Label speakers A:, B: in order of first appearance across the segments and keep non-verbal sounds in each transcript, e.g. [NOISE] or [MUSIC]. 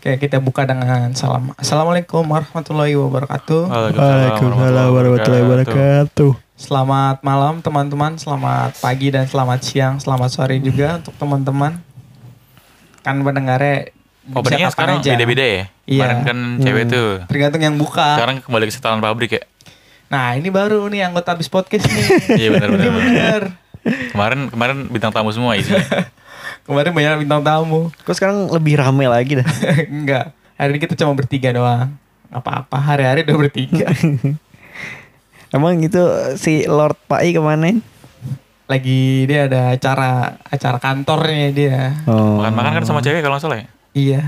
A: Oke, kita buka dengan salam. Assalamualaikum warahmatullahi wabarakatuh.
B: Waalaikumsalam warahmatullahi wabarakatuh.
A: Selamat malam teman-teman, selamat pagi dan selamat siang, selamat sore juga untuk teman-teman. Kan pendengarnya bisa
C: Openingnya
A: kapan
C: sekarang
A: aja.
C: beda-beda ya.
A: Iya.
C: Kemarin kan cewek
B: Hmm.
C: tuh.
A: Tergantung yang buka.
C: Sekarang kembali ke setelan pabrik ya.
A: Nah, ini baru nih anggota habis podcast nih.
C: Iya benar-benar.
A: Ini
B: [LAUGHS]
A: bener.
C: Kemarin kemarin bintang tamu semua isinya.
A: Kemarin banyak bintang tamu.
B: Kok sekarang lebih rame lagi dah.
A: [LAUGHS] Enggak. Hari ini kita cuma bertiga doang. Apa-apa hari-hari udah bertiga.
B: [LAUGHS] Emang itu si Lord Pai kemana?
A: Lagi dia ada acara acara kantornya dia.
B: Oh.
C: Makan-makan kan sama cewek kalau nggak salah ya.
A: Iya.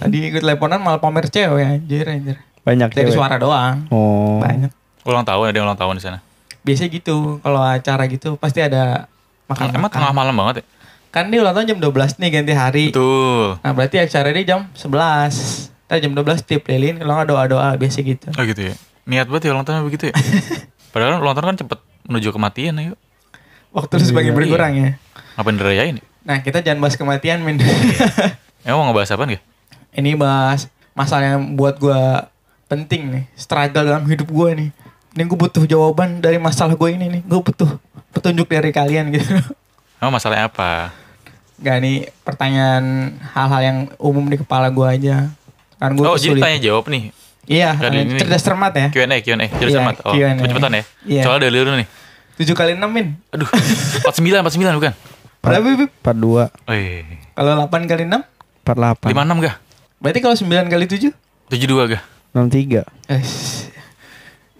A: Tadi ikut teleponan malah pamer cewek anjir anjir.
B: Banyak
A: Dari
B: cewek.
A: suara doang.
B: Oh.
A: Banyak.
C: Ulang tahun ada yang ulang tahun di sana.
A: Biasanya gitu kalau acara gitu pasti ada makan
C: Emang tengah malam banget ya.
A: Kan dia ulang tahun jam 12 nih ganti hari.
C: Betul.
A: Nah, berarti acara dia jam 11. Ntar jam 12 tip lilin kalau nggak doa-doa biasa gitu.
C: Oh gitu ya. Niat banget ya ulang tahunnya begitu
B: [LAUGHS]
C: ya. Padahal ulang tahun kan cepet menuju kematian ayo.
A: Waktu terus sebagai berkurang ya.
C: Ngapain dirayain ya?
A: Nah, kita jangan bahas kematian, Min. [LAUGHS]
C: Emang mau ngebahas apa gak?
A: Ini bahas masalah yang buat gua penting nih. Struggle dalam hidup gua nih. Ini gue butuh jawaban dari masalah gue ini nih. Gue butuh petunjuk dari kalian gitu. [LAUGHS]
C: Emang masalahnya apa?
A: Gak nih pertanyaan hal-hal yang umum di kepala gua aja. Kan gue
C: oh jadi tanya jawab nih.
A: Iya,
C: Dari
A: tanya-
C: ini.
A: cerdas cermat
B: Eh?
A: ya.
C: Q&A, Q&A. Jadi
A: Iya,
C: cepat. Oh,
A: Q&A.
C: cepet-cepetan ya.
A: Iya.
C: Soalnya dari lu nih.
A: 7 kali 6, Min.
C: Aduh, 49, 49 bukan?
A: Berapa, Bib?
B: Part 2,
C: Oh iya.
A: Kalau 8 kali 6?
B: part 8,
C: 56 gak?
A: Berarti kalau 9 kali 7?
C: 72 gak?
B: 63.
A: Eh,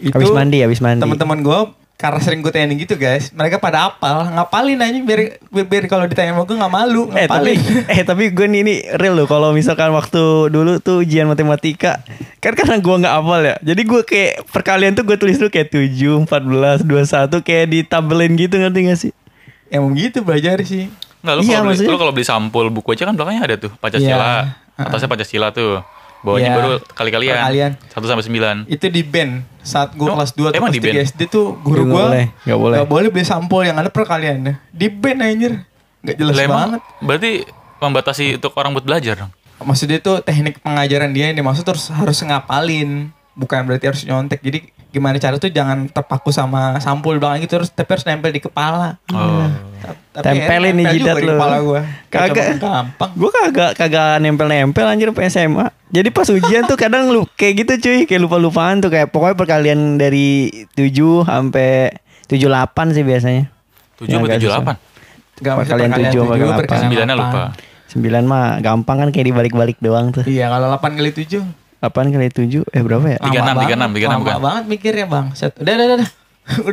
A: Itu
B: Habis mandi, habis mandi.
A: teman-teman gue karena sering gue tanyain gitu guys, mereka pada apal, ngapalin aja biar biar, biar kalau ditanya sama gue nggak malu,
B: Eh tapi
A: ngapalin. [LAUGHS]
B: [LAUGHS] eh tapi gue nih ini real loh kalau misalkan waktu dulu tuh ujian matematika kan karena gue nggak hafal ya. Jadi gue kayak perkalian tuh gue tulis dulu kayak 7, 14, 21 kayak ditabelin gitu ngerti gak sih?
A: Emang gitu belajar sih.
C: Nggak, lu kalau
B: Iya,
C: beli,
B: maksudnya-
C: lu kalau beli sampul buku aja kan belakangnya ada tuh Pancasila.
A: Iya.
C: Atasnya Pancasila tuh. Bawahnya
A: Iya.
C: baru kali-kalian.
A: Perkalian.
C: 1 sampai 9.
A: Itu di band saat gue
C: No,
A: kelas 2
C: Oh, emang
A: kelas
C: di-ban?
A: 3 SD tuh guru
B: Nggak
A: gue
B: boleh, nggak boleh.
A: Gak boleh beli sampul yang ada perkalian. Di band anjir. Gak jelas
C: Lah, emang
A: banget.
C: Berarti membatasi untuk orang buat belajar dong.
A: maksudnya itu teknik pengajaran dia yang dimaksud terus harus ngapalin bukan berarti harus nyontek jadi gimana cara tuh jangan terpaku sama sampul belakang gitu terus tapi harus nempel di kepala
C: Oh.
A: Tapi akhirnya
B: Tempelin nih
A: nempel juga
B: jidat
A: di
B: lu.
A: kepala gua
B: Kagak.
A: Coba gampang
B: Gue kagak kagak nempel-nempel anjir pas SMA. Jadi pas ujian tuh kadang lu kayak gitu cuy, kayak lupa-lupaan tuh kayak pokoknya perkalian dari 7 sampai 78 sih biasanya.
A: Iya,
C: 7
B: Ya,
C: sampai
A: Gak
C: 78.
B: agak
A: maksudnya
B: Perkalian tujuh,
A: tujuh,
B: perkalian
A: perkalian
C: 9-nya
A: delapan.
C: lupa.
B: 9 mah gampang kan kayak dibalik-balik doang tuh.
A: iya kalau 8 kali 7
B: 8 kali 7 eh berapa ya?
A: lama
C: 36, 36, 36, bukan?
A: banget mikirnya bang Set. udah udah [LAUGHS] udah udah.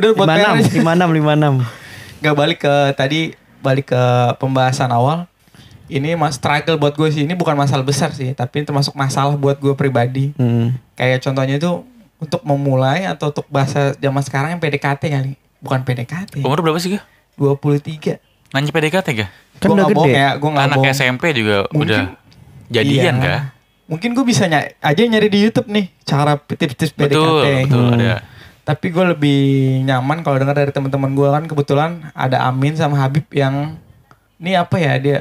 A: udah buat PR
B: 56
A: aja.
B: 56 56.
A: Gak balik ke tadi balik ke pembahasan awal. Ini mas struggle buat gue sih. Ini bukan masalah besar sih, tapi ini termasuk masalah buat gue pribadi.
B: Hmm.
A: Kayak contohnya itu untuk memulai atau untuk bahasa zaman sekarang yang PDKT kali. Bukan PDKT.
C: Umur berapa sih, Gak?
A: 23.
C: Nanya PDKT, Gak?
B: Kan
A: Gue
B: udah
A: gak bohong
B: gede.
A: ya, gue gak
C: Anak
A: bohong.
C: SMP juga
A: Mungkin-
C: udah jadian,
A: Iya.
C: Gak?
A: Mungkin gue bisa ny- aja nyari di YouTube nih cara tips-tips PDKT.
C: Betul, betul ada.
A: Hmm. Tapi gue lebih nyaman kalau dengar dari teman-teman gue kan kebetulan ada Amin sama Habib yang ini apa ya dia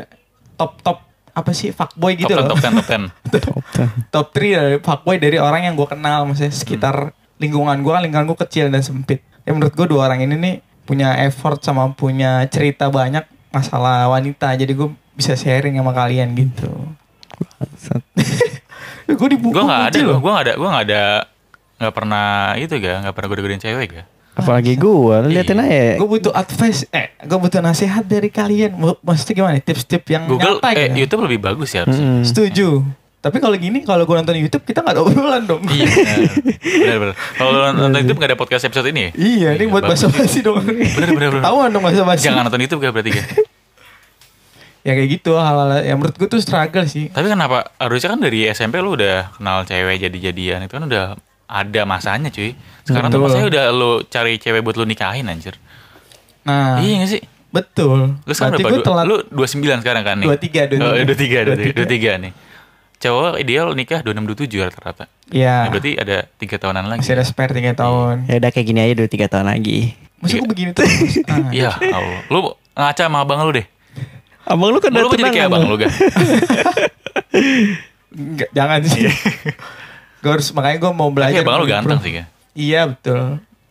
A: top top apa sih fuckboy gitu
C: top 10,
A: loh.
C: top 10, top
A: [LAUGHS]
C: 10.
B: Top ten.
A: top 3 dari fuckboy dari orang yang gue kenal maksudnya sekitar
B: Hmm.
A: lingkungan gue kan lingkungan gue kecil dan sempit. Ya menurut gue dua orang ini nih punya effort sama punya cerita banyak masalah wanita jadi gue bisa sharing sama kalian gitu. [LAUGHS]
B: Bangsat.
A: gue dibuka
C: Gue gak ada, gue gak ada, gue gak ada. Gak pernah itu, Gak? Gak pernah gede-gedein cewek, Gak?
A: Hmm,
B: Apalagi gua, lu liatin aja.
A: gue butuh advice eh gue butuh nasihat dari kalian M- maksudnya gimana tips-tips yang
C: Google,
A: nyata
C: eh,
A: gitu Hmm.
C: YouTube lebih bagus ya harusnya.
B: Mm-mm.
A: setuju tapi kalau gini kalau gue nonton YouTube kita nggak ada obrolan dong
C: Iya benar. benar. Kalau lu nonton YouTube nggak ada podcast episode ini. ya?
A: [LAUGHS] iya ini buat bahasa
C: bagus.
A: basi dong bener
C: bener, bener.
A: ketahuan dong bahasa basi
C: Jangan nonton YouTube gak berarti ya. gak?
A: ya kayak gitu hal-hal yang menurut gue tuh struggle sih
C: Tapi kenapa? Harusnya kan dari SMP lu udah kenal cewek jadi-jadian itu kan udah ada masanya cuy. Sekarang tuh
A: Betul.
C: masanya udah lu cari cewek buat lu nikahin anjir.
A: nah
C: Iya gak sih?
A: betul
C: Lu sekarang
A: berarti
C: berapa?
A: gue
C: Du-
A: telat
C: Lu 29 sekarang kan nih?
A: 23, 23.
C: Oh, 23, 23, 23 nih. Cowok ideal nikah 26 27 rata-rata. Ya,
A: ya
C: berarti Iya. ada 3 tahunan
A: masih
C: lagi.
A: ada spare 3 tahun
B: Ya udah kayak gini aja 2 3 tahun lagi.
A: maksud gue begini tuh Ah.
C: [LAUGHS] Iya, Allah. Lu ngaca sama abang lu deh.
B: Abang lu kan
C: Lu
B: udah
A: [LAUGHS]
C: jadi
B: tunangan
C: kayak abang
B: lu.
C: lu gak?
A: Nggak, jangan sih. [LAUGHS] gue harus makanya gue mau
C: Tapi
A: belajar.
C: abang Iya. lu
A: improve.
C: ganteng sih.
A: Iya betul.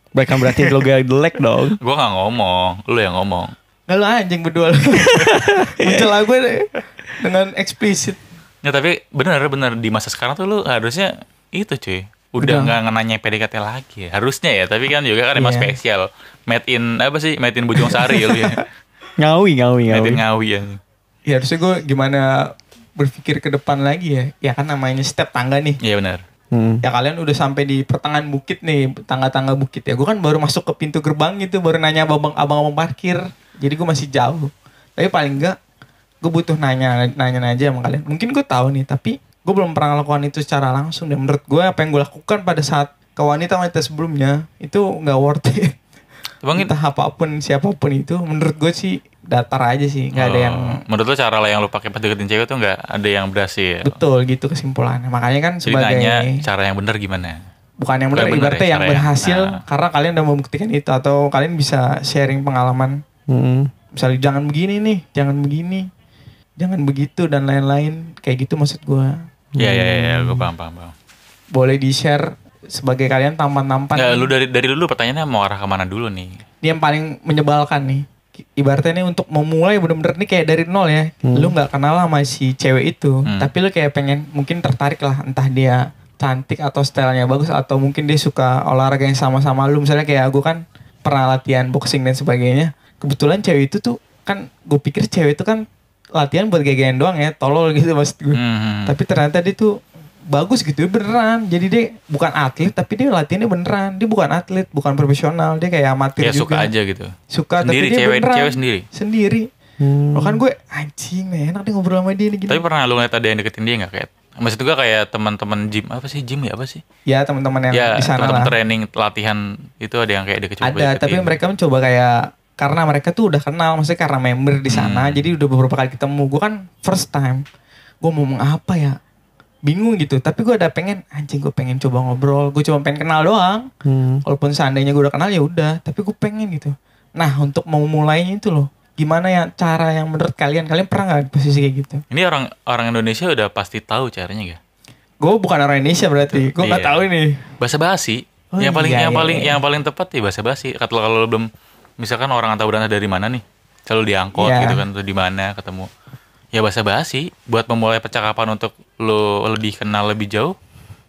D: Bukan berarti lo gak jelek dong.
C: Gue gak ngomong, lu yang ngomong.
A: Nggak Nah, lu anjing berdua
C: [LAUGHS]
A: lu. Mencela gue deh, dengan eksplisit.
C: Ya tapi bener-bener di masa sekarang tuh lu harusnya itu cuy. Udah
A: Udah.
C: nggak nanya PDKT lagi. Harusnya ya, tapi kan juga kan emang
A: Iya.
C: spesial. Made in apa sih? Made in Bojong Sari lu ya.
A: [LAUGHS]
D: Ngawi, ngawi,
C: Made
D: ngawi.
C: in Ngawi ya.
A: Ya harusnya gue gimana berpikir ke depan lagi ya. Ya kan namanya step tangga nih.
C: Iya benar.
D: Hmm.
A: Ya kalian udah sampai di pertengahan bukit nih, tangga-tangga bukit ya. Gue kan baru masuk ke pintu gerbang gitu, baru nanya abang abang abang parkir. Jadi gue masih jauh. Tapi paling enggak gue butuh nanya nanya aja sama kalian. Mungkin gue tahu nih, tapi gue belum pernah lakukan itu secara langsung. Dan menurut gue apa yang gue lakukan pada saat ke wanita-wanita sebelumnya itu nggak worth it.
C: Bang,
A: Entah apapun siapapun itu, menurut gue sih datar aja sih, nggak ada yang
C: Oh, menurut lu cara lah yang lu pakai pas deketin cewek tuh nggak ada yang berhasil. ya?
A: betul gitu kesimpulannya. Makanya kan
C: iya. Jadi
A: sebagai
C: nanya cara yang benar gimana?
A: bukan yang benar
C: Bukan yang benar
A: ibaratnya
C: ya,
A: yang
C: cara ya.
A: berhasil
C: Nah.
A: karena kalian udah membuktikan itu atau kalian bisa sharing pengalaman
D: Hmm.
A: misalnya jangan begini nih jangan begini jangan begitu dan lain-lain kayak gitu maksud gua
C: Iya iya iya, gue paham paham paham.
A: boleh di share sebagai kalian tampan-tampan
C: Nggak, Eh, lu dari dari dulu pertanyaannya mau arah kemana dulu nih?
A: ini yang paling menyebalkan nih ibaratnya ini untuk memulai bener-bener nih kayak dari nol ya lu nggak kenal sama si cewek itu
C: Hmm.
A: tapi lu kayak pengen mungkin tertarik lah entah dia cantik atau stylenya bagus atau mungkin dia suka olahraga yang sama-sama lu misalnya kayak aku kan pernah latihan boxing dan sebagainya kebetulan cewek itu tuh kan gue pikir cewek itu kan latihan buat gegean doang ya tolol gitu maksud gue
C: Hmm.
A: tapi ternyata dia tuh bagus gitu beneran jadi dia bukan atlet tapi dia latihannya beneran dia bukan atlet bukan profesional dia kayak amatir
C: ya
A: juga
C: suka aja gitu.
A: suka
C: Sendiri,
A: tapi dia
C: cewek-
A: beneran
C: cewek sendiri?
A: sendiri
D: Hmm.
A: Loh kan gue anjing nih enak deh ngobrol sama dia nih gitu. gini
C: Tapi pernah lu ngeliat ada yang deketin dia nggak kayak? Maksud gue kayak teman-teman gym apa sih gym ya apa sih?
A: ya teman-teman yang
C: ya
A: di sana
C: teman
A: lah
C: training latihan itu ada yang kayak deket
A: ada tapi mereka mencoba kayak karena mereka tuh udah kenal maksudnya karena member di
C: Hmm.
A: sana jadi udah beberapa kali ketemu gue kan first time gue mau ngomong apa ya bingung gitu tapi gue ada pengen anjing gue pengen coba ngobrol gue cuma pengen kenal doang
D: Hmm.
A: walaupun seandainya gue udah kenal ya udah tapi gue pengen gitu nah untuk mau mulainya itu loh gimana ya cara yang menurut kalian kalian pernah nggak di posisi kayak gitu
C: ini orang orang Indonesia udah pasti tahu caranya gak?
A: gue bukan orang Indonesia berarti gue nggak
C: Iya.
A: tahu ini
C: Bahasa basi
A: Oh,
C: yang paling
A: iya,
C: yang
A: iya,
C: paling
A: iya.
C: yang paling tepat ya bahasa basi. Kalau kalau lu belum misalkan orang antar berantah dari mana nih? Selalu diangkut
A: Iya.
C: gitu kan atau di mana ketemu. Ya bahasa basi buat memulai percakapan untuk lu lebih kenal lebih jauh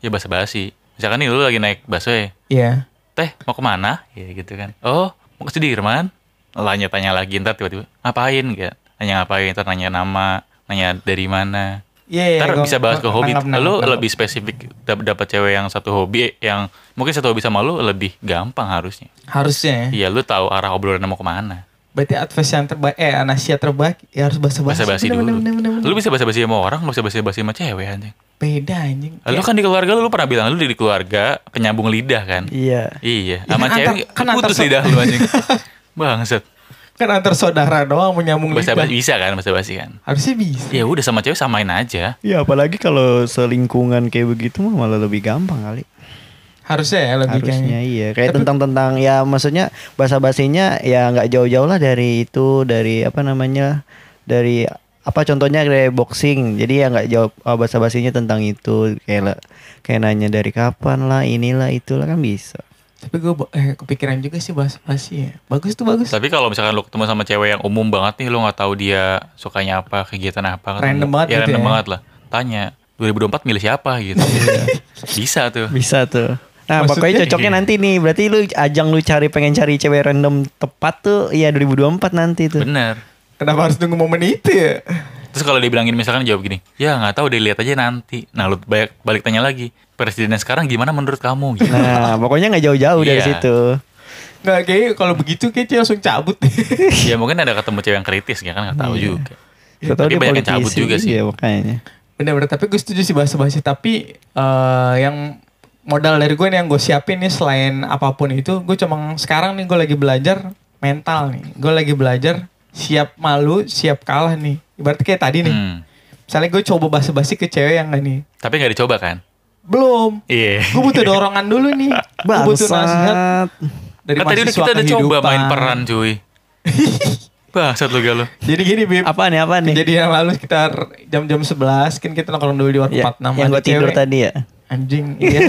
C: ya bahasa basi. Misalkan nih lu lagi naik busway,
A: Iya
C: teh mau kemana? Ya gitu kan. Oh mau ke Sudirman? Lanya tanya lagi ntar tiba-tiba ngapain gitu. Nanya ngapain ntar nanya nama, nanya dari mana.
A: iya iya,
C: Ntar
A: gua-
C: bisa bahas ke
A: gua
C: hobi.
A: nangkap, nangkap,
C: lu
A: nangkap.
C: lebih spesifik dap- dapat cewek yang satu hobi yang mungkin satu hobi sama lu lebih gampang harusnya.
A: harusnya ya.
C: Iya lu tahu arah obrolan mau kemana.
A: berarti advice yang terbaik eh nasihat terbaik ya harus bahasa
C: Bahasa
A: bahasa
C: basi dulu. Lu bisa bahasa basi sama orang, nggak bisa bahasa basi sama cewek anjing.
A: beda anjing
C: Lu kan di keluarga lu, lu pernah bilang lu di keluarga penyambung lidah kan?
D: Iya.
A: Ya,
C: Iya, sama
A: kan
C: cewek
A: antar- kan antar
C: putus
A: so-
C: lidah lu
A: [LAUGHS]
C: anjing. Bangsat.
A: kan antar saudara doang menyambung
C: Bahasa
A: lidah
C: basi bisa kan bahasa basi kan?
A: harusnya bisa
C: Ya udah sama cewek samain aja.
D: Ya apalagi kalau selingkungan kayak begitu mah malah lebih gampang kali.
A: harusnya ya lebih
D: Harusnya
A: kayaknya.
D: iya. Kayak
A: Tapi-
D: tentang-tentang ya maksudnya bahasa-basinya ya nggak jauh-jauh lah dari itu dari apa namanya dari apa contohnya kayak boxing. Jadi ya nggak jauh eh, bahasa-basinya tentang itu kayak le- kayak nanya dari kapan lah inilah itulah kan bisa.
A: tapi gue eh, kepikiran juga sih bahasa basi ya bagus tuh bagus
C: Tapi kalau misalkan lu ketemu sama cewek yang umum banget nih, lu nggak tahu dia sukanya apa, kegiatan apa.
A: Random
C: ketemu.
A: banget
C: ya,
A: gitu
C: random
A: ya. Iya.
C: banget lah. Tanya, 2024 milih siapa gitu. Bisa tuh.
D: Bisa tuh. Nah,
A: Maksudnya
D: pokoknya cocoknya
C: iya.
D: nanti nih. Berarti lu ajang lu cari pengen cari cewek random tepat tuh ya 2024 nanti tuh.
C: Bener.
A: kenapa harus nunggu momen itu ya
C: Terus kalau dibilangin misalkan jawab gini, ya nggak tahu deh lihat aja nanti. Nah lu balik, balik tanya lagi, presidennya sekarang gimana menurut kamu?
A: [LAUGHS]
C: Gitu.
D: Nah, pokoknya nggak jauh-jauh dari
C: Iya.
D: situ.
A: nggak kayak kalau begitu kayaknya langsung cabut [LAUGHS]
C: ya mungkin ada ketemu cewek yang kritis, ya kan nggak tahu
A: Iya.
C: juga.
D: Siapa tahu
C: Tapi
D: dia
C: banyak yang cabut
D: politisi,
C: juga sih.
D: Iya, makanya.
A: Bener-bener, tapi gue setuju sih bahasa basi. Tapi eh, yang modal dari gue nih yang gue siapin nih selain apapun itu, gue cuma sekarang nih gue lagi belajar mental nih. Gue lagi belajar siap malu, siap kalah nih. Ibaratnya kayak tadi nih.
C: Hmm.
A: Misalnya gue coba bahasa basi ke cewek yang gak nih.
C: Tapi nggak dicoba kan?
A: Belum.
C: Iya.
A: Gue butuh dorongan dulu nih. Gue butuh nasihat
D: Bangsat.
A: dari
C: Kan tadi udah
A: mahasiswa
C: kita udah
A: [LAUGHS]
C: coba
A: kehidupan.
C: main peran cuy. Bangsat lu galau.
A: Jadi gini Bib.
D: Apaan nih, apaan nih?
A: Kejadian yang lalu sekitar jam-jam 11 kan kita nongkrong dulu di warung
D: Ya,
A: 46
D: yang
A: ada
D: gue tidur
A: cewek.
D: tadi ya.
A: Anjing,
D: [LAUGHS]
A: iya.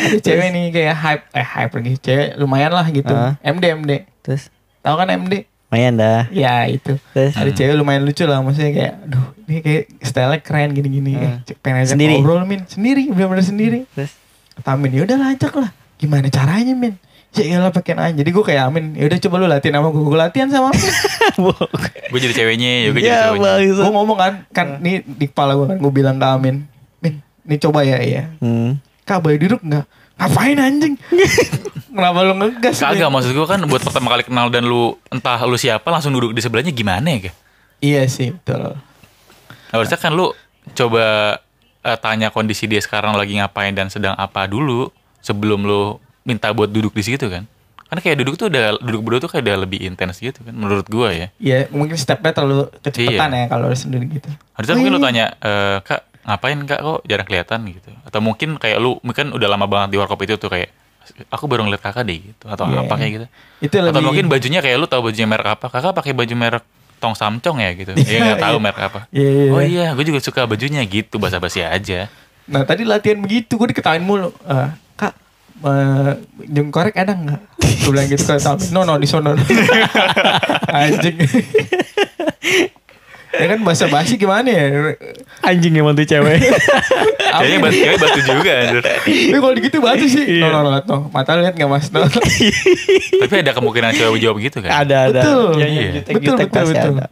A: Ada cewek nih kayak hype, eh hype lagi. Cewek lumayan lah gitu.
D: Ah.
A: MD, MD.
D: Terus
A: Tahu kan MD?
D: lumayan dah.
A: Ya itu.
D: Terus?
A: Ada cewek lumayan lucu lah maksudnya kayak, aduh ini kayak style keren gini-gini. Eh, cek- pengen ajak
D: Sendiri?
A: ngobrol min, sendiri, bener-bener sendiri.
D: Terus [LAUGHS]
A: Kata Amin, yaudah lah ajak lah. Gimana caranya min? Ya iyalah pakein aja. Jadi gue kayak Amin, yaudah coba lu latihan sama gue, gue latihan sama
D: [LAUGHS]
A: Amin.
C: Gue jadi ceweknya, ya gue jadi
D: Ya,
C: cowoknya.
D: bangsat.
A: gue ngomong kan, kan nih di kepala gue kan gue bilang ke Amin, Min, nih coba ya ya.
D: Hmm.
A: Kak bayi duduk nggak? Ngapain
C: [LAUGHS]
A: anjing? Kenapa lu ngegas?
C: Kagak
A: Min?
C: maksud gue kan buat pertama kali kenal dan lu entah lu siapa langsung duduk di sebelahnya gimana ya? Kak?
A: Iya sih betul.
C: Harusnya kan lu coba eh, tanya kondisi dia sekarang lagi ngapain dan sedang apa dulu sebelum lu minta buat duduk di situ kan. Karena kayak duduk tuh udah duduk berdua tuh kayak udah lebih intens gitu kan menurut gua ya.
A: Iya mungkin stepnya terlalu kecepatan
C: Iya.
A: ya kalau lu sendiri gitu.
C: Harusnya mungkin lu tanya "Eh, Kak, ngapain Kak kok jarang kelihatan gitu. Atau mungkin kayak lu mungkin udah lama banget di warkop itu tuh kayak aku baru ngeliat Kakak deh gitu atau
A: Iya.
C: apa kayak gitu.
A: Itu
C: Atau
A: lebih-
C: mungkin bajunya kayak lu tahu bajunya merek apa. Kakak pakai baju merek Tong Samcong ya gitu. Iya
A: [LAUGHS]
C: nggak tahu merek apa.
A: Iya, iya,
C: Oh
A: iya.
C: iya, gue juga suka bajunya gitu basa-basi aja.
A: Nah tadi latihan begitu gue diketawain mulu. Eh, kak eh, jeng korek ada nggak? Gue bilang gitu ke Amin. No no di sono. [LAUGHS] anjing. ya kan bahasa basi gimana ya?
D: Anjing emang tuh [LAUGHS] cewek.
C: Iya. Kayaknya Iya. batu, kayaknya batu juga anjir.
A: Tapi kalau digitu batu sih. No no no, no. Mata lu lihat nggak mas? No.
C: [LAUGHS] Tapi ada kemungkinan cewek jawab gitu kan?
D: ada ada.
A: Betul.
D: Yang
C: Iya.
A: Betul,
D: jutek-jutek
A: betul,
D: pasti
A: betul.
D: ada.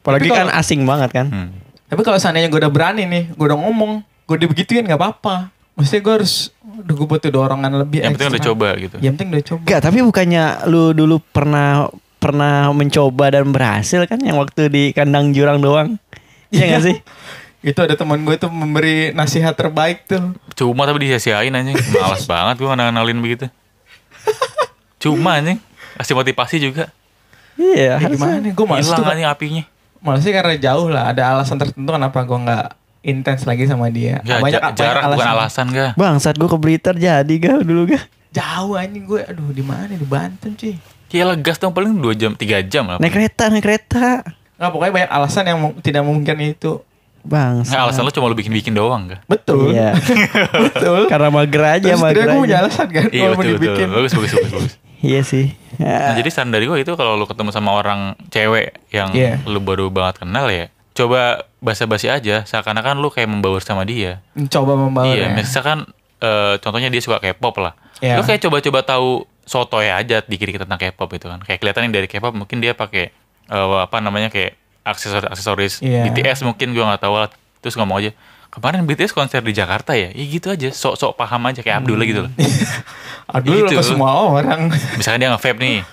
D: Apalagi
A: Tapi
D: kan
A: kalau-
D: asing banget kan.
C: Hmm.
A: Tapi kalau seandainya gue udah berani nih, gue udah ngomong, gue dibegituin nggak apa-apa. Maksudnya gue harus, aduh gue butuh dorongan lebih.
C: Yang penting
A: ekstra.
C: udah coba gitu.
A: Yang penting udah coba.
D: Enggak, tapi bukannya lu dulu pernah pernah mencoba dan berhasil kan yang waktu di kandang jurang doang. Iya enggak sih?
A: [LAUGHS] Itu ada teman gue tuh memberi nasihat terbaik tuh.
C: Cuma tapi disia-siain anjing.
A: [LAUGHS]
C: Malas banget gue ngenalin begitu. Cuma anjing. Kasih motivasi juga.
A: Ya,
D: Iya, harusnya.
A: gimana? Gue males tuh.
C: Hilang anjing apinya.
A: Malesnya karena jauh lah. Ada alasan tertentu kenapa gue nggak intens lagi sama dia.
C: Nggak, ja- jarak bukan alasan gak.
D: Bangsat gue ke Blitar jadi gak dulu gak
A: Jauh anjing gue. Aduh di mana di Banten cuy.
C: Ya legas dong paling 2 jam, 3 jam lah.
D: Naik kereta, naik kereta
A: Nggak pokoknya banyak alasan yang mu- tidak memungkinkan itu.
C: Nggak,
D: Bangsat
C: alasan lu cuma lu bikin-bikin doang gak?
A: Betul.
D: Iya.
A: [LAUGHS] betul.
D: Karena mager aja,
A: Terus
D: mager
A: tidak gue punya
D: aja
A: alasan kan.
C: Iya
A: walaupun
C: betul, betul.
A: dibikin. Eh.
C: Bagus, bagus, bagus,
A: [LAUGHS]
C: bagus.
D: Iya sih
C: Nah,
D: Ya.
C: jadi saran dari gue itu kalau lu ketemu sama orang cewek yang
A: Iya.
C: lu baru banget kenal ya, coba basa-basi aja seakan-akan lu kayak membaur sama dia.
A: Coba membawa
C: iya,
A: ya.
C: misalkan eh, contohnya dia suka K-pop lah.
A: Iya.
C: Lu kayak coba-coba tahu sotoy aja dikit-dikit tentang K-pop itu kan. Kayak kelihatan yang dari K-pop mungkin dia pakai eh, apa namanya kayak aksesoris-aksesoris
A: Iya.
C: BTS mungkin gua nggak tahu lah. Terus ngomong aja, "Kemarin BTS konser di Jakarta ya?" Ya gitu aja, sok-sok paham aja kayak Abdul
A: Hmm.
C: gitu loh.
A: [LAUGHS] Aduh lu
C: Gitu.
A: ke semua orang.
C: Misalkan dia nge-vape nih.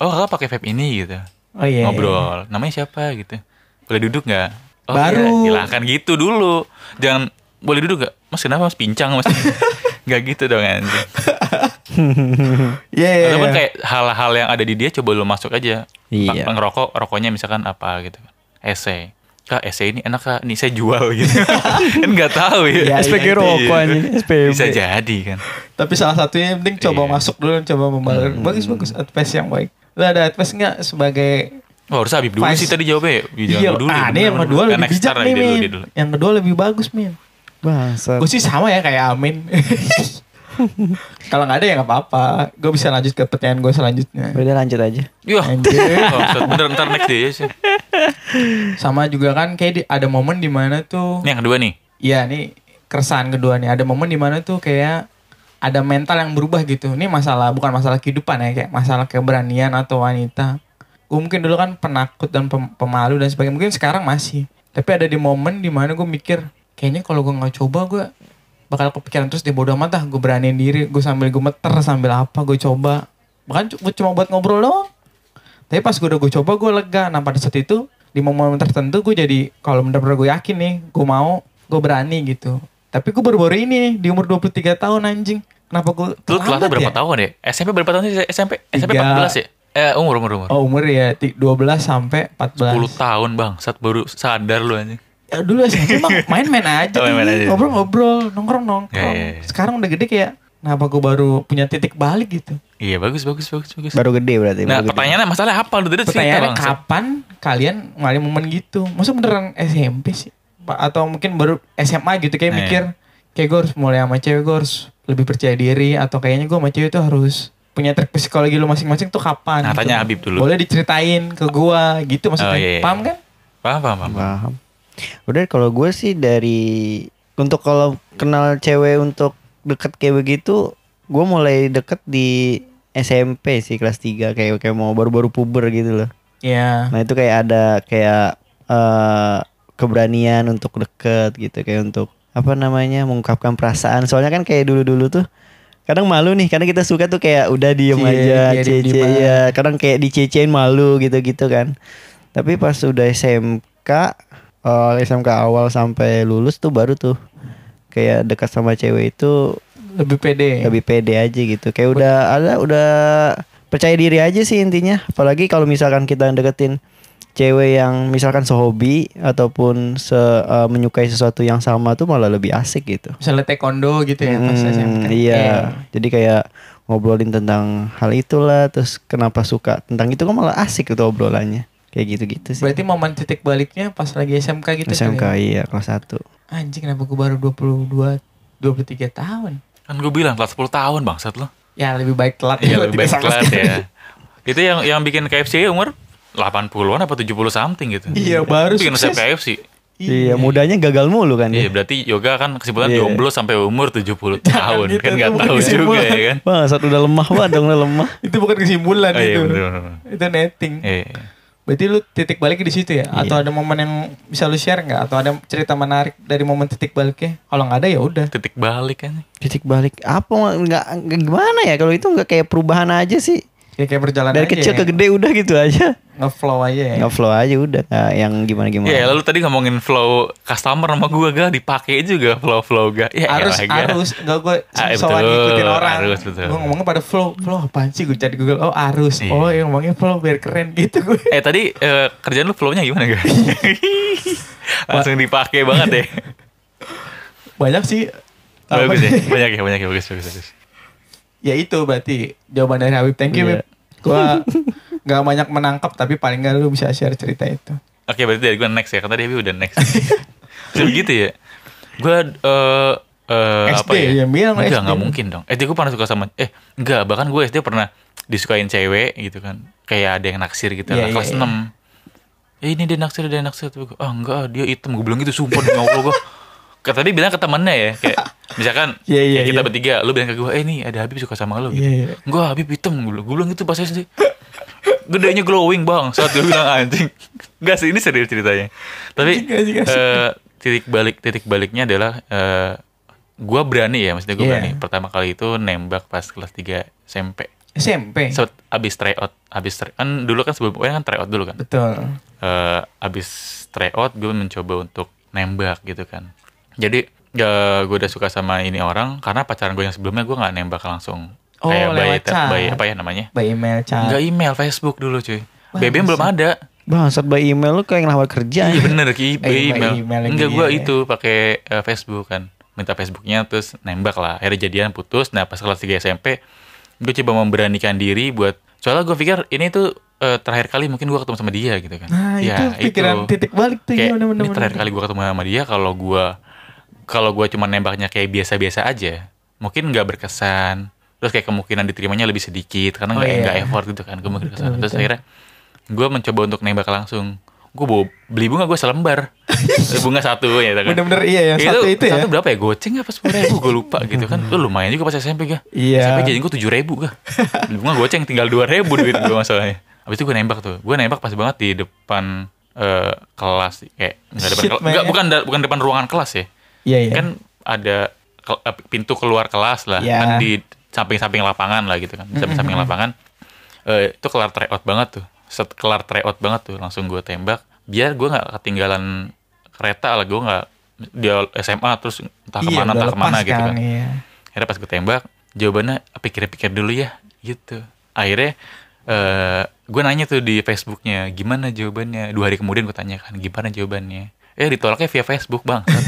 C: Oh, kakak pakai vape ini gitu.
A: Oh iya.
C: Ngobrol. Namanya siapa gitu. Boleh duduk nggak? Oh,
A: Baru.
C: Iya, silakan gitu dulu. Jangan boleh duduk nggak? Mas kenapa mas pincang
A: [LAUGHS]
C: mas? Gak gitu dong anjing.
A: Iya. iya,
C: Ataupun
A: iya.
C: kayak hal-hal yang ada di dia coba lu masuk aja.
D: Iya.
C: Pak, ngerokok, rokoknya misalkan apa gitu. Ese. Kak, ese ini enak kak. Nih saya jual
A: [LAUGHS]
C: gitu. kan nggak tahu
A: Iya,
C: ya.
A: iya,
D: SPG rokok
C: Iya.
D: anjing SPB
C: Bisa jadi kan.
A: Tapi salah satunya yang penting coba
C: Iya. Hmm.
A: masuk dulu, coba membalas. Bagus bagus advice yang baik. Lu ada advice nggak sebagai
C: Wah, harus Habib dulu
A: Vice-
C: sih tadi jawabnya. ya. Jangan
A: Iya,
C: lu
A: ah,
C: dulu, jangan
A: ini yang
C: lu
A: kedua
C: dulu.
A: lebih
C: Kan Next
A: bijak
C: time,
A: nih,
C: dia dulu,
A: Min.
C: dia dulu.
A: Yang kedua lebih bagus, Min.
D: Bangsat
A: Gue sih sama ya kayak
C: [LAUGHS]
A: Amin. Kalau nggak ada ya nggak apa-apa. Gue bisa lanjut ke pertanyaan gue selanjutnya.
D: Udah lanjut aja
C: Yah,
A: Anjir.
C: Bangsat, bener ntar next deh ya, sih.
A: Sama juga kan kayak di- ada momen di mana tuh,
C: Ini yang kedua nih.
A: ya nih keresahan kedua nih. Ada momen di mana tuh kayak ada mental yang berubah gitu. Ini masalah bukan masalah kehidupan ya kayak masalah keberanian atau wanita. Gue mungkin dulu kan penakut dan pem- pemalu dan sebagainya. Mungkin sekarang masih. Tapi ada di momen di mana gue mikir kayaknya kalau gue nggak coba gue bakal kepikiran terus di bodoh amat gue beraniin diri gue sambil gue meter sambil apa gue coba bahkan gue cuma buat ngobrol doang tapi pas gue udah gue coba gue lega nah pada saat itu di momen tertentu gue jadi kalau bener-bener gue yakin nih gue mau gue berani gitu tapi gue baru-baru ini nih, di umur 23 tahun anjing kenapa gue
C: Lu telat
A: terlambat
C: berapa
A: ya?
C: tahun ya? SMP berapa tahun sih? SMP? SMP
A: Tiga.
C: 14 ya? Eh, umur, umur, umur.
A: oh umur ya ti- 12 sampai
C: 10
A: 14
C: tahun bang, saat baru sadar lu anjing.
A: ya,
C: [LAUGHS]
A: dulu SMP emang main-main aja
C: Oh, main-main
A: nih,
C: aja.
A: ngobrol-ngobrol nongkrong-nongkrong
C: Ya, ya, ya.
A: sekarang udah gede kayak kenapa gue baru punya titik balik gitu
C: Iya bagus bagus bagus bagus.
B: Baru gede berarti.
C: nah
B: baru gede.
C: pertanyaannya masalah apa lu tadi cerita
A: pertanyaannya
C: bang?
A: kapan kalian ngalamin momen gitu masa beneran SMP sih Pa- atau mungkin baru SMA gitu kayak
C: Nah, iya.
A: mikir kayak gue harus mulai sama cewek gue harus lebih percaya diri atau kayaknya gue sama cewek itu harus punya trik psikologi lu masing-masing tuh kapan gitu.
C: Nah, tanya Habib dulu.
A: boleh diceritain ke gua gitu maksudnya
C: Oh, iya, iya.
A: paham kan
C: Paham paham paham.
B: Paham. Udah kalau gue sih dari untuk kalau kenal cewek untuk deket kayak begitu, gue mulai deket di SMP sih kelas 3 kayak kayak mau baru-baru puber gitu loh.
A: ya
B: Nah itu kayak ada kayak eh, keberanian untuk deket gitu kayak untuk apa namanya mengungkapkan perasaan. Soalnya kan kayak dulu-dulu tuh kadang malu nih karena kita suka tuh kayak udah diem
A: Cie,
B: aja
A: iya,
B: cece
A: diem-dieman.
B: ya kadang kayak dicecein malu gitu-gitu kan. Tapi pas udah SMK eh, SMK awal sampai lulus tuh baru tuh kayak dekat sama cewek itu
A: lebih pede
B: lebih pede aja gitu kayak udah ada udah percaya diri aja sih intinya apalagi kalau misalkan kita deketin cewek yang misalkan sehobi ataupun se eh, menyukai sesuatu yang sama tuh malah lebih asik gitu
A: misalnya taekwondo gitu ya pas
B: Hmm,
A: SMP
B: iya jadi kayak ngobrolin tentang hal itulah terus kenapa suka tentang itu kan malah asik itu obrolannya kayak gitu-gitu Iya sih
A: berarti momen titik baliknya pas lagi SMK gitu
B: SMK
A: kali ya?
B: iya kelas 1
A: anjing kenapa gua baru 22 23 tahun
C: Kan gue bilang telat 10 tahun bangsat lu.
A: ya lebih baik telat
C: Iya
A: daripada
C: lebih
A: tidak
C: baik
A: sama
C: telat
A: sekali.
C: ya. Itu yang yang bikin KFC umur 80-an apa 70 something gitu.
A: Iya, baru
C: bikin resep
A: sukses.
C: KFC.
B: iya mudanya gagal mulu kan
C: Iya
B: ya
C: berarti yoga kan kesimpulan
B: Iya.
C: jomblo sampai umur 70 tahun
A: gitu,
C: kan
A: itu
C: nggak
A: bukan
C: tahu juga
A: kesimpulan.
C: ya kan.
B: Wah, saat udah lemah banget dong udah lemah
A: [LAUGHS] itu bukan kesimpulan
C: Oh, iya,
A: itu
C: bener, bener, bener.
A: itu netting
C: Iya.
A: berarti lu titik balik di situ ya atau ada momen yang bisa lu share nggak atau ada cerita menarik dari momen titik baliknya kalau nggak ada ya udah
C: Titik balik kan.
B: titik balik apa nggak nggak- gimana ya kalau itu nggak kayak perubahan aja sih
A: ya kayak berjalan aja
B: dari kecil
A: ya.
B: ke gede udah gitu aja
A: ngeflow aja ya
B: nggak flow aja udah nggak yang gimana gimana
C: Iya, lalu tadi ngomongin flow customer sama gua gak dipakai juga flow flow gak. Ya,
A: harus
C: elah, Ga.
A: harus nggak gue
C: Ah, iya,
A: soal
C: betul.
A: ngikutin orang
C: Harus, betul.
A: gue ngomongnya pada flow flow apaan sih gue cari google oh arus
C: Iya.
A: oh yang ngomongnya flow biar keren gitu [LAUGHS] gue
C: Eh tadi eh, kerjaan lu flow-nya gimana
A: [LAUGHS]
C: gak? Langsung dipakai banget ya.
A: banyak sih apa
C: bagus ya,
A: sih?
C: banyak ya, banyak ya, bagus bagus bagus.
A: ya itu berarti jawaban dari Habib thank you
B: Iya.
A: Habib gua nggak banyak menangkap tapi paling nggak lu bisa share cerita itu
C: Oke berarti dari gue next ya, karena dia udah
A: [LAUGHS]
C: next. Jadi gitu ya. Gue eh eh,
A: SD,
C: apa ya?
A: yang bilang SD.
C: enggak, enggak mungkin dong. SD gue pernah suka sama eh enggak, bahkan gue SD pernah disukain cewek gitu kan. Kayak ada yang naksir gitu
A: Iya,
C: lah,
A: iya,
C: kelas
A: iya.
C: 6. Eh, ini dia naksir, dia naksir. Tapi gue, ah enggak, dia hitam. Gue bilang gitu, sumpah demi Allah gue. Kata dia bilang ke temennya ya, kayak misalkan
A: [LAUGHS] Iya, iya,
C: kayak kita
A: iya.
C: bertiga, lu bilang ke gue, eh nih ada Habib suka sama lu gitu.
A: Iya, iya.
C: Enggak, Habib hitam. Gue bilang, gue bilang gitu pas SD. Gedenya glowing bang, saat gue bilang anjing. Enggak sih, ini serius ceritanya. Tapi
A: Anjing, anjing, anjing.
C: eh, titik balik titik baliknya adalah eh gue berani ya, maksudnya gue
A: Iya.
C: berani. Pertama kali itu nembak pas kelas 3 SMP.
A: SMP
C: Set, abis tryout, abis try- kan dulu kan sebelum UN kan tryout dulu kan
A: betul
C: eh abis tryout gue mencoba untuk nembak gitu kan jadi gue udah suka sama ini orang karena pacaran gue yang sebelumnya gue nggak nembak langsung
A: Oh,
C: kayak by,
A: lewat chat.
C: by apa ya namanya
A: by email chat
C: nggak email Facebook dulu cuy
A: Nah. Wah,
C: BBM belum
A: [LAUGHS]
C: ada
B: bang saat by email lu kayak ngelamar kerja
C: iya bener ki by
A: by
C: email
A: Oh, email lagi,
C: nggak gue
A: iya.
C: itu pakai eh, Facebook kan minta Facebooknya terus nembak lah akhirnya jadian putus nah pas kelas 3 SMP gue coba memberanikan diri buat soalnya gue pikir ini tuh eh, terakhir kali mungkin gue ketemu sama dia gitu kan
A: nah
C: Ya,
A: itu pikiran titik balik tuh ya
C: kayak
A: bener-bener
C: ini terakhir kali gue ketemu sama dia kalau gue kalau gue cuma nembaknya kayak biasa-biasa aja mungkin nggak berkesan terus kayak kemungkinan diterimanya lebih sedikit karena
A: Oh,
C: nggak
A: iya.
C: nggak effort gitu kan kemungkinan
A: Betul,
C: kesana. terus
A: betul.
C: akhirnya gue mencoba untuk nembak langsung gue bawa beli bunga gue
A: [LAUGHS]
C: selembar Beli bunga satu ya kan
A: bener-bener iya yang satu itu ya
C: satu berapa ya goceng apa sepuluh ribu gue lupa gitu kan Lu lumayan juga pas SMP gak
A: Iya.
C: SMP jadi gue tujuh ribu
A: [LAUGHS]
C: gak Beli bunga goceng tinggal dua ribu duit gue masalahnya abis itu gue nembak tuh gue nembak pas banget di depan eh, kelas kayak nggak depan
A: Shit,
C: kelas
A: man.
C: nggak bukan da- bukan depan ruangan kelas ya
A: iya iya
C: kan ada ke- eh, pintu keluar kelas lah
A: Iya.
C: kan di samping-samping lapangan lah gitu kan Di samping-samping lapangan Eh, itu kelar tryout banget tuh set kelar tryout banget tuh langsung gue tembak biar gue nggak ketinggalan kereta lah gue nggak dia SMA terus entah
A: iya
C: kemana
A: udah
C: entah kemana
A: lepas
C: gitu kan
A: iya.
C: akhirnya pas gue tembak jawabannya pikir-pikir dulu ya gitu akhirnya eh gue nanya tuh di Facebooknya gimana jawabannya dua hari kemudian gue tanyakan gimana jawabannya
A: [LAUGHS]
C: eh ditolaknya via Facebook bang nggak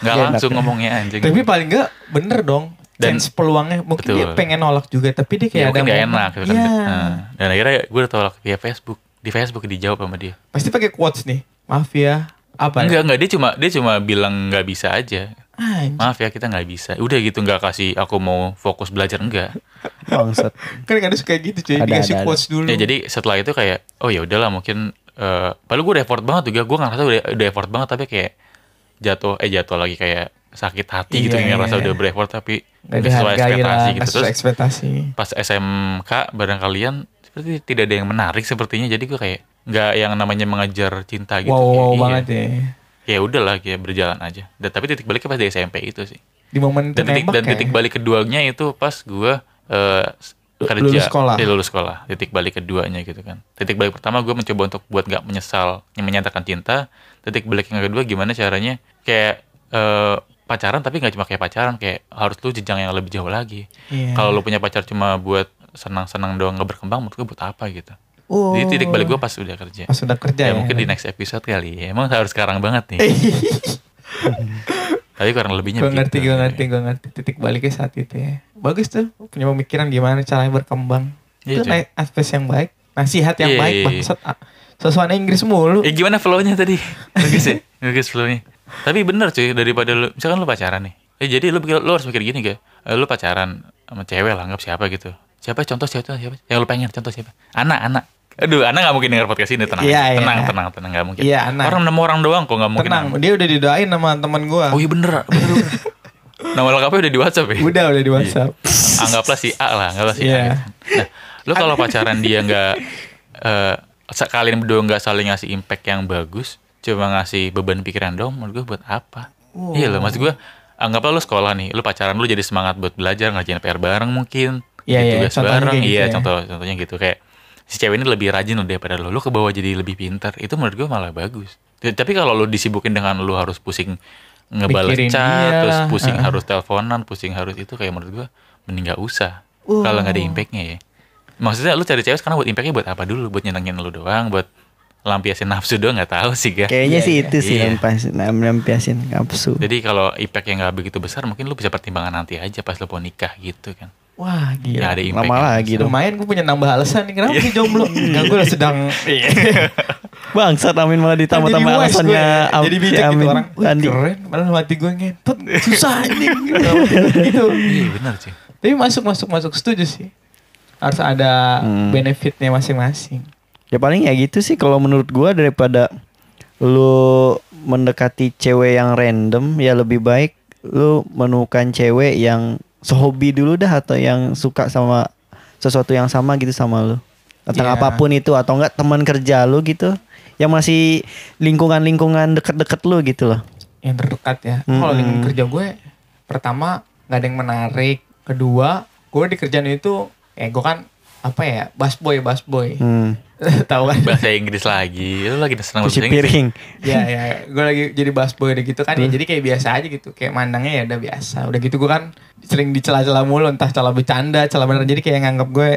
B: Enak.
A: Iya, ya.
C: langsung ngomongnya anjing Ya,
A: tapi paling nggak bener dong
C: gitu. Dan-
A: chance peluangnya mungkin
C: Betul.
A: dia pengen nolak juga tapi dia kayak
C: Ya,
A: ada
C: mungkin gak
A: momen.
C: enak gitu kan.
A: Iya.
C: Nah, dan akhirnya gue udah tolak via Facebook. Di Facebook dijawab sama dia.
A: pasti pakai quotes nih maaf ya apa
C: Enggak, enggak. Dia cuma dia cuma bilang nggak bisa aja.
A: Anjing.
C: Maaf ya kita nggak bisa. Udah gitu nggak kasih aku mau fokus belajar enggak.
A: [LAUGHS]
D: bangsat
A: kan kadang suka gitu cuy
D: Ada,
A: dikasih
D: ada, ada.
A: quotes dulu
C: Ya jadi setelah itu kayak oh ya udahlah mungkin eh padahal gue udah effort banget juga. Gue ngerasa udah, udah effort banget tapi kayak jatuh eh jatuh lagi kayak sakit hati gitu
A: Iya, iya,
C: ngerasa
A: iya.
C: udah bereffort tapi
A: nggak
C: nggak sesuai
A: dihargai lah nggak
C: ekspektasi gitu.
A: sesuai
C: Terus Iya.
A: ekspektasi
C: pas SMK barang kalian seperti tidak ada yang menarik sepertinya jadi gue kayak nggak yang namanya mengajar cinta gitu
A: wow
C: Kayak,
A: wow
C: iya.
A: banget ya
C: ya udahlah kayak berjalan aja dan tapi titik baliknya pas di SMP itu sih
A: di momen itu
C: dan titik
A: nembak
C: dan
A: ya.
C: titik balik keduanya itu pas gue kerja
A: Lulus sekolah.
C: Iya, lulus sekolah titik balik keduanya gitu kan titik balik pertama gue mencoba untuk buat nggak menyesal yang menyatakan cinta titik balik yang kedua gimana caranya kayak eh, pacaran tapi nggak cuma kayak pacaran kayak harus lu jenjang yang lebih jauh lagi
A: Iya.
C: kalau lu punya pacar cuma buat senang-senang doang nggak berkembang menurut gue buat apa gitu
A: Oh.
C: jadi titik balik gue pas udah kerja
A: pas udah kerja ya,
C: ya,
A: Eh.
C: mungkin di
A: [LAUGHS]
C: next episode kali ya. Emang harus sekarang banget nih. Tapi kurang lebihnya
A: gue ngerti
C: gitu.
A: gue ngerti gue ngerti titik baliknya saat itu ya bagus tuh punya pemikiran gimana caranya berkembang itu
C: Iya, cuy.
A: na- advice yang baik nasihat yang
C: Iya,
A: baik
C: iya, iya.
A: bangsat ah, sesuatu Inggris mulu
C: Eh gimana flow-nya tadi? Bagus ya? Bagus flow-nya. Tapi bener cuy, daripada lu, misalkan lu pacaran nih. Eh jadi lu, pikir- lu harus mikir gini gak? Eh, lu pacaran sama cewek lah, anggap siapa gitu. Siapa contoh siapa siapa? Yang lu pengen contoh siapa? Anak, anak. Aduh, anak gak mungkin denger podcast ini, tenang.
A: Iya,
C: aja.
A: iya.
C: tenang, tenang, tenang, gak mungkin.
A: Iya, Ana.
C: Orang nemu orang doang kok gak mungkin.
A: tenang dia udah didoain sama teman gue
C: Oh iya bener, bener,
A: [LAUGHS]
C: bener. Nama lengkapnya udah di WhatsApp ya?
A: udah udah di WhatsApp
C: anggaplah si A lah, anggaplah si
A: Iya.
C: A. Nah, lu kalau pacaran dia nggak eh sa- kalian berdua nggak saling ngasih impact yang bagus, cuma ngasih beban pikiran dong, menurut gue buat apa? Iya loh, maksud gue anggaplah lu sekolah nih, lu pacaran lu jadi semangat buat belajar, ngerjain PR bareng mungkin,
A: Iya,
C: bikin
A: iya,
C: tugas
A: contohnya
C: bareng,
A: kayak gitu
C: iya
A: ya.
C: contoh contohnya gitu kayak si cewek ini lebih rajin loh daripada lo, lo ke bawah jadi lebih pintar, itu menurut gue malah bagus. Ya, Tapi kalau lo disibukin dengan lo harus pusing ngebales
A: Mikirin
C: chat,
A: dia
C: terus
A: lah,
C: pusing
A: heeh.
C: harus teleponan, pusing harus itu kayak menurut gua mending nggak usah.
D: Uh.
C: Kalau nggak ada impactnya ya. Maksudnya lu cari cewek sekarang buat impactnya buat apa dulu? Buat nyenengin lu doang, buat lampiasin [LAUGHS] nafsu doang nggak tahu sih gak.
D: kayaknya gitu. sih itu sih
C: Iya.
D: nampiasin nampiasin nafsu
C: Jadi kalau impact yang nggak begitu besar, mungkin lu bisa pertimbangan nanti aja pas lu mau nikah gitu kan.
A: wah
C: Yang gitu. Iya.
A: gila
C: ada impact.
D: Iya, lama lagi dong
A: lumayan gue punya nambah alasan nih kenapa gue
C: [LAUGHS]
A: jomblo enggak gue sedang
C: Iya.
D: bangsat amin malah ditambah-tambah
A: Jadi wise
D: alasannya
A: gue.
D: am-
A: jadi
D: si
A: bijak gitu
D: amin
A: orang Wih,
D: Andi
A: keren malah mati gue ngentot susah anjing
D: [LAUGHS]
A: gitu
C: Iya benar sih.
A: tapi masuk masuk masuk setuju sih harus ada
D: Hmm.
A: benefitnya masing-masing
D: Ya paling ya gitu sih kalau menurut gua daripada lu mendekati cewek yang random ya lebih baik lu menemukan cewek yang sehobi dulu dah atau yang suka sama sesuatu yang sama gitu sama lu. Tentang
A: Iya.
D: apapun itu atau enggak teman kerja lu gitu yang masih lingkungan-lingkungan deket-deket lu gitu loh.
A: yang terdekat ya. Kalau
D: Hmm.
A: lingkungan kerja gue, pertama nggak ada yang menarik. Kedua, gue di kerjaan itu, eh gue kan apa ya, busboy, busboy.
D: Hmm.
A: [LAUGHS] Tahu kan?
C: Bahasa Inggris lagi. Lu lagi senang
D: Cuci
C: bahasa Inggris. ya? [LAUGHS]
D: piring.
A: ya ya, gue lagi jadi busboy udah gitu kan. Ya, jadi kayak biasa aja gitu, kayak mandangnya ya udah biasa. Udah gitu gue kan sering dicela-cela mulu, entah celah bercanda, celah bener. Jadi kayak nganggap gue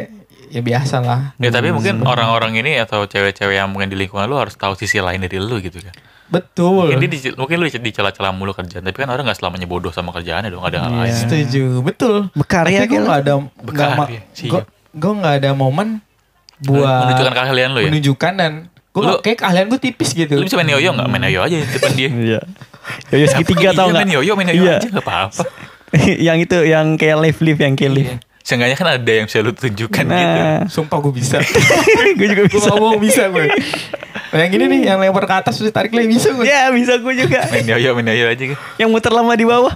A: ya biasa lah.
C: Ya tapi mungkin orang-orang ini atau cewek-cewek yang mungkin di lingkungan lu harus tahu sisi lain dari lu gitu kan.
D: Oh, iya.
A: Betul.
C: Mungkin, dia di, mungkin lu dicela-cela mulu kerjaan, tapi kan orang nggak selamanya bodoh sama kerjaannya dong, ada hal
A: Ya.
C: lain.
A: Setuju, betul. Tapi
D: Berkarya
A: gue
D: kayak
A: nggak ada,
C: Berkarya, siap.
A: gue gue nggak ada momen buat
C: iya, Menunjukkan keahlian lu ya?
A: menunjukkan dan gue
C: Lu-
A: kayak keahlian gue tipis gitu
C: Lu bisa main yoyo nggak? Main yoyo aja di depan dia.
D: Iya. Yoyo [LAUGHS] segitiga
C: Iya,
D: tau nggak?
C: Main yoyo, main yoyo
D: Iya.
C: aja nggak apa-apa.
D: [LAUGHS] yang itu yang kayak live live yang kayak live.
C: Seenggaknya kan ada yang bisa lu tunjukkan Iya, gitu.
D: Nah, [LAUGHS]
A: sumpah gue bisa [LAUGHS]
D: gue juga
A: gue
D: bisa.
A: ngomong bisa gue Nah, yang ini nih yang lempar ke atas terus tarik lagi bisa gue
D: Ya bisa gue juga
C: Main yoyo, main yoyo aja kan.
D: Yang muter lama di
C: [LAUGHS]
D: bawah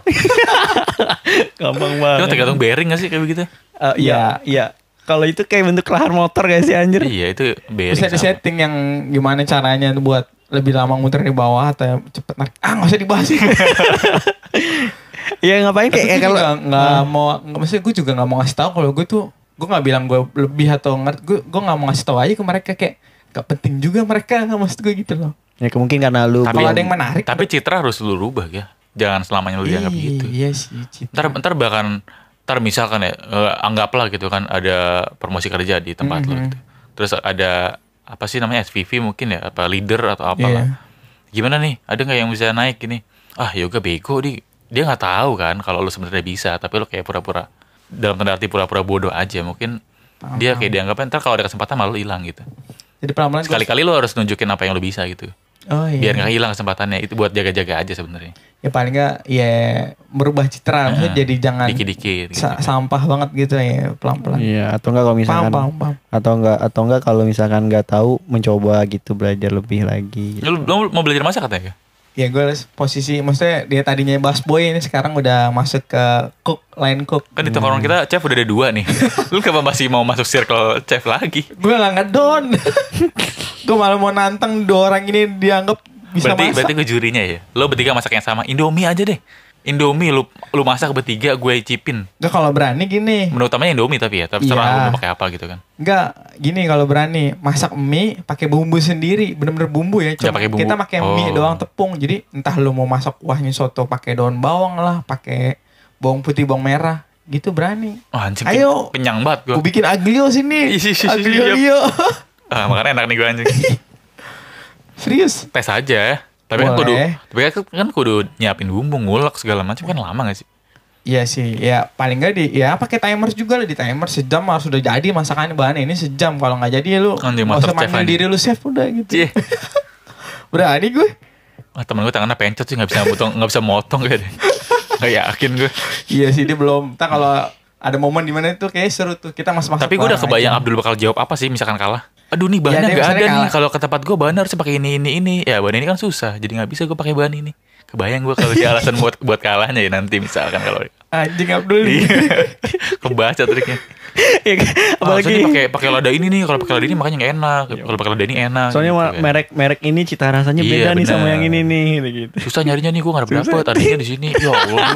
D: Gampang
C: Cuma
D: banget
C: tergantung bearing nggak sih kayak begitu?
D: Eh, Iya Iya Kalau itu kayak bentuk lahar motor gak sih anjir
C: Iya itu bearing.
A: bisa di
C: sama.
A: setting yang gimana caranya buat lebih lama muter di bawah atau cepet narik ah nggak usah dibahas sih
D: Ya ngapain kayak ya, kalau
A: kalau nggak mau nggak maksudnya gue juga nggak mau ngasih tahu kalau gue tuh gue nggak bilang gue lebih atau ngerti gue gue nggak mau ngasih tahu aja ke mereka kayak gak penting juga mereka nggak maksud gue gitu loh
D: Ya mungkin karena lu
A: Tapi- Kalau ada yang menarik.
C: Tapi citra harus lu rubah ya. Jangan selamanya lu dianggap gitu.
A: iya sih Cit.
C: ntar ntar bahkan ntar misalkan ya eh, anggaplah gitu kan ada promosi kerja di tempat lo gitu. terus ada apa sih namanya SVP mungkin ya apa leader atau apalah
A: Iya.
C: gimana nih ada nggak yang bisa naik gini ah yoga ya bego di dia nggak tahu kan kalau lu sebenarnya bisa tapi lu kayak pura-pura dalam tanda arti pura-pura bodoh aja mungkin dia kayak dianggapnya ntar kalau ada kesempatan malah lu hilang gitu
A: Jadi pelan-pelan gua-
C: sekali-kali lu harus nunjukin apa yang lu bisa gitu
A: Oh iya.
C: biar nggak hilang kesempatannya itu buat jaga-jaga aja sebenarnya
A: ya paling nggak ya merubah citra maksudnya jadi jangan
C: dikit-dikit gitu.
A: Nah, sa- sampah banget gitu ya pelan-pelan.
D: Iya, atau enggak kalau
A: Paham,
D: misalkan
A: paham, paham.
D: atau enggak atau enggak kalau misalkan nggak tahu mencoba gitu belajar lebih lagi. gitu.
C: lu, lu mau belajar masak katanya
A: Ya gue posisi maksudnya dia tadinya bass boy ini sekarang udah masuk ke cook, line cook.
C: kan di tongkrong kita chef udah ada dua
A: [LAUGHS]
C: nih lu kenapa masih mau masuk circle chef lagi
A: Gue gak [LAUGHS] ngedon. gue malah mau nantang dua orang ini dianggap bisa
C: berarti berarti
A: masak.
C: gue jurinya ya lu bertiga masak yang sama indomie aja deh indomie lu lu masak bertiga gue cipin
A: Gak kalau berani gini.
C: menu utamanya indomie tapi ya tapi terserah
A: Iya.
C: lu mau pakai apa gitu kan
A: Enggak, gini kalau berani masak mie pakai bumbu sendiri, bener-bener bumbu ya. Cuma
C: Nggak pakai bumbu.
A: kita pakai mie
C: Oh.
A: doang tepung. Jadi entah lu mau masak kuahnya soto pakai daun bawang lah, pakai bawang putih, bawang merah, gitu berani.
C: oh, anjing
A: Ayo.
C: kenyang banget gue
A: Gue bikin aglio sini.
C: Ih, ih, ih,
A: aglio
C: ih,
A: Lio.
C: ah, makanya enak nih gue anjing
A: [LAUGHS] Serius.
C: tes aja tapi kan kudu
A: Boleh.
C: tapi kan kan kudu nyiapin bumbu ngulek segala macam kan lama gak sih
A: Iya sih, ya paling gak di, ya pakai timer juga lah di timer sejam harus sudah jadi masakannya bahannya ini sejam kalau nggak jadi ya lu
C: Anjing,
A: nggak usah
C: mantap, chef
A: manggil
C: anjing.
A: diri lu chef udah gitu.
C: Cih.
A: [LAUGHS] Berani gue.
C: Ah, temen gue tangannya pencet sih nggak bisa motong nggak bisa motong [LAUGHS] kayak deh. Gak yakin gue.
A: Iya sih dia belum. Entah kalau ada momen dimana itu kayak seru tuh kita masuk masuk.
C: Tapi gue udah kebayang Abdul bakal jawab apa sih misalkan kalah. Aduh nih bahannya
A: Ya, dia
C: nggak ada
A: misalnya kalah.
C: nih. Kalau ke tempat gue bahannya harus pakai ini ini ini. Ya bahan ini kan susah. Jadi nggak bisa gue pakai bahan ini. Kebayang gue kalau dia alasan buat buat kalahnya ya nanti misalkan kalau
A: Anjing Abdul.
C: [LAUGHS] Iya.
A: [LAUGHS]
C: kebaca triknya.
D: Ya,
C: Ah,
D: apalagi
C: Soalnya pakai pakai lada ini nih. Kalau pakai lada ini makanya nggak enak. Kalau pakai lada ini enak.
D: soalnya
C: gitu
D: ma-
C: kan.
D: merek-merek ini cita rasanya
C: Iya,
D: beda nih sama
C: benar.
D: yang ini nih gitu.
C: Susah nyarinya nih gue nggak dapet. Adanya di sini. Ya Allah.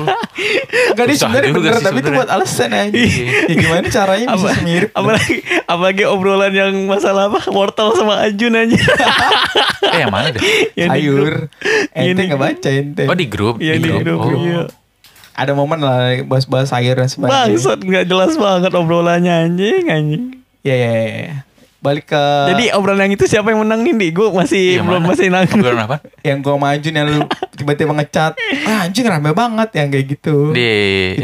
A: Enggak dia
C: Susah
A: sebenarnya
C: juga
A: bener
C: sih
A: tapi itu
C: sebenarnya.
A: buat alasan aja.
C: Iya.
A: ya gimana caranya bisa
D: Apa-
A: mirip?
D: apalagi apalagi obrolan yang masalah apa wortel sama ajun aja.
C: Eh yang mana deh?
D: Yang di grup.
A: Sayur. Ente
D: Ini-
A: nggak baca ente.
C: Oh di grup.
D: Yang di grup.
C: Oh.
D: iya.
A: Ada momen lah bahas-bahas sayur dan
C: ya.
A: sebagainya.
D: Bangsat nggak jelas banget obrolannya anjing anjing.
A: Iya iya iya. Balik ke
D: Jadi obrolan yang itu siapa yang menang nih? Di? Gue masih
C: Yang
D: belum
C: Eh. Iya, mana?
D: masih
C: Obrolan
D: nanggung.
C: apa?
A: yang gua majuin yang lu tiba-tiba ngecat. Ah, anjing rame banget yang kayak gitu.
C: Di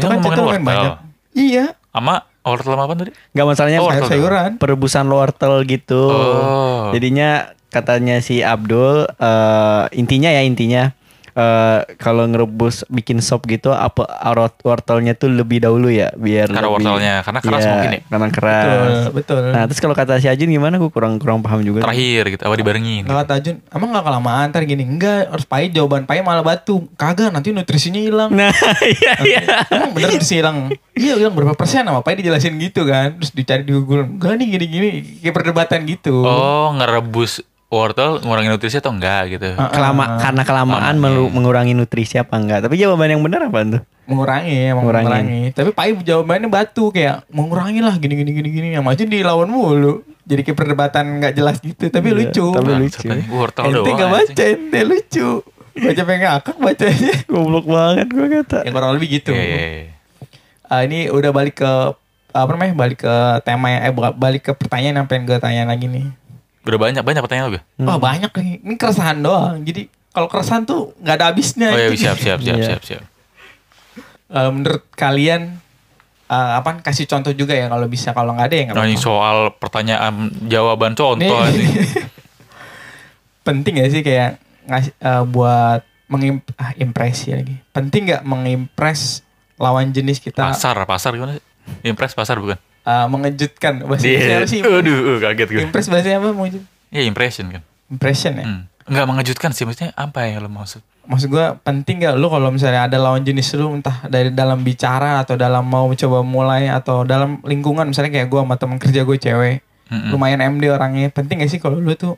C: itu, kan ngomongin
A: chatnya
C: wortel.
A: lumayan Iya.
C: Sama wortel sama apa tadi?
D: Gak masalahnya
C: Oh,
D: sayur-
C: wortel.
A: Sayur-sayuran.
D: perebusan wortel gitu.
C: Oh.
D: Jadinya katanya si Abdul eh, intinya ya intinya eh, kalau ngerebus bikin sop gitu apa arot- wortelnya tuh lebih dahulu ya biar
C: Karena
D: lebih-
C: wortelnya, karena keras
D: Iya,
C: mungkin ya?
D: Karena keras.
A: Betul,
C: Eh.
A: betul.
D: Nah, terus kalau kata si Ajun gimana gue kurang kurang paham juga.
C: Terakhir gitu,
A: Nah,
C: apa dibarengin?
A: Nggak kata Jun, emang gak kelamaan ntar gini Enggak, harus pakai jawaban pakai malah batu Kagak, nanti nutrisinya hilang
D: Nah, [LAUGHS] iya iya.
A: Emang bener nutrisi hilang Iya hilang berapa persen sama Pai dijelasin gitu kan Terus dicari di Google Enggak nih gini-gini Kayak perdebatan gitu
C: Oh, ngerebus wortel ngurangin nutrisi atau enggak gitu.
A: Ah,
D: Kelama, karena kelamaan melu- mengurangi nutrisi apa enggak? Tapi jawaban yang benar apa tuh?
A: Mengurangi ya, emang
D: Ngurangin.
A: mengurangi. Tapi Pai jawabannya batu Kayak mengurangi lah gini-gini-gini Yang maju dilawan mulu Jadi kayak perdebatan gak jelas gitu Tapi
D: Iya,
A: lucu eh.
D: tapi
C: Bangsat
D: lucu.
C: nih, Nah, Wortel
A: Ente
C: doang.
A: gak
C: anjing.
A: baca, ente lucu Baca pengen ngakak
D: [LAUGHS]
A: bacanya
D: Goblok banget gue kata.
A: Yang kurang lebih gitu
C: Iya, iya, iya.
A: Ah, ini udah balik ke apa namanya balik ke tema yang eh bukan, balik ke pertanyaan yang pengen gue tanya lagi nih
C: Udah banyak banyak pertanyaan
A: [LAUGHS]
C: gue.
D: Hmm.
A: wah banyak nih ini keresahan doang jadi kalau keresahan tuh nggak ada habisnya
C: Oh iya,
A: Jadi,
C: siap, siap, siap,
D: Iya.
C: siap, siap.
A: eh, menurut kalian eh, apa kasih contoh juga ya kalau bisa kalau nggak ada ya nggak
C: Nah, ini
A: apa-apa
C: soal pertanyaan jawaban contoh
A: Nih. [LAUGHS]
C: anjing.
A: penting ya sih kayak ngasih eh, buat mengimpresi ah, impresi lagi penting nggak mengimpress lawan jenis kita
C: Pasar, pasar gimana sih? Impress pasar bukan?
A: eh, mengejutkan bahasa
C: Iya.
A: Indonesia
C: [LAUGHS]
A: apa sih
C: Aduh, uh, kaget gue.
A: impress bahasanya apa mengejut
C: Iya, impression kan.
A: impression ya
C: Hmm. Enggak mengejutkan sih maksudnya apa ya lo maksud?
A: maksud gua penting gak lu kalau misalnya ada lawan jenis lu entah dari dalam bicara atau dalam mau coba mulai atau dalam lingkungan misalnya kayak gua sama teman kerja gue cewek
C: Mm-mm.
A: lumayan MD orangnya penting gak sih kalau lu tuh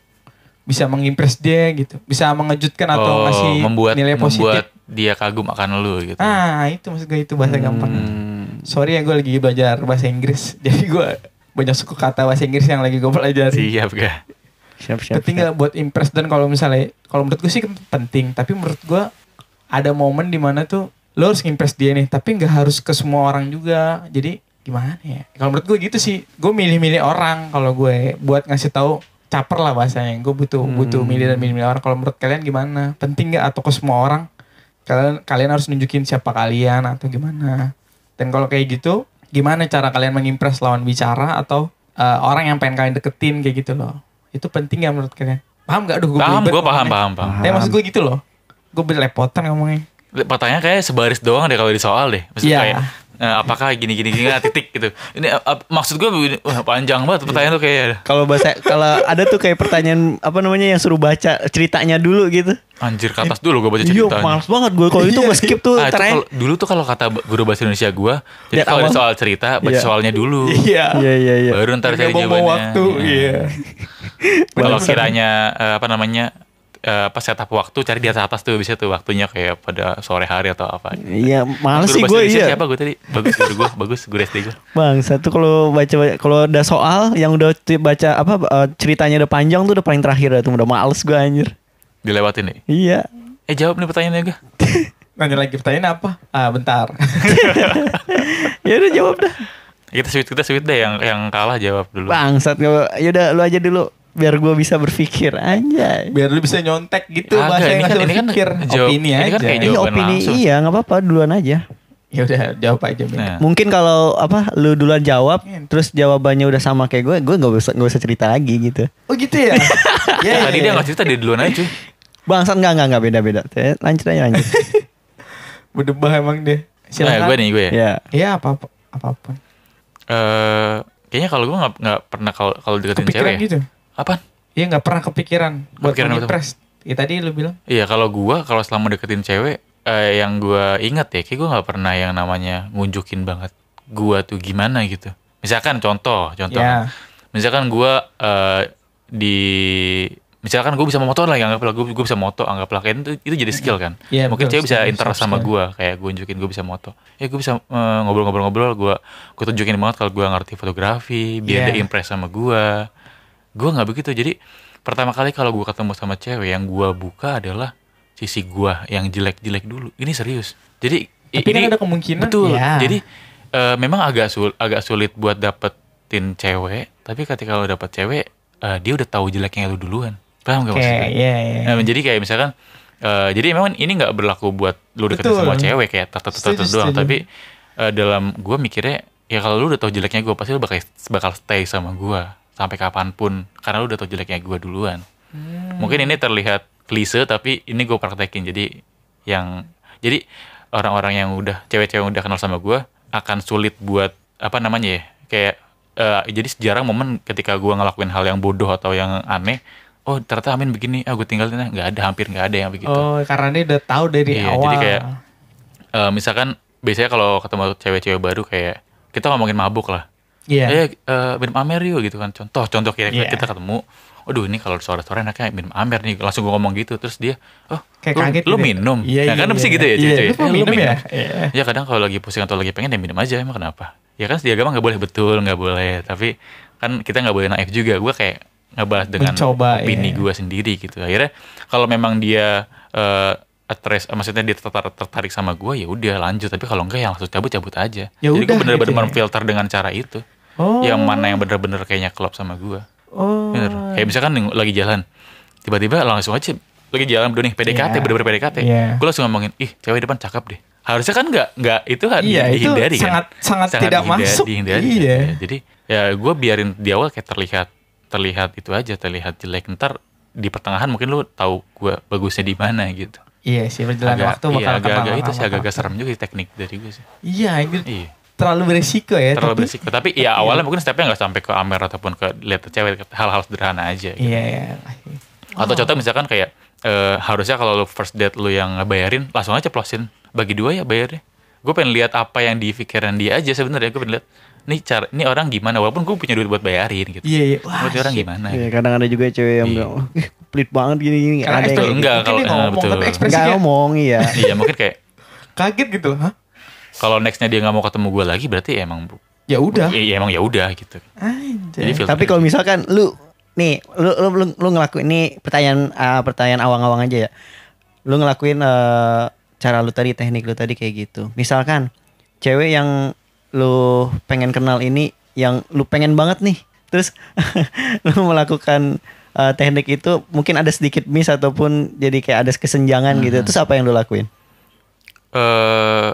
A: bisa mengimpress dia gitu bisa mengejutkan atau
C: Oh,
A: ngasih
C: membuat
A: nilai positif
C: membuat gitu dia kagum akan lu gitu.
A: ah itu maksud gue itu
C: Hmm.
A: bahasa gampang
B: Hmm.
A: sorry ya gue lagi belajar bahasa Inggris [LAUGHS] jadi gua banyak suku kata bahasa Inggris yang lagi gue pelajari
C: Siap gak?
D: Siap siap.
A: penting nggak buat impress dan kalau misalnya kalau menurut gue sih penting tapi menurut gue ada momen dimana tuh lo harus impress dia nih tapi nggak harus ke semua orang juga jadi gimana ya kalau menurut gue gitu sih gue milih-milih orang kalau gue buat ngasih tahu caper
D: Hmm.
A: lah bahasanya gue butuh butuh milih dan milih-milih orang kalau menurut kalian gimana penting nggak atau ke semua orang kalian kalian harus nunjukin siapa kalian atau gimana dan kalau kayak gitu gimana cara kalian mengimpress lawan bicara atau eh, orang yang pengen kalian deketin kayak gitu loh itu penting ya menurut kalian paham gak duh gue
C: Paham,
A: belibet
C: gue paham,
A: ngomongnya.
C: paham, paham.
A: tapi maksud gue gitu loh gue belepotan ngomongnya
C: Pertanyaan kayak sebaris doang deh kalau di soal deh. Maksud
A: Iya.
C: kayak eh, apakah gini gini gini nah, titik gitu. Ini eh, ap- maksud gue begini, wah, panjang banget pertanyaan tuh kayak
B: Kalau bahasa kalau ada tuh kayak pertanyaan apa namanya yang suruh baca ceritanya dulu gitu.
C: anjir ke atas dulu gue baca
B: Iya,
C: ceritanya.
B: males banget gue kalau itu gue skip tuh
C: Ah, itu
B: terakhir.
C: kalau- dulu tuh kalau kata b- guru bahasa Indonesia gue, jadi
B: Lihat
C: kalau ada
B: awal.
C: soal cerita baca
B: Iya.
C: soalnya dulu,
B: Iya iya iya.
C: baru ntar
A: Nggak
C: cari
A: buang-buang
C: jawabannya.
A: waktu
C: Iya.
A: iya
C: Kalau
B: Bangsat.
C: kiranya eh, apa namanya eh, apa setup waktu cari di atas atas tuh bisa tuh waktunya kayak pada sore hari atau apa.
B: Iya, males
C: Guru
B: sih
C: bahasa
B: gue
C: Indonesia
B: iya.
C: Siapa gue tadi? Bagus guru gue, bagus guru SD gue.
B: Bang, satu kalau baca kalau ada soal yang udah t- baca apa eh, ceritanya udah panjang tuh udah paling terakhir dah tuh udah males gue anjir.
C: Dilewatin nih.
B: Iya.
C: Eh jawab nih pertanyaannya gue.
A: nanya lagi pertanyaan apa ah bentar
B: ya udah jawab dah.
C: Ya, Kita sweet kita sweet deh yang yang kalah jawab dulu.
B: Bangsat gua- ya udah lu aja dulu biar gue bisa berpikir anjay.
A: [LAUGHS] biar lu bisa nyontek gitu
C: Agak,
A: bahasa yang
C: ini kan-
A: ngasih
C: ini kan
A: berpikir
C: jawab-
A: opini
C: ini
A: aja
C: kan kayak
B: Ini
C: jawaban
B: opini
C: langsung.
B: iya nggak apa-apa duluan aja.
A: ya udah jawab aja Min.
C: Nah,
B: Mungkin kalau apa lu duluan jawab
A: Mungkin.
B: terus jawabannya udah sama kayak gue, gue nggak usah nggak usah cerita lagi gitu.
A: oh gitu
C: [LAUGHS]
A: ya ya
C: tadi dia nggak cerita dia duluan aja. cuy.
B: Bangsat nggak nggak nggak beda-beda. Eh, Lanjut aja
C: [LAUGHS]
B: lanjut.
A: berdebah emang dia
C: Nah, gue
A: silakan
C: nih gue ya.
B: ya.
A: ya apa apapun
C: Eh, kayaknya kalau gue nggak nggak pernah kalau kalau deketin
A: kepikiran
C: cewek. ya.
A: gitu
C: Apaan?
A: Iya nggak pernah kepikiran buat
C: Kepikiran apa tuh?
A: impress. Ya tadi lu bilang
C: Iya kalau gua kalau selama deketin cewek eh, yang gua inget ya, kayak gua nggak pernah yang namanya ngunjukin banget gua tuh gimana gitu. Misalkan contoh, contoh.
A: Ya.
C: Misalkan gua eh, di misalkan gua bisa motor lah, ya, anggaplah gua, gua bisa moto, anggaplah kayak itu itu jadi skill kan.
A: Iya,
C: Mungkin
A: betul,
C: cewek bisa
A: skill,
C: interest
A: soft
C: sama
A: skill.
C: gua kayak gua nunjukin gua bisa moto. Ya gua bisa eh, ngobrol-ngobrol-ngobrol, gua gua tunjukin banget kalau gua ngerti fotografi, biar
A: Iya.
C: dia impress sama gua. Gua nggak begitu. Jadi pertama kali kalau gua ketemu sama cewek yang gua buka adalah sisi gua yang jelek-jelek dulu. Ini serius. Jadi i-
A: Tapi kan ada kemungkinan,
C: Betul.
A: ya.
C: Jadi eh, memang agak sul agak sulit buat dapetin cewek, tapi ketika lo dapet cewek, eh, dia udah tahu jeleknya lu duluan. Paham gak
A: kayak
C: maksudnya?
A: ya ya.
C: Nah, jadi kayak misalkan eh, jadi memang ini nggak berlaku buat lu deketin
A: Betul.
C: semua cewek kayak tat tat tat, tat
A: Setuju,
C: doang,
A: setuju.
C: tapi eh, dalam gua mikirnya ya kalau lu udah tau jeleknya gua pasti lu bakal bakal stay sama gua sampai kapanpun karena lu udah tau jeleknya gua duluan. Mungkin ini terlihat klise tapi ini gua praktekin jadi yang jadi orang-orang yang udah cewek-cewek yang udah kenal sama gua akan sulit buat apa namanya ya kayak eh, jadi jarang momen ketika gua ngelakuin hal yang bodoh atau yang aneh oh ternyata Amin begini ah gue tinggalin ah nggak ada hampir nggak ada yang begitu
A: Oh karena dia udah tahu dari
C: gitu. Iya, jadi
A: awal.
C: kayak- Eh, misalkan biasanya kalau ketemu cewek-cewek baru kayak kita ngomongin mabuk lah
A: Iya.
C: eh eh, minum amer yuk gitu kan contoh contoh kira
A: Iya.
C: kita ketemu aduh ini kalau sore-sore enaknya ya, minum amer nih langsung gue ngomong gitu terus dia oh
A: Kayak
C: lu,
A: kaget
C: lu
A: gitu.
C: minum
A: Iya,
C: Nah,
A: iya,
C: kan
A: iya.
C: pasti gitu ya
A: Iya,
C: cewek
A: lu kok minum ya? Iya.
C: ya kadang kalau lagi pusing atau lagi pengen ya minum aja emang kenapa ya kan di agama nggak boleh betul nggak boleh tapi kan kita nggak boleh naif juga gue kayak ngebahas dengan
A: Mencoba,
C: opini
A: iya.
C: gue sendiri gitu akhirnya kalau memang dia eh attract- maksudnya dia tertar- tertarik sama gue ya udah lanjut tapi kalau enggak ya langsung cabut cabut aja
A: Ya
C: jadi gue
A: udah,
C: bener-bener
A: gitu ya.
C: filter dengan cara itu
A: Oh.
C: yang mana yang bener-bener kayaknya klop sama gua
A: Oh.
C: Bener. Kayak misalkan nih, lagi jalan, tiba-tiba langsung aja lagi jalan berdua nih PDKT,
A: Iya.
C: bener-bener PDKT.
A: Iya.
C: Gue langsung ngomongin, ih cewek depan cakep deh. Harusnya kan nggak nggak itu kan
A: Iya, itu
C: dihindari kan.
A: sangat- sangat tidak
C: dihindari-
A: masuk.
C: dihindari kan.
A: Iya.
C: Ya, Jadi ya gue biarin di awal kayak terlihat terlihat itu aja terlihat jelek ntar di pertengahan mungkin lu tahu gua bagusnya di mana gitu.
A: Iya sih berjalan
C: Agak-
A: waktu bakal
C: iya, agak-agak
A: kenal
C: itu sih
A: lama-lama.
C: agak-agag serem juga sih teknik dari gue sih.
A: Iya anjir.
C: Iya.
A: Terlalu beresiko ya.
C: Terlalu
A: tapi- iya.
C: berisiko. Tapi ya awalnya mungkin stepnya nggak sampai ke Amer ataupun ke lihat cewek ke hal-hal sederhana aja. gitu.
A: Iya iya.
B: Oh.
C: Atau contoh misalkan kayak eh, harusnya kalau lu first date lu yang bayarin langsung aja plosin bagi dua ya bayarnya. Gue pengen lihat apa yang di pikiran dia aja sebenarnya gue pengen lihat nih cara ini orang gimana walaupun gue punya duit buat bayarin gitu.
A: Iya iya. Wah.
C: Gua tuh orang
A: shit.
C: gimana?
B: Iya, kadang ada juga cewek yang bilang, "Wah, pelit banget gini gini.
A: Karena
B: ada
C: Iya. itu
A: ekspresi-
B: yang
C: enggak,
A: mungkin dia
C: kalau-
A: ngomong,
C: eh, betul.
A: tapi
B: enggak
A: ekspresinya
B: ngomong
C: [LAUGHS]
B: iya.
C: iya mungkin kayak
A: kaget gitu. Hah?
C: kalau nextnya dia nggak mau ketemu gue lagi berarti ya emang bu-
A: Ya udah.
C: ya, ya emang ya udah gitu. Jadi
A: Anjir.
C: filter
B: Iya. Tapi kalau misalkan lu nih lu lu lu, lu ngelakuin ini pertanyaan ah, pertanyaan awang-awang aja ya. Lu ngelakuin eh, cara lu tadi teknik lu tadi kayak gitu. Misalkan cewek yang lu pengen kenal ini yang lu pengen banget nih. Terus [LAUGHS] lu melakukan eh, Hmm. teknik itu mungkin ada sedikit miss ataupun jadi kayak ada kesenjangan gitu. Terus apa yang lu lakuin?
C: eh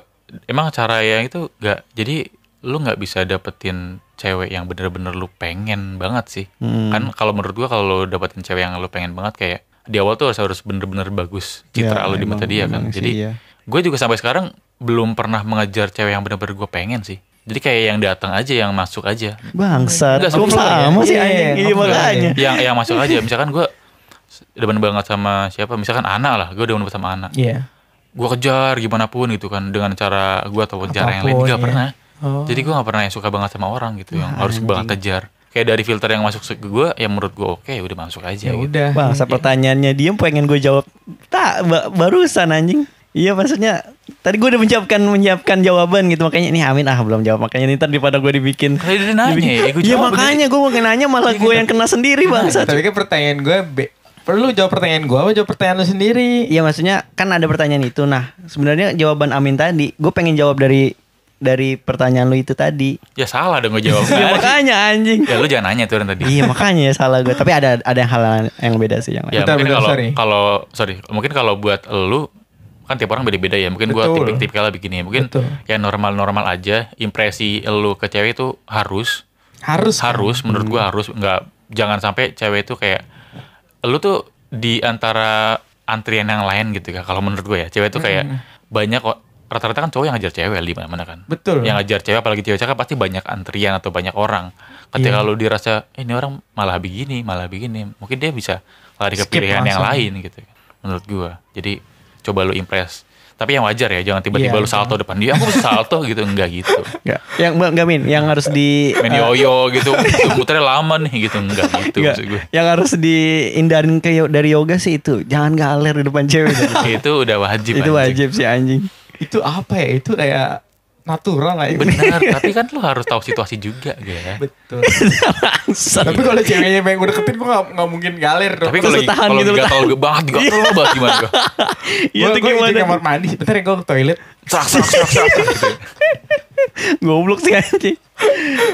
C: emang cara yang itu nggak jadi lu nggak bisa dapetin cewek yang bener-bener lu pengen banget sih
B: Hmm.
C: kan kalau menurut gua kalau lu dapetin cewek yang lu pengen banget kayak di awal tuh harus harus bener-bener bagus citra
B: Ya,
C: lu di mata
B: emang-
C: dia kan
B: emang sih,
C: jadi
B: iya.
C: gue juga sampai sekarang belum pernah mengejar cewek yang bener-bener gue pengen sih jadi kayak yang datang aja yang masuk aja
B: Bangsat.
C: Enggak,
B: Kok
C: sombong
B: sama
A: ya?
B: sih
A: Iya,
B: anjing?
A: iya,
B: Iya
A: sombong ya.
B: makanya.
C: yang yang masuk aja misalkan gue demen banget sama siapa misalkan Ana lah gue demen banget sama Ana
A: Iya.
C: gue kejar gimana pun gitu kan dengan cara gue ataupun cara yang lain
A: Apapun,
C: juga
A: ya.
C: pernah
A: Oh. Nah,
C: jadi gue nggak pernah yang suka banget sama orang gitu yang harus banget kejar kayak dari filter yang masuk ke gue yang menurut gue oke udah masuk
A: Ya
C: aja gitu
A: udah.
C: [LAUGHS]
B: Bang, sa pertanyaannya dia pengen gue jawab. Tak, ba- barusan anjing. Iya maksudnya tadi gue udah menyiapkan menyiapkan jawaban gitu makanya ini Amin ah belum jawab makanya ini ntar daripada gue dibikin.
C: Tadi dia nanya,
B: dibikin-
C: ya, gue
B: Iya
C: jawab. Iya,
B: makanya gue mau nanya malah
C: gitu.
B: gue yang kena sendiri bangsat.
A: Tapi kan pertanyaan gue be- perlu jawab pertanyaan gue apa jawab pertanyaan lu sendiri?
B: Iya maksudnya kan ada pertanyaan itu. Nah sebenarnya jawaban Amin tadi, gue pengen jawab dari dari pertanyaan lu itu tadi.
C: ya salah dong gue
A: [LAUGHS]
C: jawab
B: Iya
C: [LAUGHS]
B: makanya anjing.
C: ya lu jangan nanya tuh yang tadi
A: Nah,
B: Iya makanya ya salah gue. Tapi ada ada yang hal yang beda sih yang lain.
C: ya
A: Bentar,
C: mungkin
A: bentar,
C: kalau
A: sorry.
C: kalau sorry mungkin kalau buat lu kan tiap orang beda-beda ya mungkin gue
A: Betul.
C: tipik-tipikalnya begini ya mungkin
A: Betul.
C: yang normal-normal aja impresi lu ke cewek itu harus
A: Harus. kan? Hmm.
C: harus menurut gua harus nggak jangan sampai cewek itu kayak lu tuh di antara antrian yang lain gitu ya kalau menurut gue ya cewek itu kayak
A: Hmm.
C: banyak kok rata-rata kan cowok yang ngajar cewek di mana-mana kan
A: Betul.
C: yang ngajar cewek apalagi cewek cakep pasti banyak antrian atau banyak orang ketika
A: Iya.
C: lu dirasa "Eh, ini orang malah begini malah begini mungkin dia bisa lari ke
A: Skip
C: pilihan yang
A: langsung.
C: lain gitu menurut gua jadi coba lu impress tapi yang wajar ya jangan tiba-tiba
A: Iya,
C: lu salto depan dia aku bisa salto gitu enggak gitu
B: Enggak. Yang enggak enggak, Min, yang harus di
C: main
A: Ah.
B: eh,
C: yoyo gitu muternya lama nih gitu enggak gitu
B: enggak.
C: maksud gue
B: Yang harus dihindarin ke yo- dari yoga sih itu. Jangan galer di depan cewek.
C: itu udah [LAUGHS] wajib
B: itu
C: anjing.
B: wajib sih anjing.
A: Itu apa ya? Itu kayak natural lah.
C: benar tapi kan lu harus tahu situasi juga gitu ya
A: [LAUGHS] Betul.
B: Bangsat.
A: Tapi kalau ceweknya pengen gue deketin gue gak, nggak mungkin galer dong.
C: tapi
B: Terus
C: kalau
B: lu tahan
C: kalau
B: gitu, lu
C: gatal gue banget gatal lu banget gimana gue
B: [LAUGHS] Iya,
A: gue
B: itu
A: di
B: gimana?
A: kamar mandi sebentar ya gue ke toilet.
C: serak serak serak
A: [LAUGHS]
C: serak serak, gitu
B: [LAUGHS] Goblok sih anjing.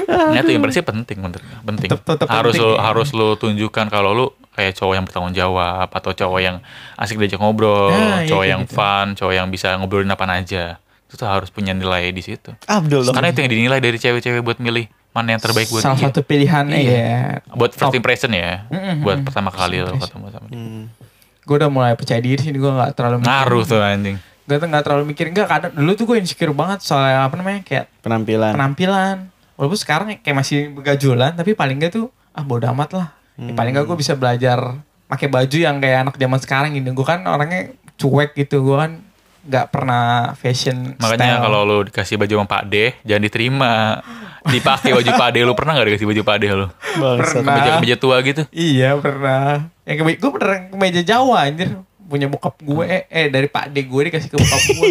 C: nah itu impresi penting menurut gue. penting
A: Tetep- tetep
C: harus
A: penting, ya.
C: lu harus lu tunjukkan kalau lu kayak cowok yang bertanggung jawab atau cowok yang asik diajak ngobrol
A: Nah, iya,
C: cowok
A: kayak
C: yang
A: gitu.
C: fun cowok yang bisa ngobrolin apa aja itu tuh harus punya nilai di situ
B: Abdul dong.
C: karena itu yang dinilai dari cewek-cewek buat milih mana yang terbaik buat
A: Salah
C: dia.
A: satu pilihannya
C: Iya.
A: ya.
C: buat first
A: Top.
C: impression ya
A: Mm-mm.
C: buat pertama kali lo ketemu sama dia
B: Hmm.
A: Gue udah mulai percaya diri sih gue gak terlalu mikir.
C: ngaruh tuh anjing
A: Gue tuh gak terlalu mikir. Enggak kadang dulu tuh gue insecure banget soal apa namanya kayak
B: Penampilan.
A: penampilan. Walaupun sekarang kayak masih begajulan tapi paling gak tuh ah bodo amat lah. Ya, paling gak gue
B: Hmm.
A: bisa belajar pakai baju yang kayak anak zaman sekarang gini. Gue kan orangnya cuek gitu. Gue kan nggak pernah fashion style.
C: makanya kalau lo dikasih baju sama Pak D jangan diterima dipakai baju Pak D lo pernah nggak dikasih baju Pak D lo
A: Pernah.
B: Bangsat.
C: kemeja kemeja tua gitu
A: Iya pernah. Yang kemeja gue pernah kemeja Jawa anjir punya bokap gue
B: Hmm.
A: eh, eh, dari Pak D gue dikasih ke bokap
B: [LAUGHS]
A: gue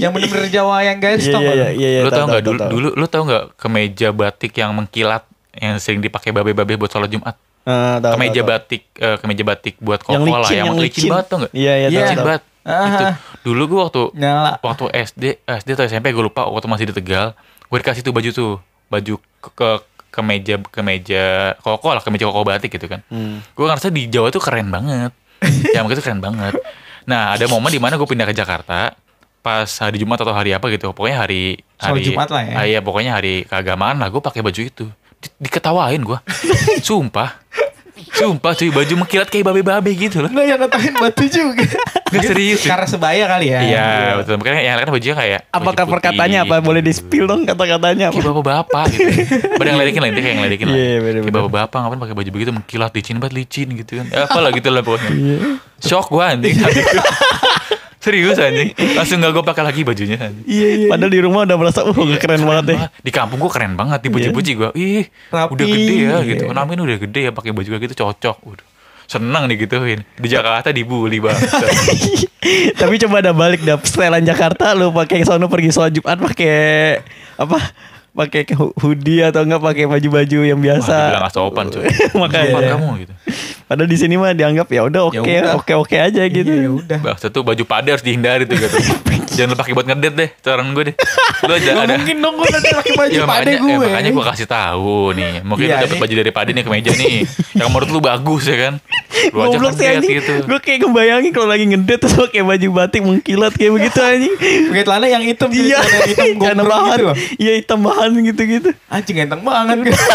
A: yang bener-bener Jawa yang guys
B: Iya
A: tau
B: iya
A: nggak
B: iya,
A: lu?
B: iya iya.
C: lo tau nggak
B: tahu,
C: dulu
B: tahu.
C: dulu lo tau nggak kemeja batik yang mengkilat yang sering dipakai babe-babe buat sholat Jumat
B: Eh, tahu,
C: kemeja
B: tahu, tahu.
C: batik eh, kemeja batik buat
B: Yang
C: koko lah
B: licin,
C: yang
B: yang
C: licin
B: licin.
C: banget tuh nggak
B: Iya, iya,
A: tahu,
C: licin
A: tahu.
C: banget
A: Ah.
C: itu dulu gue waktu
A: Nyala.
C: waktu SD SD atau SMP gue lupa waktu masih di Tegal gue dikasih tuh baju tuh baju ke, ke kemeja kemeja koko lah kemeja koko batik gitu kan
A: Hmm.
C: gue ngerasa di Jawa tuh keren banget yang begitu keren banget nah ada momen di mana gue pindah ke Jakarta pas hari Jumat atau hari apa gitu pokoknya hari
A: Soal
C: hari
A: Jumat lah ya.
C: Ah, iya pokoknya hari keagamaan lah gue pakai baju itu Di- diketawain
A: [LAUGHS]
C: gue sumpah sumpah cuy baju mengkilat kayak babe-babe gitu loh
A: Nggak yang ngetahin batu juga.
C: Nggak, serius.
A: Karena sebaya kali ya.
C: Iya, betul. Makanya yang lain kan bajunya kayak
B: Apakah
C: baju putih,
B: perkataannya apa
C: gitu.
B: boleh di spill dong kata-katanya? apa?
C: Kayak bapak-bapak gitu. Pada yang ledekin lah, intinya kayak yang ledekin lah. ya.
B: Iya, iya, bener-bener.
C: Kayak bapak-bapak ngapain pakai baju begitu mengkilat licin banget licin gitu kan. Eh, Apalah gitu lah pokoknya.
B: Iya.
C: Shock gua anjing. [LAUGHS] Serius anjing. Langsung gak gua pakai lagi bajunya anjing.
B: Iya iya. Padahal di rumah udah merasa wah
C: Iya,
B: keren banget deh. Iya.
C: Wah, di kampung gua keren banget dipuji-puji gua. Ih,
A: Rapi.
C: udah gede ya gitu.
A: Iya.
C: Kenapa ini udah gede ya pakai baju kayak gitu cocok. Waduh. Seneng digituin. Di Jakarta dibully
B: [LAUGHS]
C: banget.
B: Tapi coba ada balik dah setelan Jakarta lu pakai sono pergi sholat Jumat pakai apa? Pakai ke- hoodie atau enggak pakai baju-baju yang
C: Wah, dibilang
B: biasa.
C: gak sopan cuy.
B: Makanya.
C: Sopan kamu gitu.
B: Padahal di sini mah dianggap ya udah oke
A: udah.
B: oke oke aja gitu.
A: Iya, ya udah.
C: Bahasa tuh baju pade harus dihindari tuh
A: [LAUGHS]
C: gitu. Jangan lu pakai buat ngedet deh, saran gue deh. Lu aja
A: Gak
C: ada.
A: mungkin dong gue nanti pakai baju
C: Ya,
A: pade
C: makanya,
A: gue.
C: eh, makanya gue kasih tahu nih. Mungkin
A: Iya,
C: lu dapet
A: ini-
C: baju dari pade nih ke meja nih. Yang menurut lu bagus ya kan. Lu aja
B: Goblok sih
C: ngedet
B: anjing.
C: gitu.
B: Gue kayak ngebayangin kalau lagi ngedate terus pakai baju batik mengkilat kayak begitu anjing.
A: Pakai celana yang hitam. jadi
B: Iya,
A: celana yang
B: [LAUGHS]
A: [LAUGHS] hitam gitu. gue
B: karena bahan. Iya, tambahan gitu-gitu.
A: Anjing enteng banget. gua. [LAUGHS]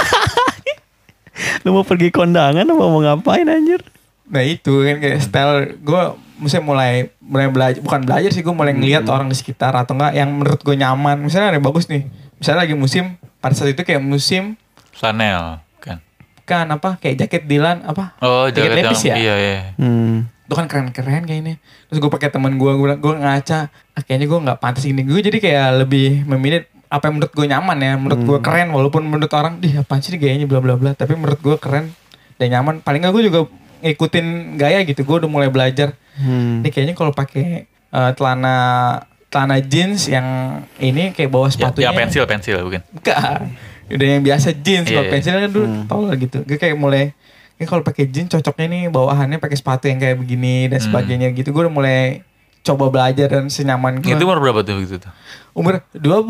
B: Lu mau pergi kondangan apa mau ngapain anjir?
A: nah itu kan kayak style gue Maksudnya mulai mulai belajar bukan belajar sih gue mulai ngeliat
C: Hmm.
A: orang di sekitar atau enggak yang menurut gue nyaman misalnya ada yang bagus nih misalnya lagi musim pada saat itu kayak musim
C: Flanel kan.
A: kan apa kayak jaket Dilan apa
C: Oh,
A: jaket
C: jaket yang
A: lepis ya
C: iya iya.
B: Hmm.
A: itu kan keren-keren kayaknya terus gue pakai teman gue gue bilang, gue ngaca ah, kayaknya gue nggak pantas ini gue jadi kayak lebih memilih apa yang menurut gue nyaman ya menurut gue keren walaupun menurut orang dih apaan sih ini gayanya bla bla bla tapi menurut gue keren dan nyaman paling nggak gue juga ngikutin gaya gitu gue udah mulai belajar
B: Hmm.
A: ini kayaknya kalau pakai eh, celana celana jeans yang ini kayak bawah
C: Ya,
A: sepatunya
C: ya, pensil pensil bukan.
A: Enggak. Udah yang biasa jeans
C: Iya,
A: kalau
C: iya.
A: pensil kan dulu
B: Hmm.
A: tolol gitu. Gue kayak mulai ini kalau pakai jeans cocoknya nih bawahannya pakai sepatu yang kayak begini dan
C: Hmm.
A: sebagainya gitu. Gue udah mulai coba belajar dan senyaman gue.
C: Itu umur berapa tuh gitu tuh?
A: Umur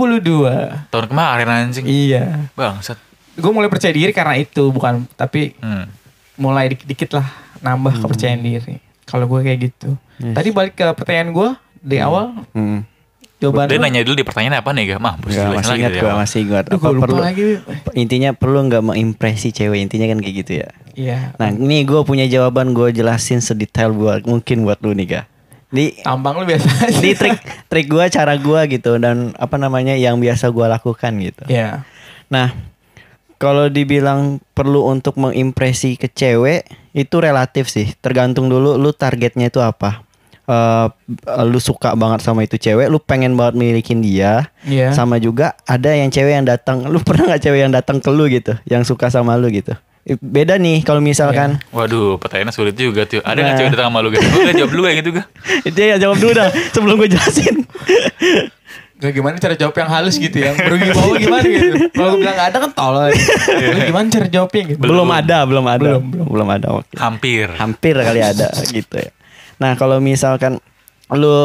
A: 22.
C: Tahun kemarin anjing.
A: Iya.
C: Bangsat.
A: Gue mulai percaya diri karena itu bukan tapi
C: Hmm.
A: mulai dikit-dikit lah nambah
B: Hmm.
A: kepercayaan diri. Kalau gue kayak gitu. Tadi balik ke pertanyaan gue di awal
B: Hmm.
A: jawaban
C: Dia
A: lu.
C: nanya dulu di pertanyaan apa nih gak? Mampus
B: Nggak,
C: jelasin
B: masih
C: lagi gitu ya.
B: ingat
C: dari
B: gue
C: awal.
B: masih ingat
A: Aduh,
B: apa
A: Iya, gua lupa
B: perlu
A: lagi.
B: intinya perlu nggak mengimpresi cewek intinya kan kayak gitu ya
A: Iya.
B: nah ini gue punya jawaban gue jelasin sedetail buat mungkin buat lu nih ga di
A: Tambang lu biasa aja.
B: di trik trik gue cara gue gitu dan apa namanya yang biasa gue lakukan gitu
A: [LAUGHS] Iya.
B: nah kalau dibilang perlu untuk mengimpresi ke cewek itu relatif sih tergantung dulu lu targetnya itu apa Eh, lu suka banget sama itu cewek lu pengen banget milikin dia
A: Iya.
B: sama juga ada yang cewek yang datang lu pernah nggak cewek yang datang ke lu gitu yang suka sama lu gitu Eh, beda nih kalau misalkan
C: Waduh, pertanyaannya sulit juga tuh. Ada nggak
B: Nah.
C: cewek datang sama lu gitu? Gue udah jawab dulu kayak
A: [LAUGHS]
C: gitu gak?
B: [LAUGHS] itu ya jawab dulu dah sebelum gue jelasin
A: Gak gimana cara jawab yang halus gitu ya Merugi bawah gimana gitu Kalau gue bilang gak ada kan tolol
C: Iya.
A: Lu gimana cara jawabnya gitu
B: [LAUGHS] belum, ada belum ada
A: Belum,
B: belum, ada oke
C: Hampir.
B: hampir kali ada gitu ya nah kalau misalkan lu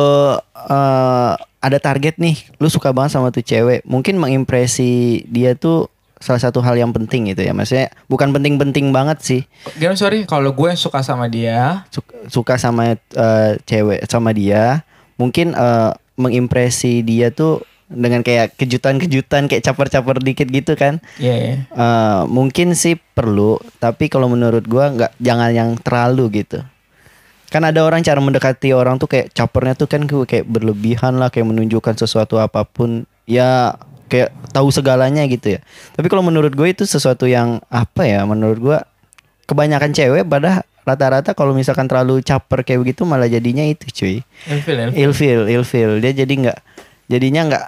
B: eh, ada target nih lu suka banget sama tuh cewek mungkin mengimpresi dia tuh salah satu hal yang penting gitu ya maksudnya bukan penting-penting banget sih
A: Gimana sorry Kalau gue suka sama dia
B: suka, suka sama eh, cewek sama dia mungkin eh, mengimpresi dia tuh dengan kayak kejutan-kejutan kayak caper-caper dikit gitu kan
A: Iya iya
B: Eh, mungkin sih perlu tapi kalau menurut gua nggak jangan yang terlalu gitu kan ada orang cara mendekati orang tuh kayak capernya tuh kan kayak berlebihan lah kayak menunjukkan sesuatu apapun ya kayak tahu segalanya gitu ya tapi kalau menurut gue itu sesuatu yang apa ya menurut gua kebanyakan cewek pada rata-rata kalau misalkan terlalu caper kayak begitu malah jadinya itu cuy
A: Ilfil ilfil.
B: ilfil ilfil dia jadi nggak jadinya nggak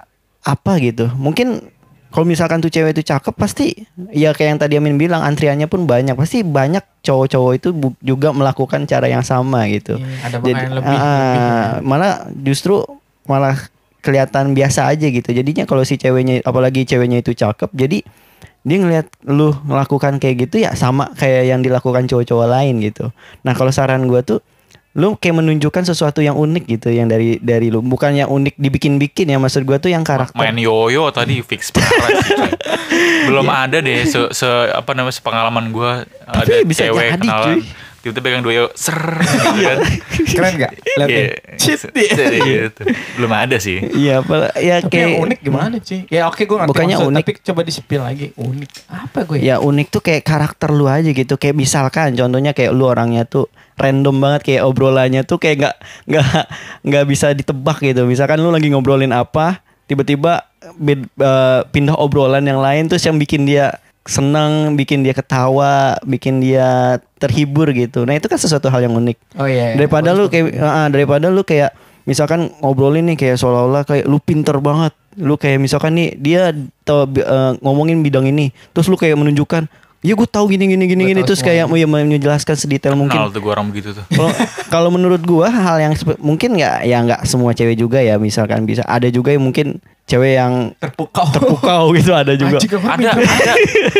B: apa gitu mungkin kalau misalkan tuh cewek itu cakep pasti ya kayak yang tadi Amin bilang antriannya pun banyak pasti banyak cowok-cowok itu bu- juga melakukan cara yang sama gitu
A: Iya, ada pakaian lebih,
B: ah, malah justru malah kelihatan biasa aja gitu jadinya kalau si ceweknya apalagi ceweknya itu cakep jadi dia ngelihat lu melakukan kayak gitu ya sama kayak yang dilakukan cowok-cowok lain gitu nah kalau saran gua tuh lu kayak menunjukkan sesuatu yang unik gitu yang dari dari lu bukan yang unik dibikin-bikin ya maksud gua tuh yang karakter
C: Main yoyo tadi fix parah sih, coy. Belum ada deh se, se- apa namanya sepengalaman gue ada
B: Tapi bisa
C: cewek
B: jadi,
C: kenalan.
B: cuy.
C: Tiba-tiba pegang dua yoyo, ser. gitu kan.
A: Keren gak? Lihat nih
C: Iya.
A: Cheat
C: Se-
A: dia
C: se- gitu. Belum ada sih.
B: iya apa ya
A: Tapi
B: kayak
A: yang unik gimana sih? Ya oke gue ngerti
B: Bukannya
A: maksud,
B: unik.
A: Tapi coba disipil lagi Unik Apa gue ya?
B: Ya unik tuh kayak karakter lu aja gitu. Kayak misalkan contohnya kayak lu orangnya tuh random banget kayak obrolannya tuh kayak nggak nggak nggak bisa ditebak gitu. Misalkan lu lagi ngobrolin apa, tiba-tiba bed- eh, pindah obrolan yang lain terus yang bikin dia senang, bikin dia ketawa, bikin dia terhibur gitu. Nah, itu kan sesuatu hal yang unik
A: Oh iya iya.
B: daripada
A: Bagus,
B: lu kayak ah, daripada lu kayak misalkan ngobrolin nih kayak seolah-olah kayak lu pinter banget lu kayak misalkan nih dia tahu bi- eh, ngomongin bidang ini terus lu kayak menunjukkan ya gue tahu gini gini gini
A: Gua
B: gini
A: tahu
B: terus kayak ya, menjelaskan sedetail mungkin
C: Kenal tuh gue orang begitu tuh.
B: kalau kalau menurut gua hal yang sepe- mungkin nggak ya nggak semua cewek juga ya misalkan bisa ada juga yang mungkin cewek yang
A: Terpukau [LAUGHS]
B: terpukau gitu ada juga
A: Anjing, gua
C: Ada,
A: pinter.
C: ada.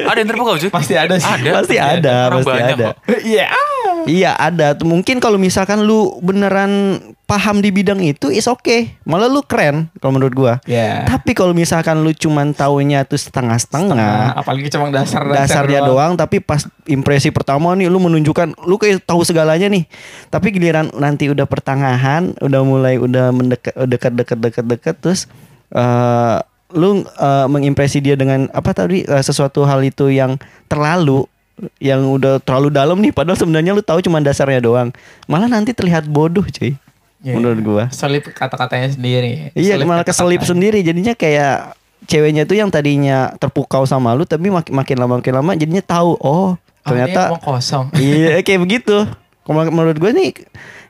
C: Ada yang terpukau cuy.
A: Pasti ada sih
C: Ada. Iya,
B: Pasti ada,
C: Orang
B: pasti
C: banyak
B: ada.
C: kok.
A: Iya
B: Iya ada. Tuh, Mungkin kalau misalkan lu beneran paham di bidang itu, is okay. Malah lu keren kalau menurut gua.
A: Iya.
B: Tapi kalau misalkan lu cuman taunya tuh setengah-setengah,
A: Nah, apalagi cuma dasar
B: dasarnya doang. tapi pas impresi pertama nih lu menunjukkan lu kayak tahu segalanya nih tapi giliran nanti udah pertengahan udah mulai udah mendekat dekat dekat dekat dekat terus eh, lu eh, mengimpresi dia dengan apa tadi eh, sesuatu hal itu yang terlalu yang udah terlalu dalam nih padahal sebenarnya lu tahu cuma dasarnya doang malah nanti terlihat bodoh cuy
A: Iya.
B: menurut gua
A: Selip kata-katanya sendiri.
B: Iya
A: Selip Oh,
B: malah keselip
A: kata-katanya.
B: sendiri jadinya kayak ceweknya tuh yang tadinya terpukau sama lu tapi makin makin lama makin lama jadinya tahu oh
A: Oh, ini
B: ternyata
A: emang kosong.
B: [LAUGHS] iya kayak begitu. Kalau menurut gue nih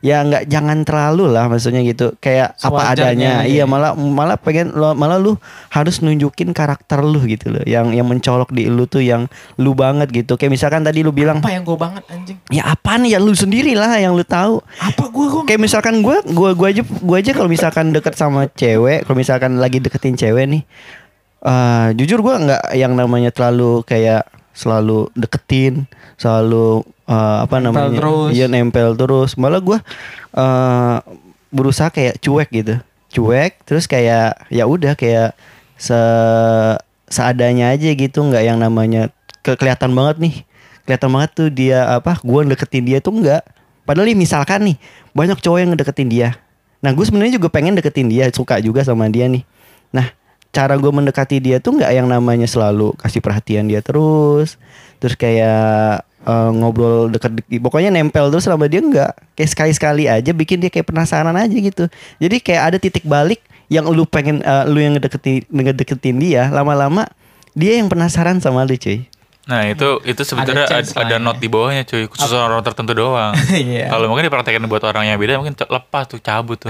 B: ya nggak jangan terlalu lah maksudnya gitu kayak
A: Sewajarnya
B: apa
A: gitu ya.
B: adanya.
A: aja.
B: Iya malah malah pengen lo- malah lu harus nunjukin karakter lu gitu loh yang yang mencolok di lu tuh yang lu banget gitu. Kayak misalkan tadi lu bilang
A: Apa yang gue banget anjing?
B: ya apaan ya lu sendiri lah yang lu tahu
A: Apa gue gue?
B: kayak misalkan gue gue gue aja gue aja kalau misalkan deket sama cewek kalau misalkan lagi deketin cewek nih eh jujur gue nggak yang namanya terlalu kayak selalu deketin selalu eh, apa
A: Nempel
B: namanya
A: terus.
B: iya nempel terus malah gue eh berusaha kayak cuek gitu cuek terus kayak ya udah kayak se seadanya aja gitu nggak yang namanya ke- kelihatan banget nih kelihatan banget tuh dia apa gue deketin dia tuh nggak padahal nih misalkan nih banyak cowok yang ngedeketin dia nah gue sebenarnya juga pengen deketin dia suka juga sama dia nih nah cara gue mendekati dia tuh nggak yang namanya selalu kasih perhatian dia terus terus kayak eh, ngobrol deket pokoknya nempel terus sama dia nggak kayak sekali sekali aja bikin dia kayak penasaran aja gitu jadi kayak ada titik balik yang lu pengen eh, lu yang ngedeketin ngedeketin dia lama-lama dia yang penasaran sama lu cuy
C: Nah itu itu sebetulnya
A: chance lah
C: ada, ada
A: ya.
C: note di bawahnya cuy khusus orang tertentu doang.
A: Iya.
C: Kalau mungkin dipraktekin buat orang yang beda mungkin ce- lepas tuh cabut tuh.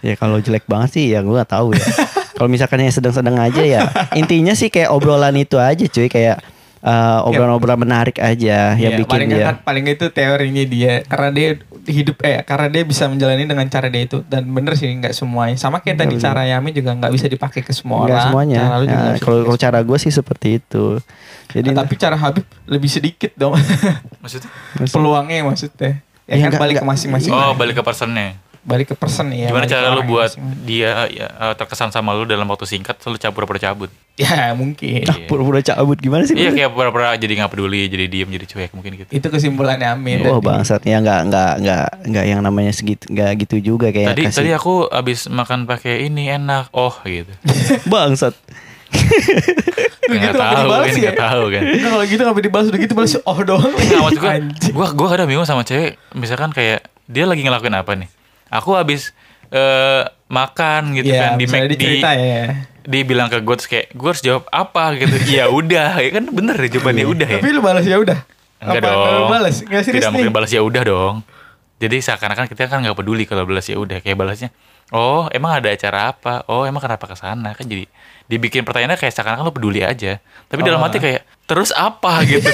B: Ya kalau jelek banget sih ya gue gak tahu ya.
A: [LAUGHS]
B: kalau misalkan yang sedang-sedang aja ya intinya sih kayak obrolan itu aja cuy kayak eh, obrolan-obrolan menarik aja yang
A: Iya,
B: bikin
A: paling
B: dia.
A: kan- paling itu teorinya dia karena dia hidup eh karena dia bisa menjalani dengan cara dia itu dan bener sih nggak semuanya sama kayak tadi cara Yami juga nggak bisa dipakai ke semua
B: Nggak
A: orang
B: semuanya.
A: cara lu juga
B: Nah,
A: nggak bisa
B: kalau
A: dipakai
B: kalau cara gue sih seperti itu. Jadi
A: Nah, tapi cara Habib lebih sedikit dong [LAUGHS]
C: Maksudnya?
A: peluangnya maksudnya ya,
B: Ya,
A: kan
B: nggak-
A: balik ke
B: nggak-
A: masing-masing
C: Oh balik ke personnya.
A: balik ke person ya
C: Gimana
A: balik ke
C: cara lu
A: orangnya
C: buat
A: masing-masing. [LAUGHS]
C: dia ya, eh, terkesan sama lu dalam waktu singkat selalu cabur pura
A: [LAUGHS]
C: cabut.
A: ya
B: [LAUGHS]
A: mungkin
B: [LAUGHS] ah, pura-pura cabut gimana sih?
C: Iya kayak pura-pura jadi nggak peduli, jadi diem, jadi cuek mungkin gitu.
A: itu kesimpulannya Amin
B: Oh bangsat ya nggak nggak nggak nggak yang namanya segitu nggak gitu juga
A: Iya,
B: kayak
C: Tadi
B: kasih
C: tadi aku abis makan pakai ini enak, oh
A: [LAUGHS]
C: gitu.
B: [LAUGHS] bangsat
C: Nggak
A: Gitu,
C: tahu
A: dibalas
C: kan,
A: ya?
C: nggak tahu kan.
A: Nah, kalau gitu sampai dibahas udah gitu balas oh doang
C: Nggak maksud gitu gue,
A: [LAUGHS] Anjing.
C: gue gue kadang bingung sama cewek. Misalkan kayak dia lagi ngelakuin apa nih? Aku abis eh, makan gitu
A: Iya,
C: kan di
A: misalnya
C: Mac-
A: dia cerita ya.
C: dia bilang ke gue terus kayak gue harus jawab apa
A: [LAUGHS]
C: gitu. ya udah, ya kan bener ya jawabannya udah ya.
A: Tapi lu balas ya udah.
C: Enggak
A: Apa
C: dong.
A: Lu balas? Enggak serius
C: Tidak
A: nih.
C: mungkin balas ya udah dong. Jadi seakan-akan kita kan nggak peduli kalau balas ya udah kayak balasnya. Oh, emang ada acara apa? Oh, emang kenapa ke sana? Kan jadi dibikin pertanyaannya kayak seakan-akan lo peduli aja. Tapi dalam
B: Oh.
C: hati kayak terus
B: [LAUGHS]
C: apa gitu.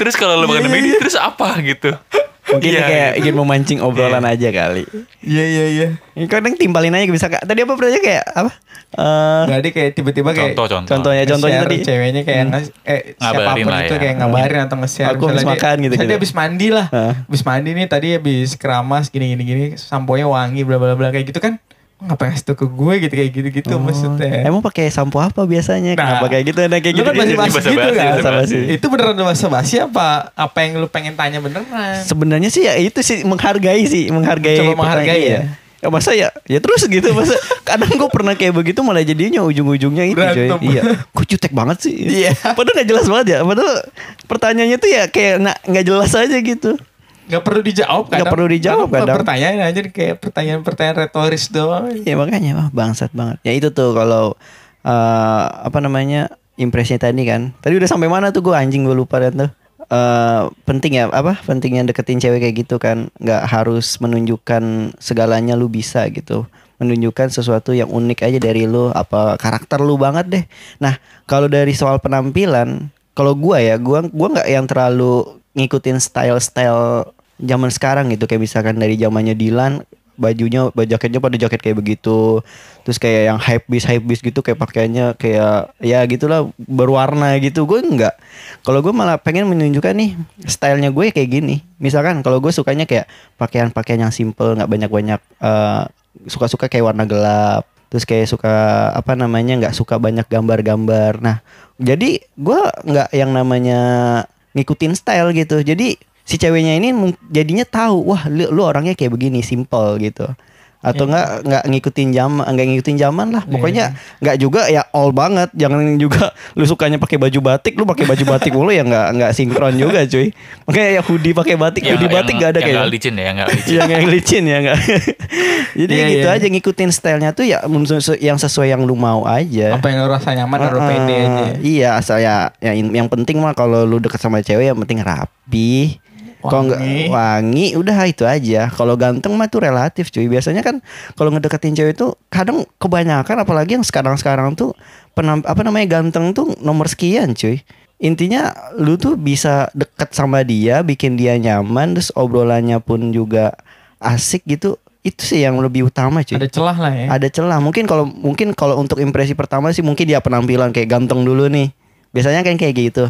C: terus kalau lo makan ini terus apa gitu.
B: Iya. mungkin
C: Iya,
B: dia kayak
C: gitu.
B: ingin memancing obrolan aja kali.
A: Iya iya iya.
B: Ini Kadang timpalin aja bisa Kak. Tadi apa pertanyaan kayak apa? Eh,
A: Nggak ada kayak tiba-tiba kayak
C: contoh contoh.
B: contohnya contohnya
A: nge-share
B: tadi Hmm.
A: ceweknya kayak nge- eh
C: Ngabarin
A: siapapun
C: lah
A: itu
C: ya.
A: kayak ngabarin atau nge-share
B: Aku habis
A: Misalnya dia-
B: makan gitu,
A: misalnya dia
B: gitu.
A: habis mandi lah
B: Heeh.
A: habis mandi nih tadi habis keramas gini gini gini samponya wangi bla bla bla kayak gitu kan ngapain ngasih tau ke gue gitu kayak gitu gitu
B: Oh,
A: maksudnya
B: Emang pakai sampo apa biasanya?
A: Nah,
B: Kenapa kayak gitu? Nah, kayak
A: lu
B: gitu.
A: kan masih basi
C: Basa-basi,
A: gitu kan
B: basa-basi.
A: itu beneran bahasa basi apa apa yang lu pengen tanya beneran
B: Sebenarnya sih ya itu sih menghargai sih, menghargai.
A: kan. Coba menghargai
B: pertanyaan,
A: ya.
B: Ya masa ya, ya terus gitu
A: [LAUGHS]
B: masa. Kadang gue pernah kayak begitu malah jadinya ujung-ujungnya itu coy.
A: Berantem.
B: Iya. Kok jutek banget sih?
A: Iya.
B: Padahal nggak jelas banget ya. Padahal pertanyaannya tuh ya kayak na- nggak jelas aja gitu.
A: Gak perlu dijawab
B: Nggak perlu dijawab
A: Kenapa
B: kadang.
A: Pertanyaan aja kayak pertanyaan-pertanyaan retoris doang.
B: Ya makanya wah, bangsat banget. Ya itu tuh kalau eh, apa namanya impresinya tadi kan. Tadi udah sampai mana tuh gue anjing gue lupa dan tuh. Eh, penting ya apa pentingnya deketin cewek kayak gitu kan nggak harus menunjukkan segalanya lu bisa gitu menunjukkan sesuatu yang unik aja dari lu apa karakter lu banget deh nah kalau dari soal penampilan kalau gua ya gua gua nggak yang terlalu ngikutin style style zaman sekarang gitu kayak misalkan dari zamannya Dilan bajunya baju jaketnya pada jaket kayak begitu terus kayak yang hype bis hype bis gitu kayak pakaiannya kayak ya gitulah berwarna gitu gue enggak kalau gue malah pengen menunjukkan nih stylenya gue kayak gini misalkan kalau gue sukanya kayak pakaian pakaian yang simple nggak banyak banyak suka suka kayak warna gelap terus kayak suka apa namanya nggak suka banyak gambar-gambar nah jadi gue nggak yang namanya ngikutin style gitu jadi si ceweknya ini mung- jadinya tahu wah lu, lu orangnya kayak begini simple gitu
C: Iya.
B: atau nggak nggak ngikutin zaman nggak ngikutin zaman lah pokoknya nggak juga ya all banget jangan [LAUGHS] juga lu sukanya pakai baju batik lu pakai baju batik mulu ya nggak nggak sinkron juga cuy makanya ya hoodie pakai batik hoodie batik nggak ada
C: Iya, yang
B: kayak kan?
C: nggak licin ya, yang nggak licin.
B: yang yang licin ya enggak. [LAUGHS] Jadi
A: Iya,
B: gitu
A: iya.
B: aja ngikutin stylenya tuh ya men- sesu- yang sesuai yang lu mau aja.
A: Apa yang lu rasa nyaman harus
B: Heeh,
A: pede aja.
B: Ah, Iya, asal ya, ya in- yang penting mah kalau lu deket sama cewek yang penting rapi. Kalau
A: Wangi.
B: nggak wangi, udah itu aja. Kalau ganteng mah tuh relatif cuy. Biasanya kan kalau ngedeketin cewek tuh kadang kebanyakan apalagi yang sekarang-sekarang tuh penam, apa namanya ganteng tuh nomor sekian cuy. Intinya lu tuh bisa deket sama dia, bikin dia nyaman, terus obrolannya pun juga asik gitu. Itu sih yang lebih utama cuy
A: Ada celah lah ya.
B: ada celah mungkin kalau mungkin kalau untuk impresi pertama sih mungkin dia penampilan kayak ganteng dulu nih biasanya kan kayak gitu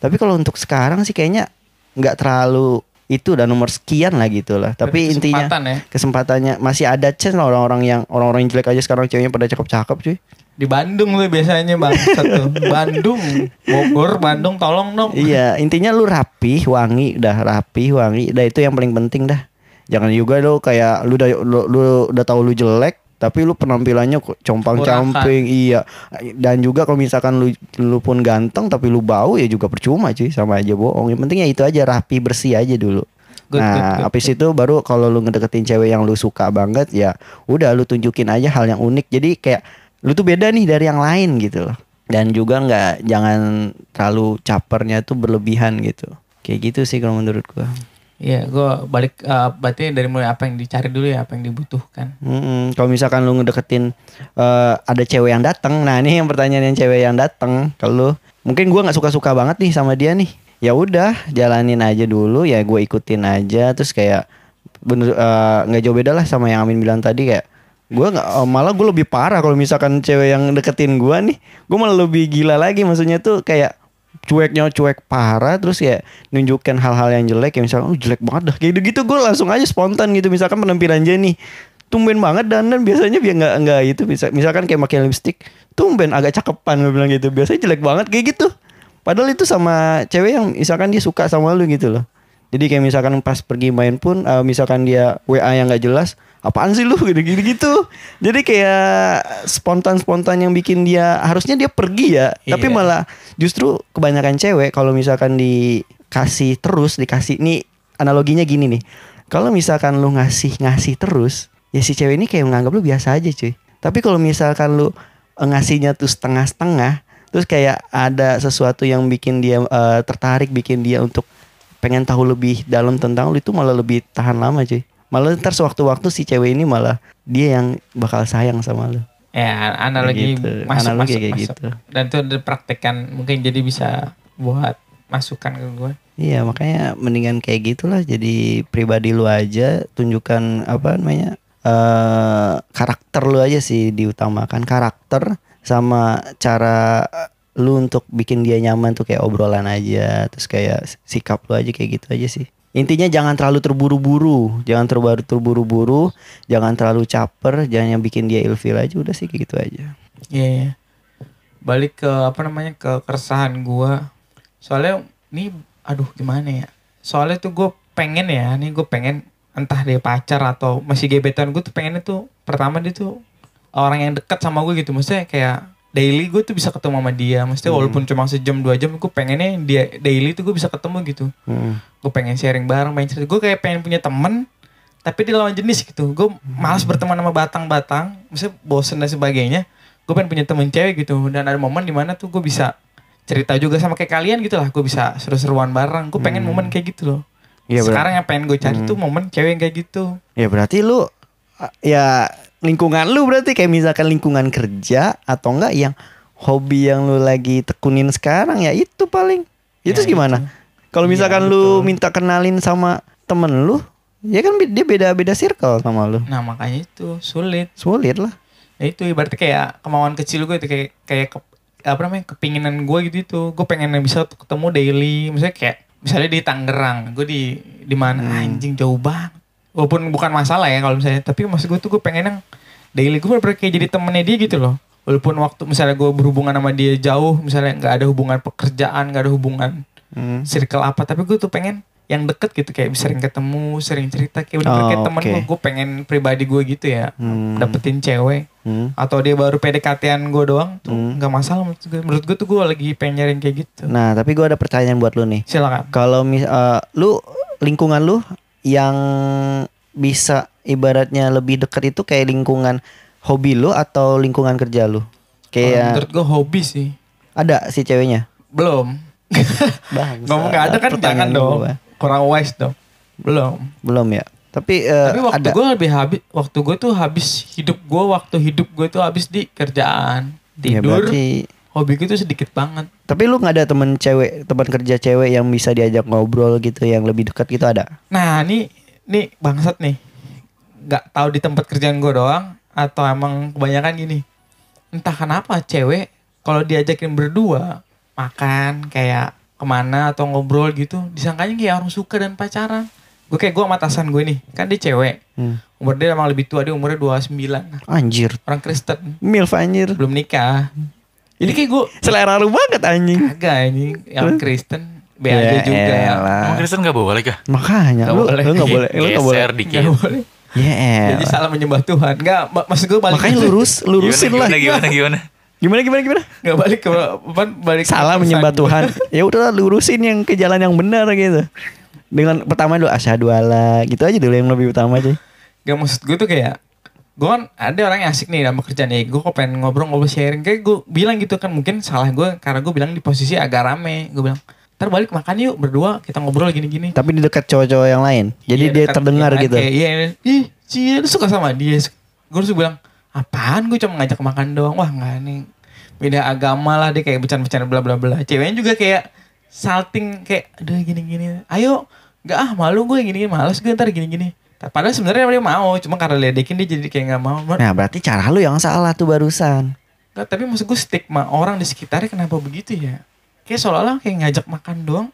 B: tapi kalau untuk sekarang sih kayaknya nggak terlalu itu dan nomor sekian lah gitu lah tapi
A: Ada
B: intinya
A: kesempatan ya.
B: kesempatannya masih ada chance lah orang-orang yang orang-orang yang jelek aja sekarang ceweknya pada cakep-cakep cuy
A: Di Bandung tuh biasanya
B: [LAUGHS]
A: bang satu. Bandung, Bogor, Bandung tolong dong.
B: iya intinya lu rapih wangi dah rapih wangi dah itu yang paling penting dah jangan juga lu kayak lu udah lu, lu udah tahu lu jelek tapi lu penampilannya kok compang-camping iya dan juga kalau misalkan lu lu pun ganteng tapi lu bau ya juga percuma cuy sama aja bohong yang penting ya itu aja rapi bersih aja dulu
A: Good,
B: nah
A: good, good,
B: habis itu baru kalau lu ngedeketin cewek yang lu suka banget ya udah lu tunjukin aja hal yang unik jadi kayak lu tuh beda nih dari yang lain gitu loh dan juga nggak jangan terlalu capernya tuh berlebihan gitu kayak gitu sih kalau menurut gua
A: Iya, gua balik eh, berarti dari mulai apa yang dicari dulu ya, apa yang dibutuhkan.
B: Mm-mm. kalau misalkan lu ngedeketin eh, ada cewek yang datang nah ini yang pertanyaan yang cewek yang datang kalau lu, mungkin gua nggak suka suka banget nih sama dia nih ya udah jalanin aja dulu ya gue ikutin aja terus kayak bener eh, nggak jauh beda lah sama yang Amin bilang tadi kayak gua nggak eh, malah gue lebih parah kalau misalkan cewek yang deketin gua nih gue malah lebih gila lagi maksudnya tuh kayak cueknya cuek parah terus ya nunjukin hal-hal yang jelek ya misalkan oh jelek banget dah kayak gitu gitu gue langsung aja spontan gitu misalkan penampilan Jenny tumben banget dan dan biasanya dia nggak nggak itu bisa misalkan kayak pakai lipstick tumben agak cakepan gue bilang gitu biasanya jelek banget kayak gitu padahal itu sama cewek yang misalkan dia suka sama lu gitu loh jadi kayak misalkan pas pergi main pun eh, misalkan dia WA yang nggak jelas apaan sih lu [LAUGHS] gitu gitu gitu jadi kayak spontan spontan yang bikin dia harusnya dia pergi ya tapi
A: Iya.
B: malah malah justru kebanyakan cewek kalau misalkan dikasih terus dikasih nih analoginya gini nih kalau misalkan lu ngasih ngasih terus ya si cewek ini kayak menganggap lu biasa aja cuy tapi kalau misalkan lu eh, ngasihnya tuh setengah-setengah terus kayak ada sesuatu yang bikin dia eh, tertarik bikin dia untuk pengen tahu lebih dalam tentang lu itu malah lebih tahan lama cuy malah ntar sewaktu-waktu si cewek ini malah dia yang bakal sayang sama lu
A: Ya, analogi
B: Kayak gitu.
A: masuk
B: Analogi
A: masuk
B: kayak
A: masuk.
B: gitu.
A: Dan itu dipraktekkan mungkin jadi bisa buat masukan ke gua.
B: Iya makanya mendingan kayak gitulah jadi pribadi lu aja tunjukkan apa namanya eh karakter lu aja sih diutamakan karakter sama cara eh, lu untuk bikin dia nyaman tuh kayak obrolan aja terus kayak s- sikap lu aja kayak gitu aja sih intinya jangan terlalu terburu-buru jangan terlalu terburu-buru jangan terlalu caper jangan yang bikin dia ilfil aja udah sih kayak gitu aja
A: Iya, iya. Balik ke apa namanya ke keresahan gua. Soalnya ini aduh gimana ya? Soalnya tuh gue pengen ya, nih gue pengen entah dia pacar atau masih gebetan gue tuh pengennya tuh pertama dia tuh orang yang dekat sama gue gitu maksudnya kayak daily gue tuh bisa ketemu sama dia maksudnya walaupun cuma sejam dua jam gue pengennya dia daily tuh gue bisa ketemu gitu
B: Hmm.
A: gue pengen sharing bareng pengen cerita gue kayak pengen punya temen tapi di lawan jenis gitu gue malas berteman sama batang-batang maksudnya bosen dan sebagainya gue pengen punya temen cewek gitu dan ada momen dimana tuh gue bisa cerita juga sama kayak kalian gitu lah gue bisa seru-seruan bareng gue pengen momen kayak gitu loh
B: Iya, bener.
A: sekarang yang pengen gue cari tuh momen cewek yang kayak gitu
B: Ya berarti lu uh, ya lingkungan lu berarti kayak misalkan lingkungan kerja atau enggak yang hobi yang lu lagi tekunin sekarang ya itu paling. Itu Iya,
A: Ya,
B: gimana? Kalau misalkan lu minta kenalin sama temen lu Ya kan bi- dia beda-beda circle sama lu.
A: Nah makanya itu sulit.
B: Sulit lah.
A: Ya itu ibaratnya kayak kemauan kecil gue itu kayak kayak ke, apa namanya kepinginan gue gitu itu. Gue pengen bisa tuh ketemu daily. Misalnya kayak misalnya di Tangerang, gue di di mana
B: Hmm.
A: anjing jauh banget. Walaupun bukan masalah ya kalau misalnya, tapi maksud gue tuh gue pengen yang daily gue bener kayak jadi temennya dia gitu loh. Walaupun waktu misalnya gue berhubungan sama dia jauh, misalnya nggak ada hubungan pekerjaan, nggak ada hubungan
B: Hmm.
A: circle apa tapi gue tuh pengen yang deket gitu kayak sering ketemu sering cerita kayak udah
B: Oh,
A: kayak temen
B: oke.
A: gue gue pengen pribadi gue gitu ya
B: Hmm.
A: dapetin cewek
B: Hmm.
A: atau dia baru PDKT-an gue doang tuh nggak masalah menurut gue menurut gue tuh gue lagi pengen nyariin kayak gitu
B: Nah, tapi gua ada pertanyaan buat lu nih.
A: silakan
B: Kalau mis eh, lu lingkungan lu yang bisa ibaratnya lebih dekat itu kayak lingkungan hobi lu atau lingkungan kerja lu?
A: Kalau
B: Kayak
A: menurut gue hobi sih
B: ada si ceweknya. [LAUGHS]
A: belum
B: Bang.
A: ngomong nggak ada kan jangan dong kurang wise dong belum
B: Belum ya. Tapi, eh,
A: tapi waktu
B: ada.
A: gue lebih habis waktu gue tuh habis hidup gue waktu hidup gue tuh habis di kerjaan
B: Ya,
A: tidur
B: berarti-
A: hobi gue tuh sedikit banget
B: Tapi lu nggak ada temen cewek, teman kerja cewek yang bisa diajak ngobrol gitu, yang lebih dekat gitu ada?
A: Nah, ini nih bangsat nih. Gak tahu di tempat kerjaan gue doang atau emang kebanyakan gini. Entah kenapa cewek kalau diajakin berdua makan kayak kemana atau ngobrol gitu, disangkanya kayak orang suka dan pacaran. Gue kayak gue sama atasan gue nih, kan dia cewek.
B: Hmm.
A: Umur dia emang lebih tua, dia umurnya 29.
B: Anjir,
A: Orang Kristen,
B: milf anjir.
A: belum nikah. Jadi kayak gue
B: Selera lu banget anjing.
A: kagak ini yang Kristen be aja
B: Ya
A: juga.
B: elah.
C: Emang Kristen gak boleh kah?
A: Nggak
B: Makanya lu
A: boleh.
B: lu nggak boleh,
A: [LAUGHS]
B: lu nggak boleh.
C: Geser dikit.
A: Gak boleh.
B: Ya
A: Jadi
B: elah.
A: salah menyembah Tuhan. Enggak, maksud gue balik
B: Makanya
A: ke-
B: lurus, lurusin
C: gimana,
B: lah.
C: Gimana,
B: [LAUGHS]
C: gimana,
B: Gimana gimana gimana?
A: Nggak balik ke apa? Balik ke
B: Salah
A: pesan
B: menyembah
A: gua.
B: Tuhan. Ya udah lurusin yang ke jalan yang benar gitu. Dengan pertama lu asyhadu alla gitu aja dulu yang lebih utama aja.
A: Nggak maksud gue tuh kayak gue kan ada orang yang asik nih dalam kerjaan ya gue kok pengen ngobrol-ngobrol sharing kayak gue bilang gitu kan mungkin salah gue karena gue bilang di posisi agak rame gue bilang ntar balik makan yuk berdua kita ngobrol gini-gini
B: Tapi di dekat cowok-cowok yang lain. Jadi
A: Iya,
B: dia
A: dekat-
B: terdengar
A: iya,
B: gitu.
A: kayak, iya iya. ih cie lu suka sama dia gue harus bilang apaan gue cuma ngajak makan doang wah nggak nih beda agama lah dia kayak bercanda-bercanda bla bla bla ceweknya juga kayak salting kayak aduh gini gini ayo nggak ah malu gue gini gini males gue ntar gini gini padahal sebenarnya dia mau cuma karena ledekin dia jadi kayak nggak mau
B: Nah, berarti cara lu yang salah tuh barusan.
A: Nggak, tapi maksud gue stigma orang di sekitarnya kenapa begitu ya kayak seolah-olah kayak ngajak makan doang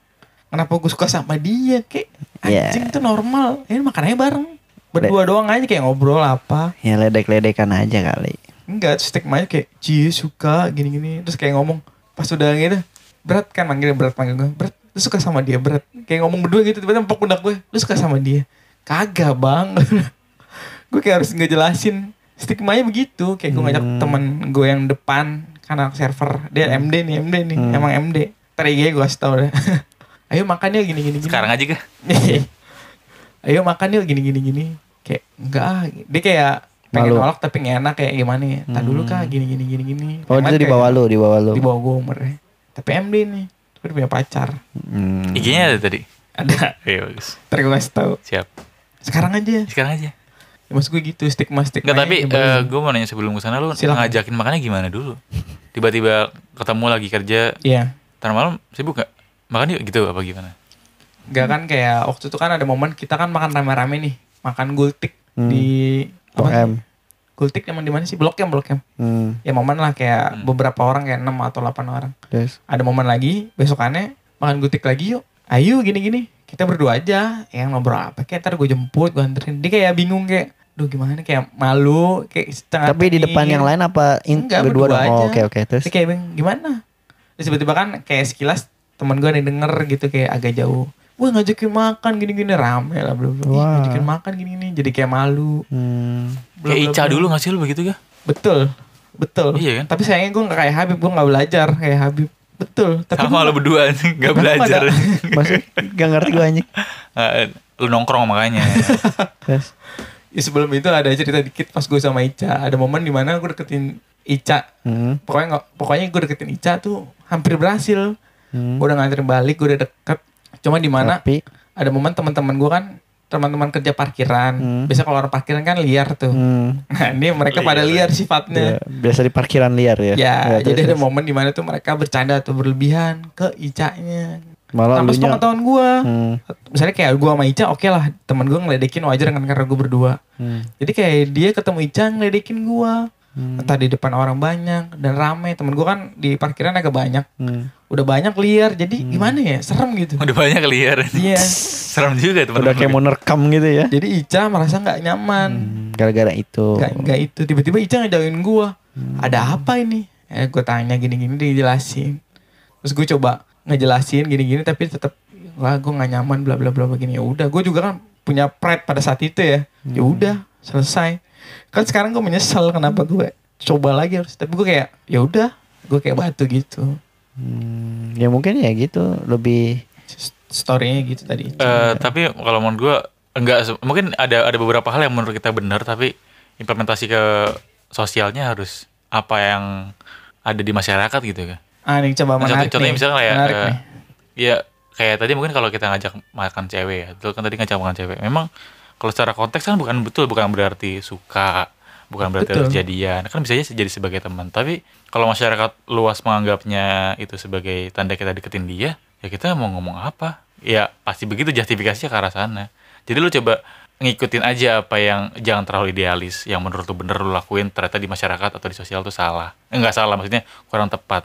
A: kenapa gue suka sama dia kayak
B: Ya.
A: anjing tuh normal ini makanannya bareng berdua doang aja kayak ngobrol apa
B: Ya ledek-ledekan aja kali.
A: enggak stigmanya kayak cie suka gini-gini terus kayak ngomong pas udah gitu berat kan manggilnya berat manggil gue berat lu suka sama dia berat kayak ngomong berdua gitu tiba-tiba empok pundak gue lu suka sama dia kagak bang [LAUGHS] gue kayak harus ngejelasin stigmanya begitu kayak gue ngajak temen gue yang depan kan anak server dia MD nih MD nih emang MD Ntar IG gue kasih tau deh [LAUGHS] ayo makan ya," yuk gini-gini gini.
C: Sekarang aja kah?
A: [LAUGHS] ayo makan yuk gini gini gini kayak enggak ah. dia kayak pengen
B: Malu. Hmm.
A: nolak tapi nggak enak kayak gimana ya tak dulu kah gini gini gini gini
B: Oh,
A: Yang
B: itu
A: lain
B: di bawah
A: kayak, gitu.
B: lu, di bawah lu.
A: di bawah gue umurnya tapi MD nih tapi dia punya pacar
B: Hmm.
C: IG-nya ada tadi.
A: ada
C: Iya, bagus.
A: [LAUGHS] ntar gue kasih tau
C: Siap.
A: sekarang aja
C: Sekarang aja.
A: ya, maksud gue gitu stigma stigma
C: Enggak, tapi eh, gue mau nanya sebelum kesana lu
A: Silakan.
C: ngajakin makannya gimana dulu? Tiba-tiba ketemu lagi kerja,
A: iya
C: ntar malam sibuk gak? Makan yuk gitu apa gimana?
A: Enggak kan kayak waktu itu kan ada momen kita kan makan rame-rame nih makan gultik
B: Hmm.
A: di apa sih?
B: OM.
A: gultik emang di mana sih blok M blok M
B: Hmm.
A: ya momen lah
C: Hmm.
A: kayak beberapa orang kayak 6 atau 8 orang
B: Terus
A: ada momen lagi besokannya makan gutik lagi yuk ayo gini gini kita berdua aja yang ngobrol apa kayak ntar gue jemput gue anterin dia kayak bingung kayak duh gimana kayak malu kayak setengah
B: Tapi di depan yang lain apa in,
A: enggak
B: berdua
A: berdua,
B: dong?
A: aja
B: Oh, Oke oke terus.
A: Dia kayak bingung, gimana terus tiba-tiba kan kayak sekilas temen gue nih denger gitu kayak agak jauh gue ngajakin makan gini-gini rame lah belum
B: Wah.
A: ngajakin makan gini-gini jadi kayak malu
B: Hmm.
A: Bla,
C: Kayak
A: bla,
C: Ica
A: bla.
C: dulu gak sih lu begitu kah?
A: betul betul
C: Iya kan?
A: tapi sayangnya gue nggak kayak Habib gue nggak belajar kayak Habib betul tapi
C: Sama
A: gua-
C: lu berdua [LAUGHS] anjing, gak
A: Tapi
C: belajar.
A: pada-
B: Maksud gak ngerti gue
A: [LAUGHS]
B: anjing.
C: [LAUGHS] Eh, lu nongkrong makanya. [LAUGHS]
B: Terus
A: Ya, sebelum itu ada cerita dikit pas gue sama Ica. Ada momen dimana gue deketin Ica.
B: hmm.
A: Pokoknya nggak, pokoknya gue deketin Ica tuh hampir berhasil. Gue udah nganterin balik, gue udah deket. Cuma di mana
B: Hmm. Tapi
A: ada momen teman-teman gue kan teman-teman kerja parkiran. Biasa kalau orang parkiran kan liar tuh.
B: hmm.
A: Nah ini mereka pada liar sifatnya.
B: ya, biasa di parkiran liar ya.
A: Iya. Ya,
B: terus,
A: jadi ada
B: terus.
A: momen dimana tuh mereka bercanda atau berlebihan ke Icanya.
B: Malah
A: tanpa
B: lunya-
A: sepengetahuan gue
B: Hmm.
A: misalnya kayak gue sama Ica oke lah teman gue ngeledekin wajar kan karena gue berdua
B: hmm,
A: jadi kayak dia ketemu Ica ngeledekin gue entah di depan orang banyak dan rame temen gue kan di parkiran agak banyak
B: hmm.
A: udah banyak liar jadi gimana ya serem
C: [LAUGHS]
A: gitu
C: Udah banyak liar.
A: Iya.
C: Serem juga ya teman-teman.
B: Udah kayak mau nerekam gitu ya.
A: jadi Ica merasa nggak nyaman
B: Hmm. Gara-gara itu.
A: Hmm. nggak nggak itu tiba-tiba Ica ngejauhin gue ada apa ini eh gue tanya gini-gini dijelasin terus gue coba ngejelasin gini-gini tapi tetap lah gue nggak nyaman bla bla bla begini ya udah gue juga kan punya pride pada saat itu ya ya udah selesai kan sekarang gue menyesal kenapa gue coba lagi harus tapi gue kayak ya udah gue kayak batu gitu
B: Hmm, ya mungkin ya gitu lebih
A: S- story-nya gitu tadi
C: Eh, tapi kalau menurut gue enggak se- mungkin ada ada beberapa hal yang menurut kita benar tapi implementasi ke sosialnya harus apa yang ada di masyarakat gitu kan.
A: ah nih coba
C: Nah,
A: menarik
C: contoh- contohnya
A: nih.
C: misalnya kayak
A: menarik
C: eh,
A: nih
C: ya kayak tadi mungkin kalau kita ngajak makan cewek ya, itu kan tadi ngajak makan cewek. Memang kalau secara konteks kan bukan betul bukan berarti suka, bukan berarti
A: Betul.
C: harus jadian. Kan bisa aja jadi sebagai teman. Tapi kalau masyarakat luas menganggapnya itu sebagai tanda kita deketin dia, ya kita mau ngomong apa? Ya pasti begitu justifikasinya ke arah sana. Jadi lu coba ngikutin aja apa yang jangan terlalu idealis yang menurut lu bener lu lakuin ternyata di masyarakat atau di sosial tuh salah. Enggak salah maksudnya kurang tepat.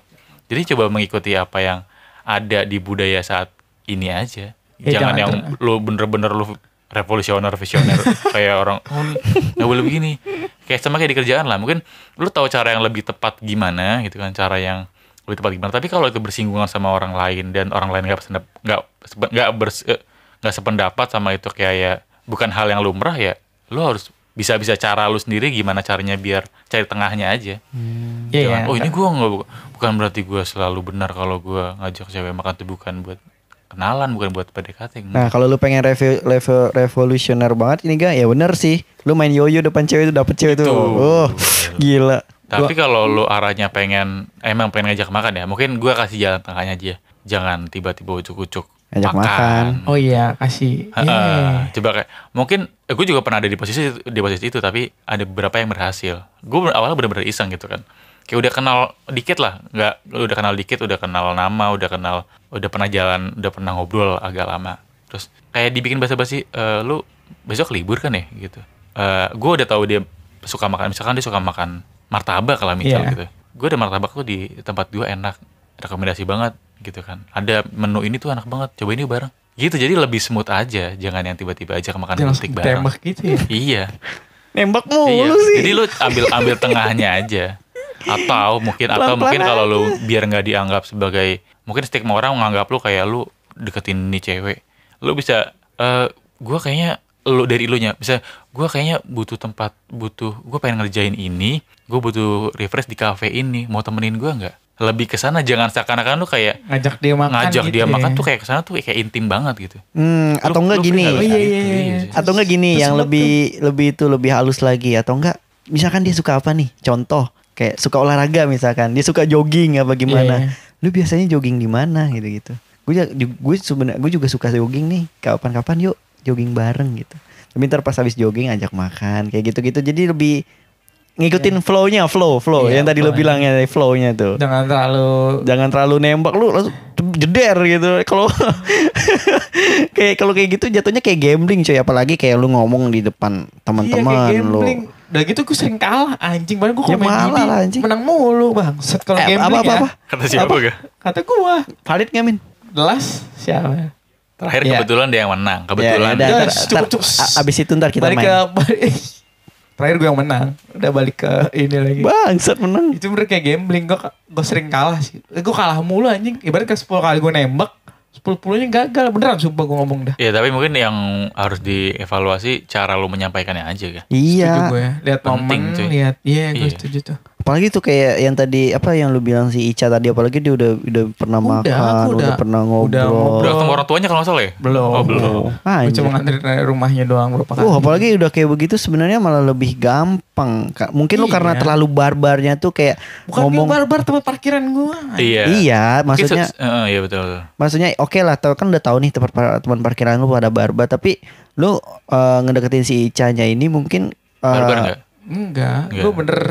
C: Jadi coba mengikuti apa yang ada di budaya saat ini aja.
A: Ya, jangan
C: jangan, yang lu bener-bener lu revolusioner visioner kayak orang oh nih, nggak boleh begini kayak sama kayak di kerjaan lah mungkin lu tahu cara yang lebih tepat gimana gitu kan cara yang lebih tepat gimana tapi kalau itu bersinggungan sama orang lain dan orang lain nggak bersendap- nggak sepe- nggak bers- eh, nggak sependapat sama itu kayak ya bukan hal yang lumrah ya lu harus bisa-bisa cara lu sendiri gimana caranya biar cari tengahnya aja
A: Iya,
C: Jangan,
A: iya.
C: oh ini gue nggak bukan berarti gue selalu benar kalau gue ngajak cewek makan tuh bukan buat kenalan bukan buat PDKT
B: Nah, kalau lu pengen review, revo- revolusioner banget ini ga ya bener sih. Lu main yoyo depan cewek itu dapet cewek itu.
C: Itu.
B: Oh, gila.
C: Tapi kalau lu arahnya pengen emang pengen ngajak makan ya, mungkin gua kasih jalan tengahnya aja. Jangan tiba-tiba ucuk-ucuk
B: Ngajak makan. Iya.
A: oh iya kasih
C: Heeh.
A: Yeah.
C: Coba kayak mungkin gue juga pernah ada di posisi di posisi itu tapi ada beberapa yang berhasil. Gue awalnya bener-bener iseng gitu kan. Kayak udah kenal dikit lah, nggak udah kenal dikit, udah kenal nama, udah kenal, udah pernah jalan, udah pernah ngobrol agak lama. Terus kayak dibikin basa-basi, "Eh, lu besok libur kan ya gitu. gue udah tahu dia suka makan, misalkan dia suka makan martabak lah misal
A: Iya.
C: gitu. Gue ada martabak tuh di tempat gue enak, rekomendasi banget gitu kan. Ada menu ini tuh enak banget, coba ini bareng. Gitu jadi lebih smooth aja, jangan yang tiba-tiba ajak makan
A: Dia langsung
C: butik bareng.
A: tembak gitu ya
C: Iya.
B: Nembak mulu
C: Iya.
B: Oh, sih.
C: Jadi lu ambil ambil tengahnya aja. Atau mungkin atau
B: Pelan-pelan
C: mungkin kalau lu biar nggak dianggap sebagai mungkin stigma orang menganggap lu kayak lu deketin nih cewek. Lu bisa eh gua kayaknya lu dari lu nya bisa gua kayaknya butuh tempat butuh gua pengen ngerjain ini, gua butuh refresh di cafe ini. Mau temenin gua nggak? Lebih ke sana jangan seakan-akan lu kayak
A: ngajak dia makan
C: ngajak
A: gitu
C: dia
A: ya.
C: makan tuh kayak ke sana tuh kayak intim banget gitu. Lu-
B: Hmm, atau enggak
C: lu
B: gini.
A: Oh,
C: pernah
A: iya,
C: gitu?
A: iya, iya.
C: sih.
B: Atau enggak gini
A: Terus
B: yang
A: semut
B: lebih lebih itu lebih halus lagi atau enggak? Misalkan dia suka apa nih? Contoh kayak suka olahraga misalkan. Dia suka jogging apa gimana?
A: Iya,
B: Lu biasanya jogging di mana gitu-gitu. Gue ja- ju- gue sebenarnya gue juga suka jogging nih. Kapan-kapan yuk jogging bareng gitu. Tapi ntar pas habis jogging ajak makan kayak gitu-gitu. Jadi lebih ngikutin flow-nya, flow, flow
A: Iya,
B: yang tadi lu
A: flow-nya.
B: bilang ya flow-nya tuh.
A: jangan terlalu Iya,
B: jangan terlalu nembak lu langsung jeder gitu kalau [LAUGHS] kayak kalau kayak gitu jatuhnya kayak gambling coy apalagi kayak lu ngomong di depan teman-teman
A: iya, kayak
B: lu
A: gambling. Udah gitu gue sering kalah anjing Padahal gue
B: Ya
A: komen
B: malah
A: gini,
B: lah, anjing.
A: Menang mulu bang Set kalau
B: Eh,
A: gambling
B: apa, apa,
A: ya
B: apa?
C: Kata siapa gak?
A: Kata gue
B: valid nggak min
A: Delas Siapa ya?
C: Terakhir
A: Iya.
C: kebetulan dia yang menang, kebetulan.
B: ya, udah, ntar,
A: Guys,
B: ntar,
A: cukup, cukup.
B: a- abis itu ntar kita
A: Balik [LAUGHS]
B: main
A: ke Terakhir gue yang menang Udah balik ke ini lagi
B: bangsat menang
A: Itu bener kayak gambling Gue gue sering kalah sih Gue kalah mulu anjing Ibarat kayak 10 kali gue nembak 10-10 nya gagal Beneran sumpah gue ngomong dah
C: Ya tapi mungkin yang harus dievaluasi cara lu menyampaikannya aja kan.
A: Setuju
B: iya
A: gue Lihat
C: Penting,
A: momen
C: cuy.
A: Lihat Iya gue
C: Iya.
A: setuju tuh
B: apalagi tuh kayak yang tadi apa yang lu bilang si Ica tadi apalagi dia udah udah pernah
A: Udah,
B: makan
A: aku
B: udah,
A: udah-
B: pernah
A: udah
B: ngobrol,
A: ngobrol.
C: Udah
B: Oh.
C: ketemu orang tuanya kalau nggak salah ya?
A: Belum
C: Oh, belum.
B: Ah,
A: Gue
B: anjir.
A: cuma nganterin dari rumahnya doang berapa kali
B: Wah, apalagi udah kayak begitu sebenarnya malah lebih gampang. Ka- Mungkin lu
A: Iya.
B: karena terlalu barbarnya tuh kayak
A: Bukan
B: ngomong
A: ngomong barbar tempat parkiran gue
C: Iya.
B: Iya,
C: Mungkin
B: maksudnya
C: se- eh, iya betul. betul.
B: maksudnya oke lah, tau kan udah tahu nih tempat par- teman parkiran lu pada barbar, tapi lu eh, ngedeketin si Ica-nya ini mungkin eh,
C: Barbar nggak?
A: Enggak,
C: Enggak.
A: gue bener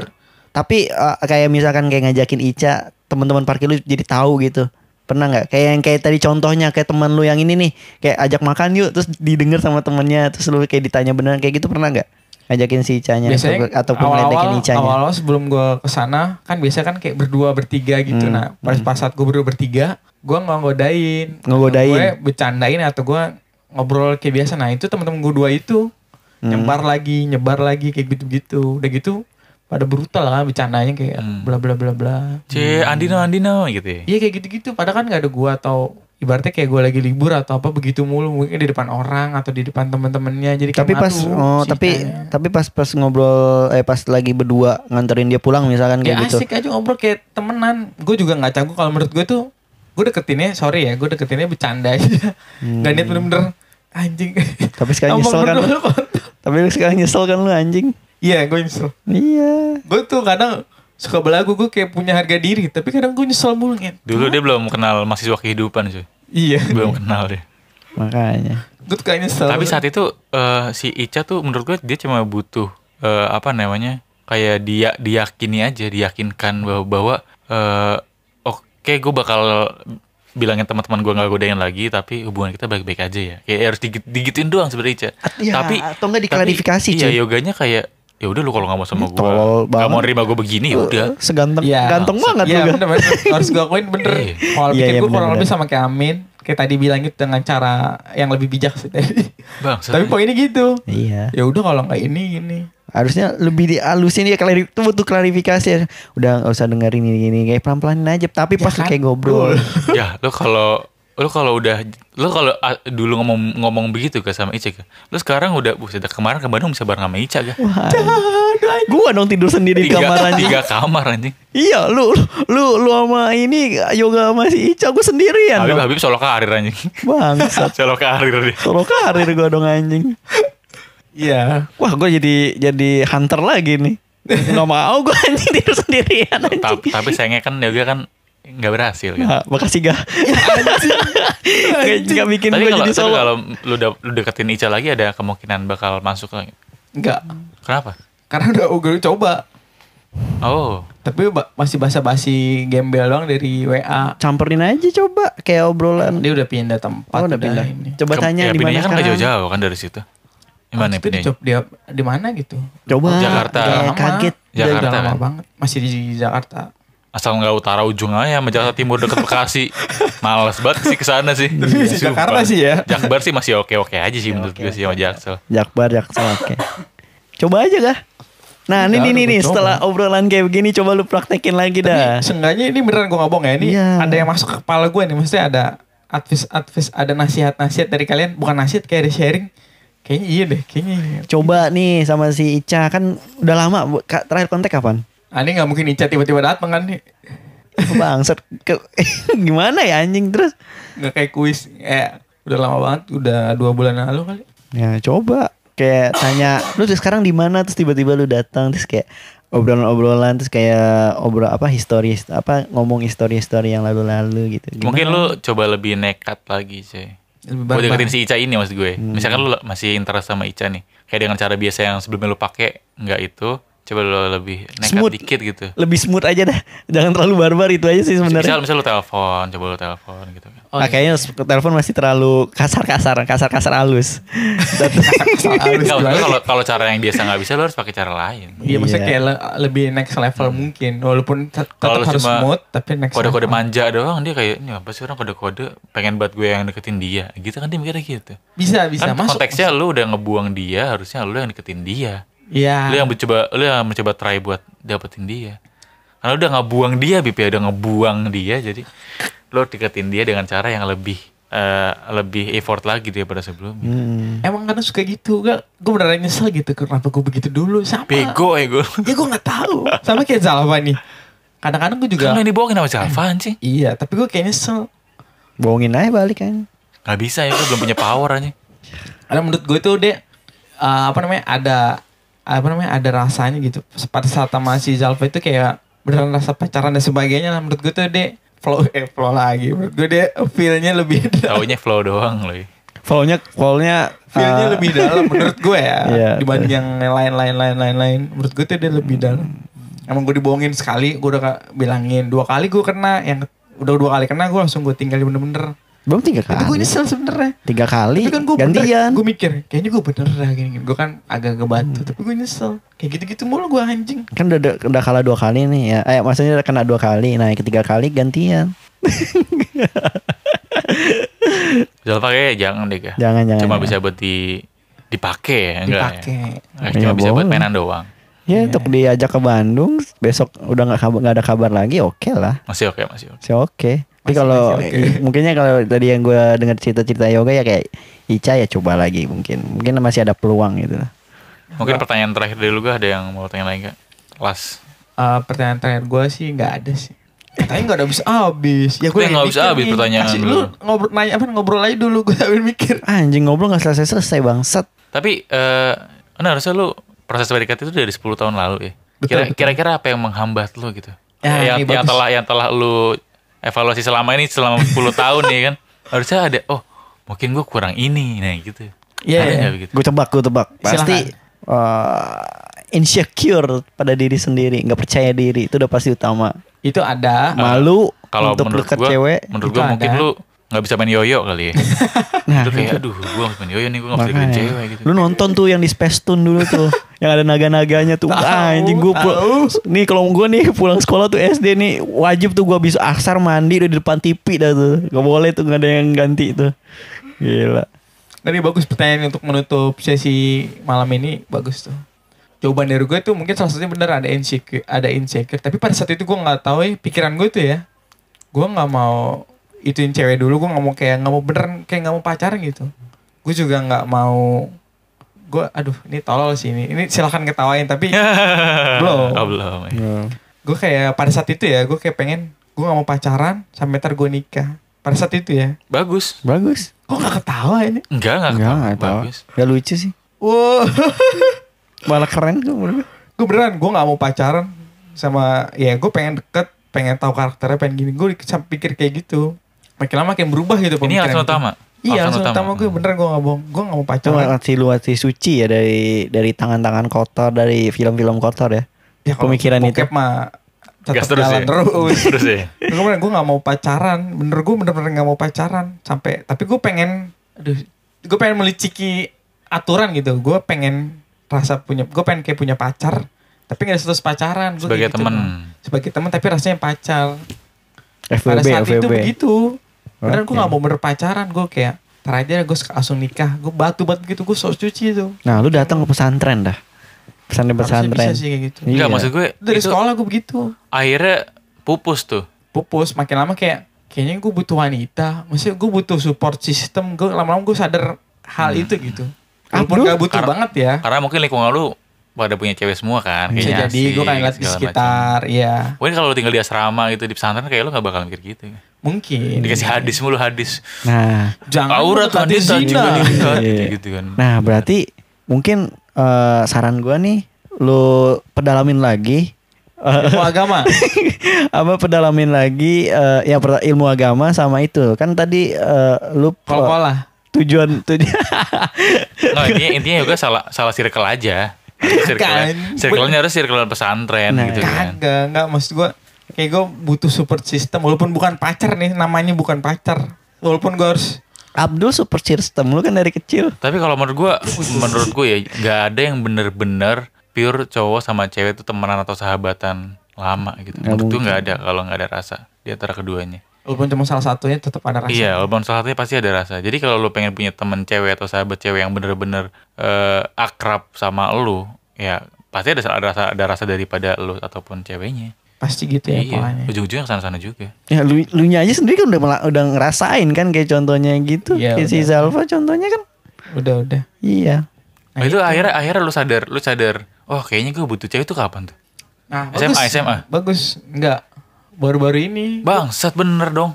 B: tapi eh, kayak misalkan kayak ngajakin Ica teman-teman parkir lu jadi tahu gitu. Pernah nggak? Kayak yang kayak tadi contohnya kayak teman lu yang ini nih, kayak ajak makan yuk terus didengar sama temennya terus lu kayak ditanya beneran kayak gitu pernah nggak? Ngajakin si Icanya
A: biasanya
B: Iya, atau ataupun ngeledekin
A: awal-awal
B: Icanya.
A: awal-awal sebelum gue kesana kan biasanya kan kayak berdua bertiga gitu
B: Hmm,
A: nah pas pas saat gue berdua bertiga gue nggak ngodain
B: Ngegodain.
A: gue bercandain atau gue ngobrol kayak biasa nah itu temen-temen gue dua itu
B: Hmm.
A: nyebar lagi nyebar lagi kayak gitu-gitu udah gitu pada brutal kan bercandanya kayak bla bla bla bla
C: C, Andino, Andino gitu ya.
A: iya kayak gitu-gitu padahal kan nggak ada gue atau ibaratnya kayak gue lagi libur atau apa begitu mulu mungkin di depan orang atau di depan temen-temennya jadi kayak
B: tapi pas
A: malu
B: oh
A: si
B: tapi
A: Icanya.
B: tapi pas pas ngobrol eh pas lagi berdua nganterin dia pulang misalkan
A: Kayak
B: kayak gitu.
A: ya asik aja ngobrol kayak temenan. Gue juga nggak canggung kalau menurut gue tuh gue deketinnya sorry ya gue deketinnya bercanda aja. Gak niat bener-bener anjing.
B: Hmm. Tapi sekarang
A: Ngomong
B: nyesel kan
A: berdua
B: lu.
A: kontol.
B: Tapi lu sekarang nyesel kan lu anjing.
A: Iya gue nyesel.
B: Iya.
A: Gue tuh kadang suka belagu gue kayak punya harga diri tapi kadang gue nyesel mulu ngen.
C: Dulu dia belum kenal mahasiswa kehidupan cuy.
A: Iya.
C: Belum kenal dia.
B: Makanya.
A: gue tuh kayak nyesel.
B: kan?
C: Tapi saat itu eh, si Ica tuh menurut gue dia cuma butuh eh, apa namanya kayak dia diyakini aja, diyakinkan bahwa bahwa eh, oke gue bakal bilangin teman-teman gue nggak godain lagi, tapi hubungan kita baik-baik aja ya. Kayak harus digit, digituin doang sebenarnya Ica.
B: At- ya,
C: tapi
B: atau nggak diklarifikasi,
C: Tapi, iya
B: cuy.
C: yoganya kayak ya udah lu kalau nggak mau sama gue,
B: Tolol
C: nggak mau
B: banget.
C: nerima gue begini ya udah.
B: Seganteng
A: Iya.
B: ganteng banget
A: Iya
B: lu. Gan.
A: bener bener. harus gue akuin bener.
C: Iya.
A: Kalau
B: Iya,
A: pikir
B: iya,
A: gue kurang
B: bener-bener.
A: lebih sama kayak Amin kayak tadi bilang gitu dengan cara yang lebih bijak sih tadi.
B: Eh,
C: Bang,
A: tapi poinnya gitu.
B: Iya.
A: Ya udah kalau nggak ini ini.
B: Harusnya lebih dialusin ya klari itu butuh klarifikasi. ya. Udah nggak usah dengerin ini gini kayak pelan-pelanin aja. Tapi pas lu
A: kan?
B: kayak ngobrol.
C: ya lu kalau lu kalau udah lu kalau ah, dulu ngomong ngomong begitu ke sama Ica ke lu sekarang udah buset dah, kemarin ke Bandung bisa bareng sama Ica ke
B: Wah. Gua dong tidur sendiri di kamar anjing.
C: tiga kamar anjing
B: Iya, lu lu lu sama ini yoga sama si Ica gua sendirian.
C: Habib
B: Iya dong.
C: Habib solo karir anjing
B: Bangsat.
C: solo karir dia
B: Solo karir gua dong anjing.
A: Iya.
B: Wah, gua jadi jadi hunter lagi
C: [LAUGHS]
B: nih. Gak mau gua anjing tidur sendirian anjing.
C: Ta- tapi sayangnya kan Yoga kan nggak berhasil kan
B: Nah, makasih gak. [LAUGHS] Gak, gak bikin
C: Iya, tapi
B: gua
C: kalau
B: jadi
C: tapi
B: solo.
C: kalau lu, da- lu deketin Ica lagi ada kemungkinan bakal masuk lagi
A: Enggak.
C: kenapa
A: Karena udah gue coba.
C: oh
A: Tapi ba- masih basa-basi gembel doang dari WA.
B: Ah, Campurin aja coba kayak obrolan.
A: Dia udah pindah tempat.
B: Oh, udah pindah.
A: Ini.
B: Coba
C: Ke- ya,
B: tanya di mana
C: pindahnya kan nggak
B: sekarang.
C: jauh-jauh kan dari situ
A: Maksudnya
C: gimana pindahnya
A: di- dia di mana gitu?
B: Coba.
C: Jakarta.
B: Kayak
A: Udah lama.
B: kaget.
C: Jakarta
A: Udah lama
C: kan?
A: banget. Masih di Jakarta.
C: asal nggak utara ujung aja sama Jakarta Timur deket Bekasi males banget sih kesana sih
A: Tapi di
C: Sumpah.
A: Iya. Jakarta sih ya.
C: Jakbar sih masih oke oke aja sih menurut gue sih sama Jaksel
B: Jakbar, Jaksel, oke. Coba aja kah? Nah,
A: Udah,
B: ini nih
A: udah
B: nih
A: gua
B: nih
A: coba.
B: setelah obrolan kayak begini coba lu praktekin lagi dah.
A: Tapi seenggaknya ini beneran gue ngomong ya. Ini
B: Iya.
A: ada yang masuk ke kepala gue nih. Maksudnya ada advice-advice, ada nasihat-nasihat dari kalian. Bukan nasihat kayak ada sharing. Kayaknya iya deh, kayaknya iya.
B: Coba nih sama si Ica kan udah lama Bu. Ka- terakhir kontak kapan?
A: Ah, ini gak mungkin Ica tiba-tiba dateng kan nih.
B: Bangsat. Ke- [LAUGHS] Gimana ya anjing terus?
A: Gak kayak kuis. Eh, udah lama banget. Udah dua bulan lalu kali.
B: Ya coba kayak tanya lu terus sekarang di mana terus tiba-tiba lu datang terus kayak obrolan-obrolan terus kayak obrol apa histori apa ngomong histori-histori yang lalu-lalu gitu. Gimana?
C: mungkin lu coba lebih nekat lagi sih
A: Lebih
C: Buat
A: barbar.
C: deketin si Ica ini maksud gue Misalkan lu masih interest sama Ica nih Kayak dengan cara biasa yang sebelumnya lu pakai Nggak itu Coba lu lebih nekat
B: Smooth.
C: dikit gitu
B: lebih smooth aja dah. Jangan terlalu barbar itu aja sih
C: Misal,
B: sebenarnya.
C: misal lu telepon Coba lu telepon gitu kan
A: Oh,
B: Nah, kayaknya s- telepon masih terlalu kasar-kasar, kasar-kasar
C: [LAUGHS]
B: halus.
A: Salah halus
C: Nggak,
A: gimana?
C: maksud gue kalau kalau cara yang biasa nggak bisa lu harus pakai cara lain
A: Iya, maksudnya
B: Iya.
A: kayak le- lebih next level mungkin. Walaupun te- tetap
C: Kalau
A: harus
C: cuma
A: smooth, tapi next
C: Kode-kode
A: level.
C: manja doang Dia kayak Ini apa sih orang kode-kode Pengen buat gue yang deketin dia Gitu kan dia mikirnya gitu
A: Bisa, bisa.
C: kan
A: masuk.
C: konteksnya lu udah ngebuang dia harusnya lu yang deketin dia lu
A: Iya.
C: yang mencoba lu yang mencoba try buat dapetin dia karena lu udah ngebuang dia Bip ya udah ngebuang dia jadi lu deketin dia dengan cara yang lebih eh, lebih effort lagi daripada sebelumnya
A: Hmm. Emang karena suka gitu. Gak, gue beneran nyesel gitu. Kenapa gue begitu dulu? Sama.
C: bego ya gue
A: Ya gue gak tahu. Sama kayak Zalfa nih. Kadang-kadang gue juga.
C: kan lu yang dibohongin sama Java anjing
A: Iya, tapi gue kayak nyesel.
B: Bohongin aja balik kan.
C: nggak bisa ya gue belum punya power
A: [LAUGHS]
C: anjing
A: Karena menurut gue itu dia. eh, apa namanya. Ada. Apa namanya. Ada rasanya gitu. Pada saat sama si Zalfa itu kayak. Beneran rasa pacaran dan sebagainya. lah. Menurut gue tuh dia. Flow, eh, flow lagi. Menurut gue dia feel-nya lebih [LAUGHS]
C: taunya flow doang loh ya.
B: Follow-nya follow-nya
A: Feelnya
B: uh,
A: lebih dalam menurut gue [LAUGHS] ya
B: Iya,
A: dibanding yang lain lain lain lain lain menurut Hmm. gue tuh dia lebih dalam emang gue dibohongin sekali gue udah ka- bilangin dua kali gue kena yang udah dua kali kena gue langsung gue tinggal bener-bener
B: Belum tiga
A: itu gue
B: kali.
A: nyesel sebenernya
B: Tiga kali
A: tapi kan gue
B: gantian.
A: gue mikir kayaknya gue bener dah gini, gini. gue kan agak ngebantu tapi gue nyesel kayak gitu-gitu mulu gue anjing
B: Kan udah, udah kalah dua kali nih ya. Eh maksudnya udah kena dua kali. Nah, yang ketiga kali gantian.
C: Zulfa kayak jangan deh Kak.
B: Jangan jangan.
C: Cuma
B: jangan.
C: bisa buat di dipakai ya, enggak ya?
A: dipakai
C: Eh, Cuma
B: Ya,
C: bisa buat
B: boleh.
C: mainan doang.
B: Ya untuk diajak ke Bandung besok udah nggak kabar nggak ada kabar lagi oke lah
C: Masih oke, masih oke.
B: si oke. Tapi
A: Masih-
B: kalau
A: masih oke.
B: i- [LAUGHS] mungkinnya kalau tadi yang gue dengar cerita-cerita yoga ya kayak Ica ya coba lagi mungkin mungkin masih ada peluang gitu.
C: Mungkin pertanyaan terakhir dari lu Kak, ada yang mau tanya lagi Kak? Last.
A: Eh, pertanyaan terakhir gue sih nggak ada sih katanya nggak ada habis habis ya gue
C: Iya, nggak habis habis pertanyaan
A: lu
C: lu.
A: ngobrol nanya apa ngobrol aja dulu gue sambil mikir
B: Anjing ngobrol nggak selesai selesai bangsat.
C: Tapi eh nah harusnya lu proses PDKT itu dari 10 tahun lalu ya.
A: Betul,
C: Kira-
A: betul.
C: Kira-kira apa yang menghambat lu gitu?
A: Ah,
C: yang,
A: ini
C: yang
A: bagus.
C: telah yang telah lu evaluasi selama ini selama 10 tahun ya kan. Harusnya ada oh, mungkin gua kurang ini nah gitu.
A: Iya,
C: Ada
A: iya.
C: nggak begitu?
B: Gue tebak gue tebak pasti eh, insecure pada diri sendiri nggak percaya diri itu udah pasti utama.
A: itu ada
B: Malu
C: Kalau
B: untuk
C: menurut
B: deket
C: gua,
B: cewek.
C: menurut
A: itu
C: gua mungkin
A: ada.
C: lu nggak bisa main yoyo kali ya.
B: Nah,
C: lu kayak
B: itu.
C: aduh, gua harus main yoyo nih,
A: Oh,
C: gua nggak bisa deketin
B: Makanya.
C: cewek gitu. [LAUGHS]
B: Lu nonton tuh yang di Space Tune dulu
A: [LAUGHS]
B: tuh. yang ada naga-naganya tuh.
A: Tahu,
B: Wah, anjing gue
A: tahu.
B: Nih kalau gue nih pulang sekolah tuh SD nih wajib tuh gua habis asar mandi udah di depan TV dah tuh. Gak boleh tuh gak ada yang ganti tuh. Gila.
A: dari bagus pertanyaan untuk menutup sesi malam ini bagus tuh jawaban dari gue tuh mungkin salah satunya bener ada insecure ada insecure tapi pada saat itu gue nggak tahu ya pikiran gue tuh ya gue nggak mau ituin cewek dulu gue nggak mau kayak nggak mau beneran kayak nggak mau pacaran gitu gue juga nggak mau gue aduh ini tolol sih ini ini silahkan ketawain tapi belum
C: Oh, belum. ya.
A: gue kayak pada saat itu ya gue kayak pengen gue gak mau pacaran sampai ntar gue nikah pada saat itu ya
C: Bagus.
B: Bagus.
A: kok gak ketawa ini
C: Enggak, enggak.
B: Enggak,
C: ketawa.
B: enggak tahu.
C: Bagus.
B: Gak lucu sih.
A: wow [LAUGHS]
B: Malah keren tuh menurut gua.
A: gue beneran gue gak mau pacaran sama ya gue pengen deket pengen tahu karakternya pengen gini gue sampai pikir kayak gitu makin lama makin berubah gitu
C: Ini alasan
A: pemikiran gue.
C: utama.
A: iya
C: Alasan
A: alasan utama,
C: utama.
A: gue beneran gue gak bohong gue gak mau
B: Itu
A: pacaran
B: masih lu masih suci ya dari dari tangan-tangan kotor dari film-film kotor ya.
A: ya, kalau
B: pemikiran itu.
A: bokep mah tetap
C: [LAUGHS] Gas terus
A: jalan
C: ya.
A: terus
C: Terus ya.
A: gue bener gue nggak mau pacaran bener gue bener-bener nggak mau pacaran sampai tapi gue pengen aduh gue pengen meliciki aturan gitu gue pengen rasa punya gue pengen kayak punya pacar tapi nggak status pacaran Gua
C: Sebagai
A: kayak gitu.
C: teman.
A: sebagai teman tapi rasanya pacar pada
B: FWB,
A: saat itu
B: FWB.
A: begitu beneran gue
B: Oke.
A: nggak mau bener pacaran gue kayak ntar aja gue langsung nikah gue batu batu gitu gue sok cuci itu
B: Nah, lu datang ke pesantren dah.
A: Harusnya
B: Pesantren-pesantren.
A: bisa sih kayak gitu
C: Enggak,
B: Iya.
C: maksud gue
A: dari
C: itu
A: sekolah gue begitu
C: akhirnya pupus tuh.
A: pupus makin lama kayak kayaknya gue butuh wanita maksudnya gue butuh support system gue lama-lama gue sadar hal itu gitu walaupun
B: Iya. Abdul?
A: gak butuh
C: Karena-
A: banget ya
C: Karena mungkin lingkungan lu pada punya cewek semua kan
A: bisa
C: kayaknya.
A: jadi gue kan lihat di sekitar ya
C: Mungkin kalau lu tinggal di asrama gitu di pesantren kayak lu gak bakal mikir gitu.
A: Iya, mungkin
C: Dikasih hadis mulu hadis.
B: Nah,
A: jangan
C: Aurat
A: mendekati
C: hadis anjing
A: zina.
C: gua nikah,
B: Iya.
C: gitu kan.
B: Nah, berarti mungkin eh, saran gua nih lu pedalamin lagi eh,
A: ilmu agama
B: [LAUGHS] apa pedalamin lagi eh, ya per- ilmu agama sama itu. Kan tadi eh, lu
A: kalau pola
B: tujuan tujuan
C: Nah, intinya intinya juga salah salah circle aja. Circle,
A: Kan.
C: circle-nya harus circle pesantren
B: Nah,
C: gitu kan.
A: kagak nggak maksud gue kayak gue butuh support system walaupun bukan pacar nih namanya bukan pacar walaupun gue harus
B: [LAUGHS] Abdul super system lu kan dari kecil.
C: Tapi kalau menurut gua, menurut gua ya nggak ada yang bener-bener pure cowok sama cewek itu temenan atau sahabatan lama gitu. menurut gua nggak ada kalau nggak ada rasa di antara keduanya.
A: walaupun cuma salah satunya tetap ada rasa
C: Iya, walaupun salah satunya pasti ada rasa. Jadi kalau lu pengen punya temen cewek atau sahabat cewek yang bener-bener eh, akrab sama lu, ya pasti ada, ada rasa ada rasa daripada lu ataupun ceweknya.
A: pasti
C: Iya,
A: gitu ya polanya
C: ujung-ujungnya kesana-sana juga.
B: Ya lu lu aja sendiri kan udah mela- udah ngerasain kan kayak contohnya gitu.
A: Iya,
B: kayak si
A: udah.
B: Zalfa contohnya kan.
A: udah udah
B: Iya.
A: Nah,
C: Nah, itu, akhirnya akhirnya lu sadar, lu sadar, oh kayaknya gue butuh cewek itu kapan tuh?
A: Nah,
C: SMA,
A: bagus.
C: SMA.
A: Bagus. Enggak. Baru-baru ini.
C: Bangsat bener dong.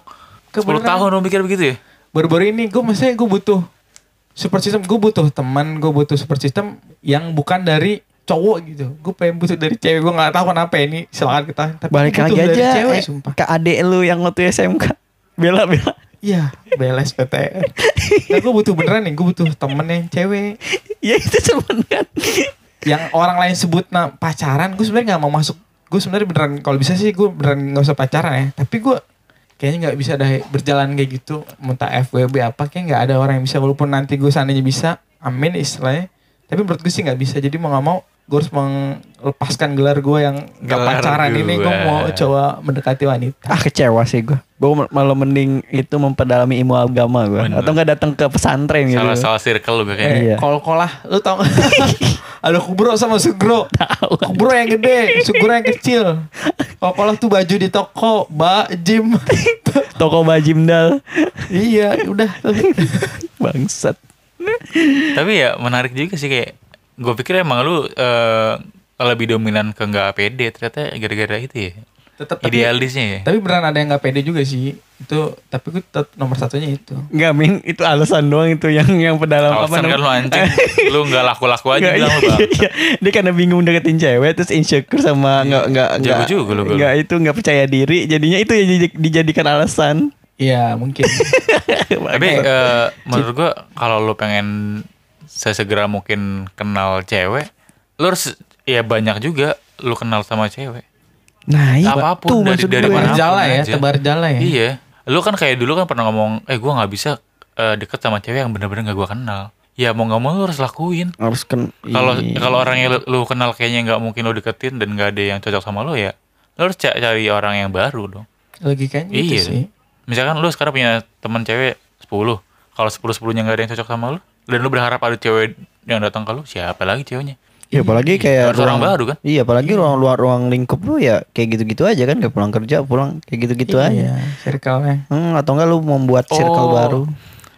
C: 10
A: Kebeneran.
C: tahun lu mikir begitu ya?
A: Baru-baru ini gue maksudnya gue butuh super system. Gue butuh teman, gue butuh super system yang bukan dari cowok gitu. Gue pengen butuh dari cewek. Gue nggak tahu kenapa ini. Silakan kita. Tapi gua
B: Balik
A: butuh
B: lagi
A: dari
B: aja
A: Cewek,
B: eh,
A: sumpah.
B: ke adik lu yang waktu SMK. Bela bela.
A: Iya. Beles PTN. nah, gue butuh beneran nih. Gue butuh temen yang cewek.
B: ya itu cuman kan.
A: Yang orang lain sebut nah, pacaran. Gue sebenarnya nggak mau masuk. Gue sebenarnya beneran kalau bisa sih gue beneran nggak usah pacaran ya. Tapi gue kayaknya nggak bisa dah berjalan kayak gitu minta FWB apa kayak nggak ada orang yang bisa walaupun nanti gue seandainya bisa amin istilahnya tapi menurut gue sih nggak bisa jadi mau nggak mau gue harus melepaskan gelar gue yang nggak
C: Gelar
A: pacaran ini gue
C: gue.
A: mau coba mendekati wanita
D: ah kecewa sih gue gue malah mending itu memperdalami ilmu agama gue
C: Bener.
D: atau nggak datang ke pesantren
B: Iya,
D: gitu
C: salah salah circle lu kayaknya.
D: Iya.
A: eh, kol kolah lu tau nggak? [LAUGHS] ada kubro sama sugro kubro yang gede sugro yang kecil kol kolah tuh baju di toko ba gym [LAUGHS]
D: toko bajimdal [LAUGHS]
A: iya udah
D: bangsat
C: Tapi ya menarik juga sih kayak gue pikir emang lu eh, lebih dominan ke nggak pede ternyata gara-gara itu ya.
A: tetap
C: Idealisnya ya.
A: Tapi beneran ada yang nggak pede juga sih. Itu tapi gue tetap nomor satunya itu.
D: Enggak min itu alasan doang itu yang yang pedalam apa
C: Alasan kan lu
B: [LAUGHS]
C: anjing, lu nggak laku-laku aja
D: Nggak,
C: bilang lu
D: iya,
C: bang.
D: iya. Dia karena bingung deketin cewek terus insecure sama nggak nggak
C: Iya. Jago
D: nggak
C: juga lu, Gol.
D: nggak itu nggak percaya diri jadinya itu yang dijad- dijadikan alasan. [LAUGHS]
A: Iya mungkin.
C: Tapi eh, menurut gua kalau lu pengen sesegera mungkin kenal cewek, lu harus ya banyak juga lu kenal sama cewek.
D: Nah, iya.
C: Apapun dari
D: Tuh, maksud
C: [LAUGHS] dari
D: gue.
A: Tebar
C: mana
A: jala ya, tebar jala ya.
B: Eh.
C: Iya. Lu kan kayak dulu kan pernah ngomong, "Eh, gua nggak bisa eh, deket sama cewek yang bener-bener nggak gua kenal." Ya mau nggak mau lu harus lakuin.
B: harus kan
C: Kalau
B: Iya.
C: kalau orang yang lu, lu kenal kayaknya nggak mungkin lu deketin dan nggak ada yang cocok sama lu ya, lu harus ca- cari orang yang baru dong.
A: Logikanya gitu
C: Iya.
A: sih.
C: Misalkan lu sekarang punya teman cewek 10 Kalau 10-10 nya gak ada yang cocok sama lu Dan lu berharap ada cewek yang datang ke lu Siapa lagi ceweknya?
A: Iya,
B: ya apalagi kayak
C: Harus orang baru kan?
B: iya apalagi ruang luar ruang lingkup lu ya kayak gitu-gitu aja kan kayak pulang kerja pulang kayak gitu-gitu aja
A: Iya, circle-nya.
B: Hmm, atau enggak lu membuat circle
C: Oh.
B: baru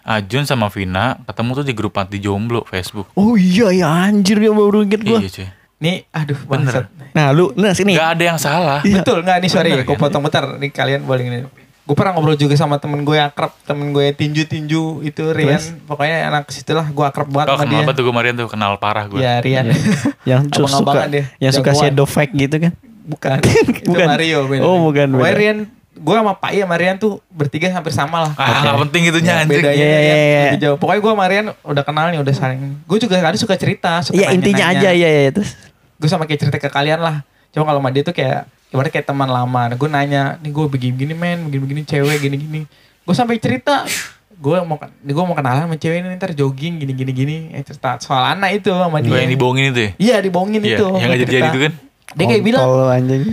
C: Ajun sama Vina ketemu tuh di grup anti jomblo Facebook
B: oh iya ya anjir ya baru inget gua
C: Iya cuy
A: Nih, aduh bangsat.
D: Nah, lu nah sini.
C: Gak ada yang salah
B: Iya.
A: Betul nggak nih sorry, gue potong bentar. Nih kalian boleh ini. Gue pernah ngobrol juga sama temen gue yang akrab, temen gue yang tinju-tinju itu Rian. Pokoknya anak situ lah, gue akrab banget
C: Kalau
B: Oh,
A: sama
C: kenal
A: dia.
C: apa tuh gue kemarin tuh kenal parah gue
A: Ya Rian.
B: Iya.
A: [LAUGHS]
B: yang su- suka
A: Abang-abangan dia,
B: yang suka
A: jagoan.
B: shadow fake gitu kan [LAUGHS]
A: Bukan. Itu
D: Bukan.
A: Mario beda.
D: Oh, bukan,
A: Pokoknya
D: beda.
A: Rian gue sama Pak I sama Rian tuh bertiga hampir sama lah.
C: Ah gak penting itunya
A: Ya,
C: anjing
A: bedanya
B: Iya,
A: Rian
B: iya, iya.
A: lebih jauh. Pokoknya gue sama Rian udah kenal nih, udah saling. Gue juga kadang suka cerita, suka
B: Iya intinya aja ya ya terus
A: Gue sama kayak cerita ke kalian lah. Cuma kalau sama dia tuh kayak, ibaratnya kayak teman lama. Gue nanya, nih gue begini-begini men, begini-begini cewek, gini-gini. Gue sampai cerita, gue mau gue mau kenalan sama cewek ini ntar jogging gini-gini gini. Eh, cerita soal anak itu sama dia.
C: Gue yang dibohongin itu ya
A: Iya dibohongin
C: Iya,
A: itu.
C: yang
A: Gua
C: gak jadi-jadi
A: cerita.
C: itu kan?
A: Dia kayak bilang,
B: Kontol, anjing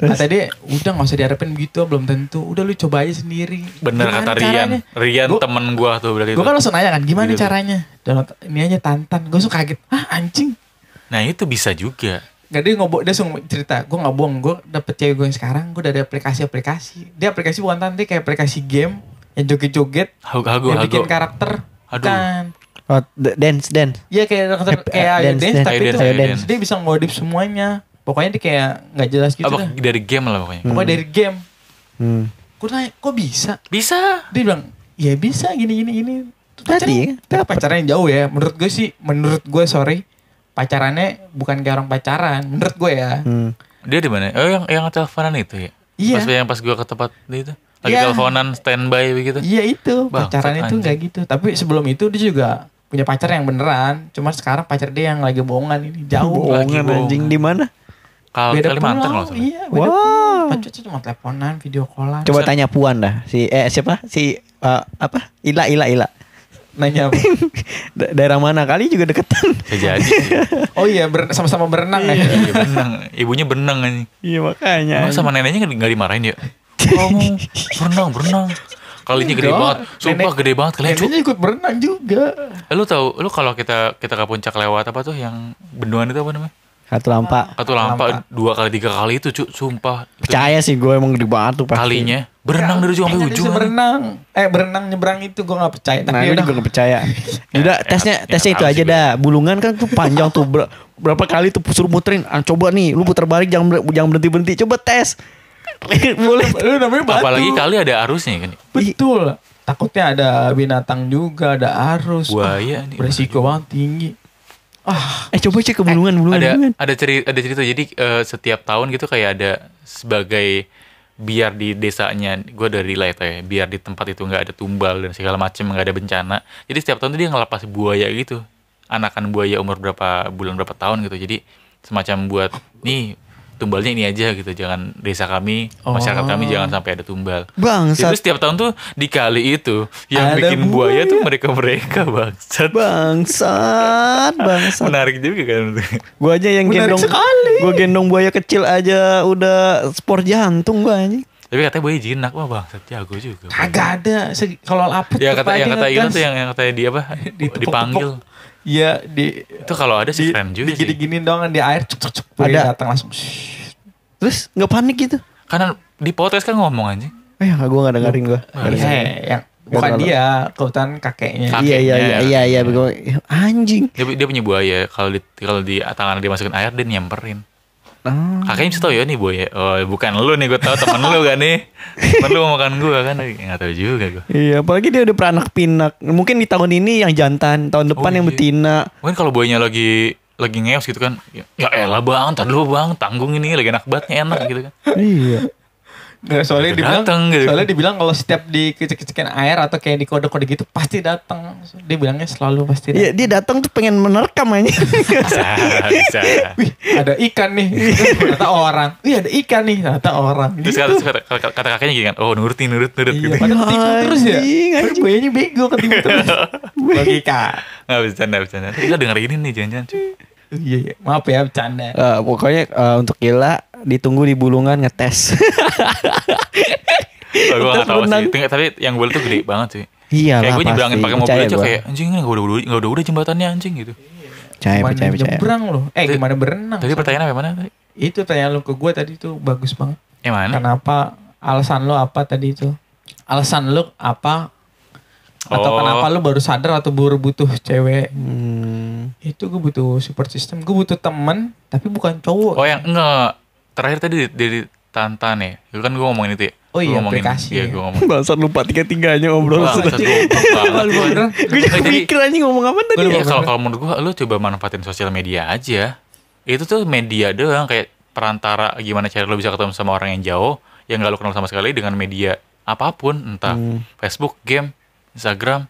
A: kata dia, udah gak usah diharapin begitu, belum tentu. Udah lu coba aja sendiri.
C: Bener
A: Gimana
C: kata Rian
A: caranya?
C: Rian
A: Gua-
C: temen gue tuh berarti
A: Gue
C: itu.
A: kan langsung nanya kan gimana
C: Gitu tuh.
A: caranya Download ini aja Tantan Gue suka kaget Ah anjing
C: Nah itu bisa juga
A: Gak dia ngobok Dia langsung cerita Gue gak bohong Gue dapet cewek gue yang sekarang Gue dari aplikasi-aplikasi Dia aplikasi bukan Tantan Dia kayak aplikasi game Yang joget-joget
C: Hago-hago
A: Yang bikin
C: Hago
A: karakter
C: Aduh.
A: Bukan
B: Oh, d- dance dance
A: Iya kayak karakter
B: Eh,
A: Kayak
B: eh,
A: dance,
B: dance,
A: dance,
B: dance.
A: Tapi
C: Ayo
A: itu
C: dance, ayo dance.
A: Dia bisa ngodip semuanya Pokoknya dia kayak Gak jelas gitu
C: Apa
A: dah
C: dari game lah pokoknya
A: Pokoknya dari game
B: hmm.
A: Gue nanya kok bisa
C: Bisa
A: Dia bilang Ya bisa gini-gini gini Pacaran-
B: Tadi,
A: tapi pacarannya jauh ya Menurut gue sih Menurut gue sorry Pacarannya bukan kayak orang pacaran Menurut gue ya
B: hmm.
C: Dia di mana? Oh yang yang teleponan itu ya?
A: Iya.
C: Pas yang pas gua ke tempat dia itu lagi
A: Iya.
C: teleponan standby begitu.
A: Iya itu
C: Bangsat,
A: Pacarannya itu
C: anjing.
A: gak gitu Tapi sebelum itu dia juga Punya pacar yang beneran Cuma sekarang pacar dia yang lagi bohongan ini Jauh
C: Bohongan,
B: bohongan anjing di mana
C: Kalau
A: Beda
C: Kalimantan
A: pulau
C: kalau nggak salah.
A: Iya beda
B: Wow.
A: pulau. Pacar cuma teleponan Video callan
B: coba tanya Puan dah si eh siapa si eh, apa Ila Ila Ila [LAUGHS]
A: Nanya apa?
B: Da- daerah mana kali juga deketan
C: Bisa jadi.
A: Oh iya ber- sama-sama berenang ya
C: Iya benang. Ibunya benang anjing.
B: iya makanya
C: Emang sama neneknya nggak nggak dimarahin ya? Kamu berenang berenang. Kalinya gede
A: Enggak.
C: banget. Sumpah
A: Iya. Nenek-
C: gede banget kalian. cu.
A: Neneknya ikut berenang juga
C: Eh, Lu tahu lu kalau kita kita ke puncak lewat apa tuh yang bendungan itu apa namanya?
B: satu lampa
C: Satu lampa dua kali tiga kali itu cu. Sumpah. Itu
B: percaya sih gue emang gede banget tuh pasti
C: Kalinya berenang dari ujung sampai
A: Neneknya
C: ujung.
A: bisa
C: anjing.
A: berenang Eh berenang nyebrang itu Gue gak percaya Tapi ya
B: Nah, ini
A: udah
B: juga gak
C: [LAUGHS]
B: percaya. Udah tesnya
C: enak-
B: tesnya
C: enak
B: itu
C: abis
B: aja
C: gue.
B: dah. Bulungan kan tuh panjang tuh ber- berapa kali tuh suruh muterin. Ah, coba nih, lu putar balik jangan ber- jangan berhenti berhenti. Coba tes. [LAUGHS] Boleh.
A: Lu namanya batu.
C: Apalagi kali ada arusnya kan.
A: Betul. Takutnya ada binatang juga, ada arus. Ah,
C: Buaya nih.
A: berisiko banget tinggi. Ah,
B: Eh coba cek ke bulungan, bulungan,
C: ada
B: bulungan.
C: ada cerita ada cerita jadi eh, setiap tahun gitu kayak ada sebagai biar di desanya gue dari relate ya biar di tempat itu nggak ada tumbal dan segala macem nggak ada bencana jadi setiap tahun tuh dia ngelepas buaya gitu anakan buaya umur berapa bulan berapa tahun gitu jadi semacam buat nih tumbalnya ini aja gitu jangan desa kami masyarakat kami jangan sampai ada tumbal itu
B: Bangsat.
C: setiap tahun tuh dikali itu yang
A: Ada
C: bikin buaya, tuh mereka mereka bangsat
B: Bangsat, bangsat.
C: menarik juga kan
B: Gua aja yang
A: Menarik
B: gendong.
A: sekali.
B: Gua gendong buaya kecil aja udah spor jantung gua anjing.
C: tapi katanya buaya jinak wah bangsat jago juga
A: Kagak ada. Se- Kalau laput
C: ya kata
A: tetap
C: yang
A: aja
C: kata itu
A: ngegas.
C: tuh yang yang katanya dia
A: [LAUGHS]
C: apa
A: Ditepok-tepok.
C: dipanggil
A: Iya di
C: itu kalau ada sih keren juga
A: digini
C: sih
A: gini doang di air cuk cuk cuk
B: Ada.
A: ada datang langsung
B: Terus nggak panik gitu.
C: karena di podcast kan ngomong anjing
B: Eh, gua nggak dengerin gua.
A: Iya, yang bukan
B: Nggak
A: dia kebetulan kakeknya
C: Oh, Kak-
B: Eh, Iya iya iya
C: Kakeknya.
B: iya iya gua- anjing.
C: dia, dia punya buaya kalau di kalau di tangan dia masukin air dia nyamperin
B: Ah.
C: kakaknya bisa tau ya nih buaya oh bukan lu nih gue tau temen lu kan nih temen lu mau makan gue kan nggak tahu juga gue
B: Iya, apalagi dia udah peranak pinak. Mungkin di tahun ini yang jantan, tahun depan
C: Oh,
B: yang
C: iya.
B: betina.
C: mungkin kalau buayanya lagi lagi ngeos gitu kan ya ya elah bang tar dulu bang tanggung ini lagi enak banget enak gitu kan
B: iya.
A: Nggak, soalnya
C: Udah
A: dibilang
C: datang gitu.
A: soalnya dibilang kalau setiap dikecek-kecekin air atau kayak di kode-kode gitu pasti datang dia bilangnya selalu pasti datang.
B: Iya, dia datang tuh pengen menerkam aja.
C: bisa bisa
A: Wih, ada ikan nih ternyata orang wih ada ikan nih ternyata orang
C: terus kata, kata, kata- kata kakaknya gini kan oh nurutin nurut nurut
A: Iya,
C: gitu
A: padahal ketipu terus ya.
B: Anjing,
A: Padahal
B: anjing.
A: buayanya bego ketipu
B: [LAUGHS]
A: terus. Logika.
C: nggak bercanda bercanda kita denger ini nih jangan-jangan cuy
A: Iya, iya. Maaf ya bercanda.
B: [LAUGHS] Eh, pokoknya eh, untuk gila ditunggu di bulungan ngetes. [LAUGHS]
C: Oh, gue
B: Terus
C: gak tau
B: berenang.
C: sih Tapi- tapi yang gue tuh gede banget sih
B: Iya
C: kayak
B: lah,
C: gue nyebrangin
B: pasti.
C: pakai mobil
B: Percaya
C: aja
B: gua.
C: kayak anjing ini nggak udah udah nggak udah udah jembatannya anjing gitu
B: Percaya,
A: Gimana
B: percaya, percaya.
A: nyebrang loh. Eh, gimana berenang?
C: tadi pertanyaan apa yang mana tadi
A: Itu tanya lu ke gue tadi tuh bagus banget.
C: eh mana
A: Kenapa alasan lu apa tadi itu? Alasan lu apa? Atau
C: Oh.
A: kenapa lu baru sadar atau baru butuh cewek?
B: Hmm.
A: Itu gue butuh support system. Gue butuh temen, tapi bukan cowok.
C: oh yang enggak terakhir tadi dari- dari Tantan ya itu kan gue ngomongin itu ya
A: Oh
C: Gua
A: iya,
C: ngomongin,
A: aplikasi
C: iya
A: ya.
C: gue ngomongin
B: Bangsat lupa tiga-tiganya ngobrol.
C: Wah, satu goblok banget. Eh,
B: Gue juga
C: Jadi-
B: mikir aja ngomong apa tadi.
C: Iya, kalau kalau menurut gua lu coba manfaatin sosial media aja. Itu tuh media doang kayak perantara gimana cara lu bisa ketemu sama orang yang jauh yang gak lu kenal sama sekali dengan media apapun, entah
B: Hmm.
C: Facebook, game, Instagram,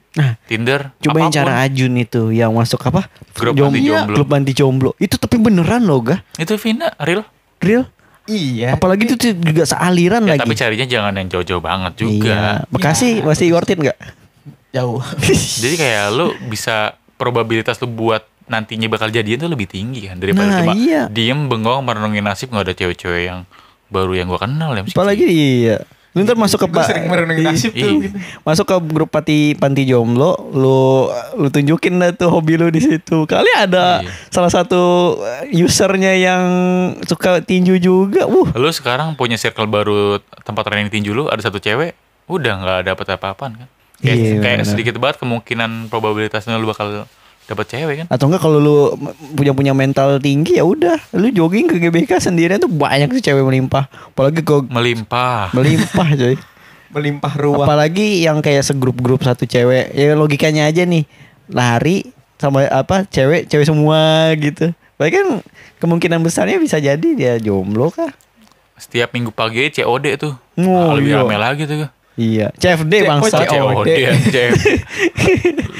C: Tinder,
B: Coba
C: apapun.
B: yang Nah, cara Ajun itu yang masuk apa?
C: Grup
B: Jom-
C: anti jomblo.
B: Grup anti jomblo. Itu tapi beneran loh, gah.
C: Itu Vina real.
B: Real.
A: Iya.
B: Apalagi itu tuh juga sealiran
C: Ya,
B: lagi.
C: tapi carinya jangan yang jauh-jauh banget
B: Iya.
C: juga.
B: Bekasi masih worth it nggak?
A: Iya.
B: [LAUGHS]
A: Jauh.
C: Jadi kayak lu bisa probabilitas lu buat nantinya bakal jadian tuh lebih tinggi kan daripada
B: Nah,
C: cuma
B: iya.
C: diem bengong merenungin nasib nggak ada cewek-cewek yang baru yang gua kenal ya mesti
B: Apalagi iya. Lu ntar masuk ke
A: Gue sering merenungi nasib tuh.
C: Iya.
A: gitu.
B: masuk ke grup panti panti jomblo, lu lu tunjukin lah tuh hobi lu di situ. Kali ada
C: Iya.
B: salah satu eh, usernya yang suka tinju juga. Wuh,
C: Lu sekarang punya circle baru tempat training tinju lu ada satu cewek, udah nggak dapet apa-apaan kan? Kayak,
B: Iya,
C: kayak
B: benar.
C: sedikit banget kemungkinan probabilitasnya lu bakal dapet cewek kan?
B: atau enggak kalau lu punya punya mental tinggi ya udah, lu jogging ke GBK sendirian tuh banyak tuh cewek melimpah. Apalagi ke
C: Melimpah.
B: melimpah, coy.
A: Melimpah ruah.
B: Apalagi yang kayak segrup-grup satu cewek. Ya logikanya aja nih. Lari sama apa cewek, cewek semua gitu. Tapi kan kemungkinan besarnya bisa jadi dia jomblo kah?
C: Setiap minggu pagi COD tuh. Nah,
B: Oh,
C: lebih
B: iya.
C: rame lagi tuh.
B: Iya. CFD
A: Cek,
B: bangsa.
A: kok CFD?
C: COD.
B: [LAUGHS]
C: COD.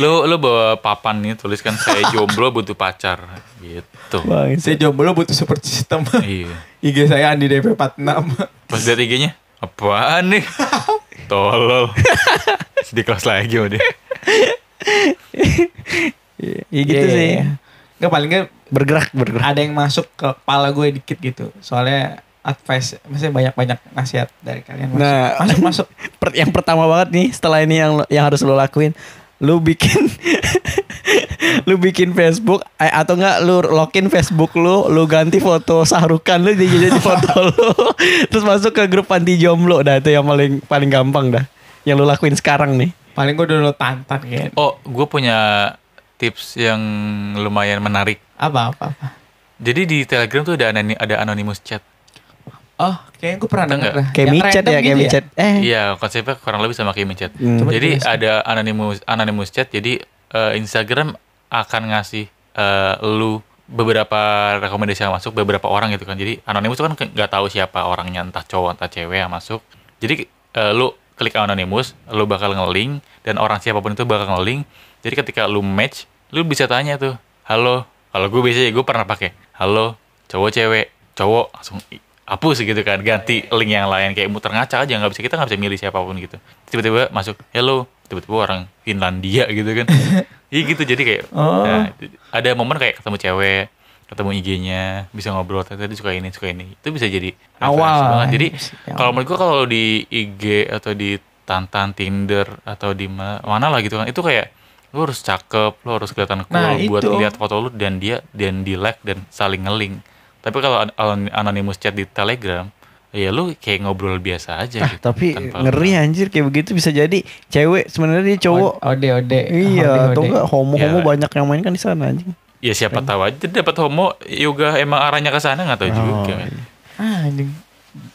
C: lu lu bawa papan nih tuliskan saya jomblo butuh pacar gitu.
B: Bangsa.
A: Saya jomblo butuh support system. [LAUGHS]
C: iya.
A: IG saya Andi DP 46.
C: Pas lihat IG-nya, apaan
B: [LAUGHS]
C: nih? Tolol. Di kelas lagi udah.
B: Iya gitu
A: Iya, iya,
B: sih.
A: iya. Nggak paling nggak
B: Bergerak, bergerak.
A: ada yang masuk ke kepala gue dikit gitu. Soalnya advice, maksudnya banyak-banyak nasihat dari kalian. Masuk,
B: Nah.
A: masuk, masuk.
B: Per- yang pertama banget nih setelah ini yang yang harus lo lakuin lu bikin [LAUGHS] lu bikin Facebook eh, atau enggak lu login Facebook lu lu ganti foto sahrukan lu jadi jadi foto [LAUGHS] lu terus masuk ke grup anti jomblo dah itu yang paling paling gampang dah yang lu lakuin sekarang nih
A: Paling gue download tantan kan.
C: Oh, gue punya tips yang lumayan menarik.
A: Apa, apa, apa.
C: Jadi di Telegram tuh ada anani- ada anonymous chat.
A: Oh, kayaknya gue pernah
C: Ada
A: denger
C: nggak?
A: dah.
B: kayak
A: Yang
B: micet
A: random
B: ya kayak
A: gitu
B: micet eh
C: Iya, konsepnya kurang lebih sama kayak micet.
A: Coba
C: Jadi
A: jelasin.
C: ada anonymous anonymous chat. Jadi eh, Instagram akan ngasih eh, lu beberapa rekomendasi yang masuk beberapa orang gitu kan. Jadi anonymous tuh kan ke- nggak tahu siapa orangnya entah cowok entah cewek yang masuk. Jadi eh, lu klik anonymous, lu bakal nge-link dan orang siapapun itu bakal nge-link. Jadi ketika lu match, lu bisa tanya tuh, "Halo." Kalau gue biasanya gue pernah pakai, "Halo, cowok cewek." cowok langsung i- hapus gitu kan ganti link yang lain kayak muter ngaca aja nggak bisa kita nggak bisa milih siapapun gitu tiba-tiba masuk hello tiba-tiba orang Finlandia gitu
A: [LAUGHS]
C: kan iya gitu jadi kayak
A: Oh.
C: nah, ada momen kayak ketemu cewek ketemu IG-nya bisa ngobrol tadi suka ini suka ini itu bisa jadi referensi
A: Awal.
C: banget. jadi
A: Ya.
C: kalau menurut gua kalau di IG atau di Tantan Tinder atau di ma- mana lah gitu kan itu kayak lu harus cakep lu harus kelihatan cool
A: Nah,
C: buat
A: itu.
C: lihat foto lu dan dia dan di like dan saling ngeling tapi kalau an- an- anonymous chat di Telegram ya lu kayak ngobrol biasa aja gitu,
B: Ah, Tapi
C: tanpa-
B: ngeri ya. anjir kayak begitu bisa jadi cewek sebenarnya dia cowok.
A: Ode ode.
B: Iya, atau enggak homo-homo
C: Ya.
B: banyak yang main kan di sana anjing.
C: ya
B: Iya.
C: siapa tahu aja dapat homo yoga emang arahnya ke sana nggak tahu
B: Oh,
C: juga
B: iya.
A: Ah, anjing.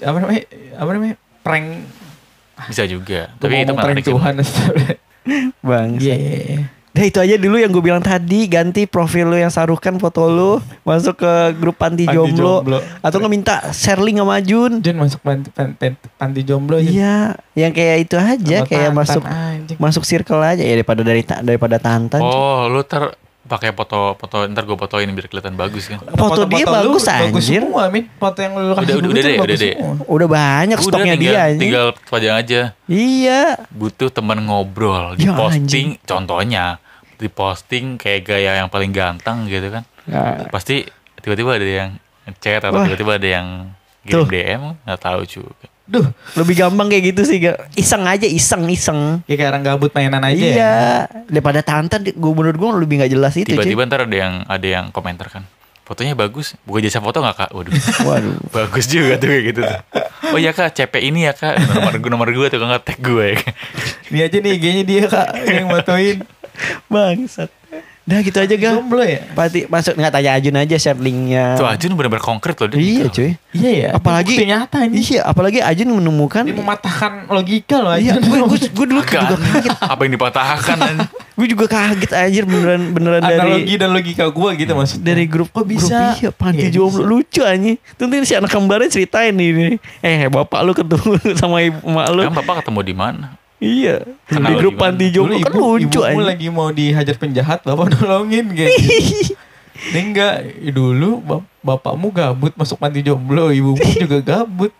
A: Apa namanya? Apa namanya? Prank.
C: bisa juga
A: Tuh,
C: tapi itu
A: ngomong prank
C: menarik sih.
A: Tuhan.
B: Bang.
A: [LAUGHS] Iya.
B: Nah itu aja dulu yang gue bilang tadi Ganti profil lu yang sarukan foto lu Masuk ke grup panti
A: Panti
B: jomblo,
A: jomblo.
B: Atau nggak minta share link sama Jun
A: Jun masuk panti, panti, panti jomblo Jun.
B: Iya Yang kayak itu aja
A: Sama
B: Iya, Kayak
A: Tantan,
B: masuk
A: anjing.
B: Masuk circle aja Ya daripada dari ta- daripada Tantan
C: oh lu ter pakai foto foto ntar gue fotoin biar kelihatan bagus kan
B: Foto dia
A: lu
B: bagus, anjir.
A: semua, Min. Foto yang lu kasih
C: Udah- udah-
A: gue tuh
C: udah deh, udah
A: bagus
C: deh.
A: semua.
B: Udah banyak
C: Udah,
B: stoknya
C: tinggal,
B: dia anjing.
C: tinggal pajang aja
B: Iya
C: butuh teman ngobrol di
B: Ya,
C: posting contohnya di posting kayak gaya yang paling ganteng gitu kan pasti tiba-tiba ada yang chat atau
B: Wah.
C: tiba-tiba ada yang kirim
B: Tuh.
C: DM nggak tahu juga
A: Duh,
B: Lebih gampang kayak gitu sih Ga. Iseng aja iseng-iseng
A: ya kayak orang gabut mainan aja. ya.
B: Iya Daripada Tantan gue menurut gue lebih nggak jelas itu cuy.
C: tiba-tiba ntar ada yang ada yang komentar kan fotonya bagus buka jasa foto nggak kak waduh
B: [LAUGHS]
C: [LAUGHS]
B: Waduh
C: bagus juga tuh kayak gitu tuh. oh ya kak CP ini ya kak nomor gue nomor gue tuh nggak tag gue
B: [LAUGHS]
C: ya, Kak.
A: Dia aja nih IG-nya dia Kak yang motoin.
B: Bangsat Udah gitu aja ga
A: Jomblo ya?
B: Pasti masuk nggak tanya Ajun aja share linknya
C: tuh Ajun bener-bener konkret loh dia
B: Iya
C: gitu.
B: cuy
A: Iya ya.
B: apalagi
A: Bukti nyata ini.
B: iya apalagi Ajun menemukan
A: Dia mematahkan logika loh
B: iya
A: aja.
B: gue
A: [LAUGHS]
B: gue- gue dulu
C: Agak- [LAUGHS]
B: juga kaget
C: apa yang dipatahkan anjing.
B: gue juga kaget anjir beneran beneran
A: Analogi
B: dari
A: dan logika gue gitu maksudnya.
B: dari grup
A: Kok bisa?
B: grup, iya, panti
A: Iya,
B: jomblo lucu anjir tentu si anak kembarnya ceritain ini eh bapak lu ketemu [LAUGHS] sama ibu emak lu
C: Kan bapak ketemu di mana?
B: iya di
C: Kenal
B: grup
C: gimana?
B: panti
A: Dulu
B: jomblo kan
A: ibu,
B: lucu
A: ibumu
B: anjir
A: lagi mau dihajar penjahat, bapak nolongin kayak
B: [LAUGHS]
A: gitu. Ini enggak, dulu bap- bapakmu gabut masuk panti jomblo,
B: [LAUGHS]
A: ibumu juga gabut.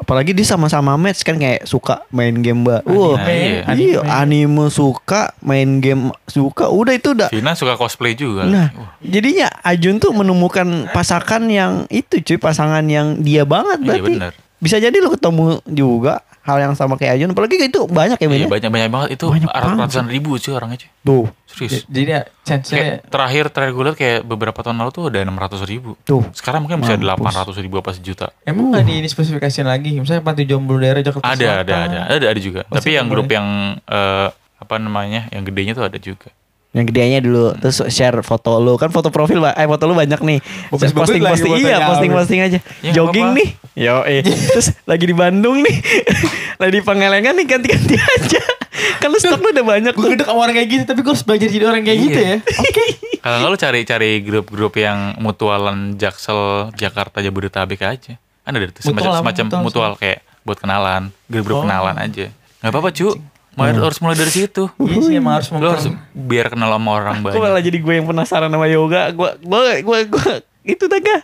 B: apalagi dia sama-sama match kan kayak suka main game mbak
C: Anime,
B: Wah,
C: iya.
B: iya anime suka main game suka udah itu udah
C: Vina suka cosplay juga.
B: Nah,
C: Wah,
B: jadinya Ajun tuh menemukan pasangan yang itu cuy, pasangan yang dia banget
C: Iya,
B: berarti.
C: benar.
B: Bisa jadi lu ketemu juga hal yang sama kayak Ajun, apalagi itu banyak ya, Min,
C: iya,
B: ya?
C: banyak banyak banget itu
B: Banyak
C: rat-
B: banget.
C: ratusan ribu cuy orangnya cuy.
B: Tuh,
C: Serius.
A: J- Jadi ya, chance-nya
C: Kayak terakhir terakhir gue liat kayak beberapa tahun lalu tuh ada 600 ribu.
B: Tuh.
C: Sekarang mungkin bisa
B: Mampus.
C: 800 ribu apa sejuta.
A: Emang nggak di ini spesifikasiin lagi? Misalnya panti jomblo daerah Jakarta Selatan.
C: Ada, ada ada ada ada juga.
A: Pasti
C: Tapi yang
A: boleh.
C: grup yang eh, apa namanya yang gedenya tuh ada juga.
B: yang gedenya dulu terus share foto lu. Kan foto profil, Pak. Eh, foto lu banyak nih.
A: Bagus-bagus lagi
B: Posting-posting
A: fotonya,
B: iya,
A: Amin.
B: posting-posting aja.
C: Ya,
B: Jogging
C: apa-apa.
B: nih. Yo, eh. terus lagi di Bandung nih. [LAUGHS] lagi di Pangalengan nih ganti-ganti aja. [LAUGHS] Kan lu stok lu udah banyak
A: Gue
B: tuh.
A: gedek sama orang kayak gitu, tapi gue harus belajar jadi orang kayak
C: Iya.
A: gitu ya. Oke.
C: Kalau nggak lu cari-cari grup-grup yang mutualan Jaksel, Jakarta, Jabodetabek aja. Kan ada tuh semacam
A: Mutual apa?
C: semacam
A: Mutual,
C: mutual kayak buat kenalan, grup-grup kenalan aja. Gak apa-apa cu, Mulai- harus mulai dari situ.
A: Iya sih, emang harus
C: Oh, Lu harus
A: memper-
C: biar kenal sama orang
B: Kok
C: banyak.
B: malah jadi gue yang penasaran sama yoga. Gue gue gue gue itu dah gak.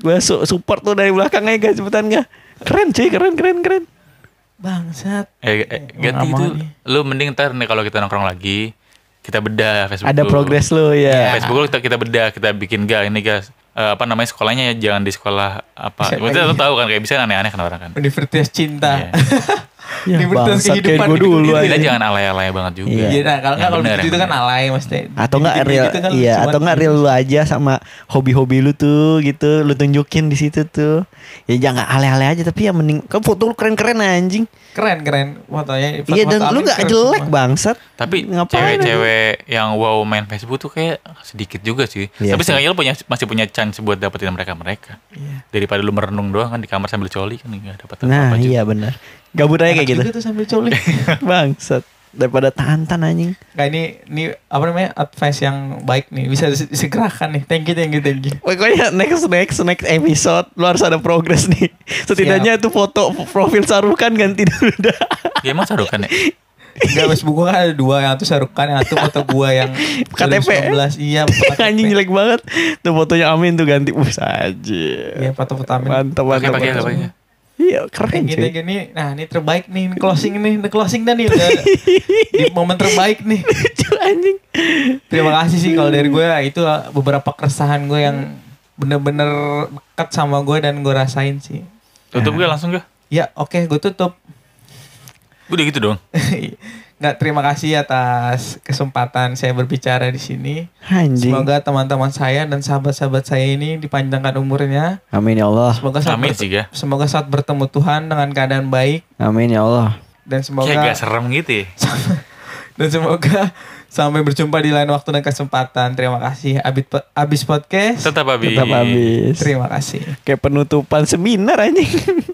B: Gue su- support tuh dari belakangnya guys cepetan gak. Keren cuy, keren keren keren.
A: Bangsat.
C: Eh,
B: Iya,
C: eh, ganti
A: Lama
C: itu.
A: nih.
C: Lu mending ntar nih kalau kita nongkrong lagi, kita bedah Facebook.
B: Ada
C: lu. Iya,
B: progres lo
A: Iya.
B: ya.
C: Facebook lu kita, kita bedah, kita bikin ga ini guys. Eh, apa namanya sekolahnya ya, jangan di sekolah apa.
A: Bisa-
C: Maksudnya lu tahu kan kayak bisa aneh-aneh kan orang kan.
A: Universitas cinta.
B: Ya,
A: [LAUGHS] Universitas
B: bangsat, kayak
A: kehidupan
B: gue dulu
A: gitu-gitu.
B: aja.
C: Iya. Kita jangan alay-alay banget juga.
B: Iya.
A: Iya, nah, kalau nggak
C: Yang
A: kalau
C: bener,
A: begitu itu
C: yang
A: kan alay mesti.
B: Atau enggak
A: Gitu-gitu
B: real
A: kan
B: iya,
A: cuman-
B: atau enggak real lu aja sama hobi-hobi lu tuh gitu, lu tunjukin di situ tuh. Ya jangan aleh-aleh aja tapi ya mending kan foto lu keren-keren anjing.
A: Keren keren fotonya.
B: Iya
A: foto-foto
B: dan lu
A: Amin
B: nggak
A: keren
B: jelek
A: semua.
B: bangsat.
C: Tapi
B: Ngapain
C: cewek-cewek yang wow main Facebook tuh kayak sedikit juga sih.
B: Iya
C: Tapi
B: sih. Iya.
C: seenggaknya lu punya masih punya chance buat dapetin mereka mereka. Daripada lu merenung doang kan di kamar sambil coli kan nggak dapat apa-apa.
B: Nah,
C: juga.
B: iya benar. Gabut aja kayak
A: Enak
B: gitu.
A: juga tuh sambil
B: [LAUGHS]
A: coli.
B: Bangsat. Daripada tantan anjing.
A: Nah ini ini apa namanya advice yang baik nih bisa dise- disegerakan nih. Thank you thank you thank you.
B: Pokoknya next next next episode lu harus ada progres nih. Setidaknya itu foto profil sarukan kan ganti dulu dah.
C: Ya emang sarukan ya?
A: Enggak, Facebook gua kan ada dua yang satu Sarukan, yang satu foto gua
D: [LAUGHS]
A: yang
D: KTP.
A: 2019. Iya, foto
D: [LAUGHS]
B: [LAUGHS]
D: Anjing
A: KTP.
D: jelek banget. Tuh fotonya Amin tuh ganti bus aja.
A: Iya, foto vitamin.
D: Mantap
C: Pakai
D: mantap.
C: pakai
D: mantap.
C: apa ya?
A: Kayak
D: Iya, keren
A: gini
D: cuy.
A: gini. Nah, ini terbaik nih, ini closing nih, ini closing dan nih udah
D: [LAUGHS]
A: di momen terbaik nih.
D: Lucu anjing.
A: Terima kasih sih kalau dari gue nah, itu beberapa keresahan gue yang bener-bener dekat sama gue dan gue rasain sih.
C: Tutup gue langsung gue.
A: Ya, oke, gue tutup. [LAUGHS]
C: Udah gitu dong.
A: Nggak, terima kasih atas kesempatan saya berbicara di sini.
B: Anjing.
A: Semoga teman-teman saya dan sahabat-sahabat saya ini dipanjangkan umurnya.
B: Amin ya Allah.
A: Semoga saat,
C: Amin
A: bert-
C: sih ya.
A: semoga saat bertemu Tuhan dengan keadaan baik
B: Amin ya Allah.
A: dan semoga
C: Kayak gak serem gitu ya.
A: dan semoga [LAUGHS] sampai berjumpa di lain waktu dan kesempatan. Terima kasih Abis Abis Podcast.
C: Tetap habis.
B: Tetap habis.
A: Terima kasih.
D: Kayak penutupan seminar anjing.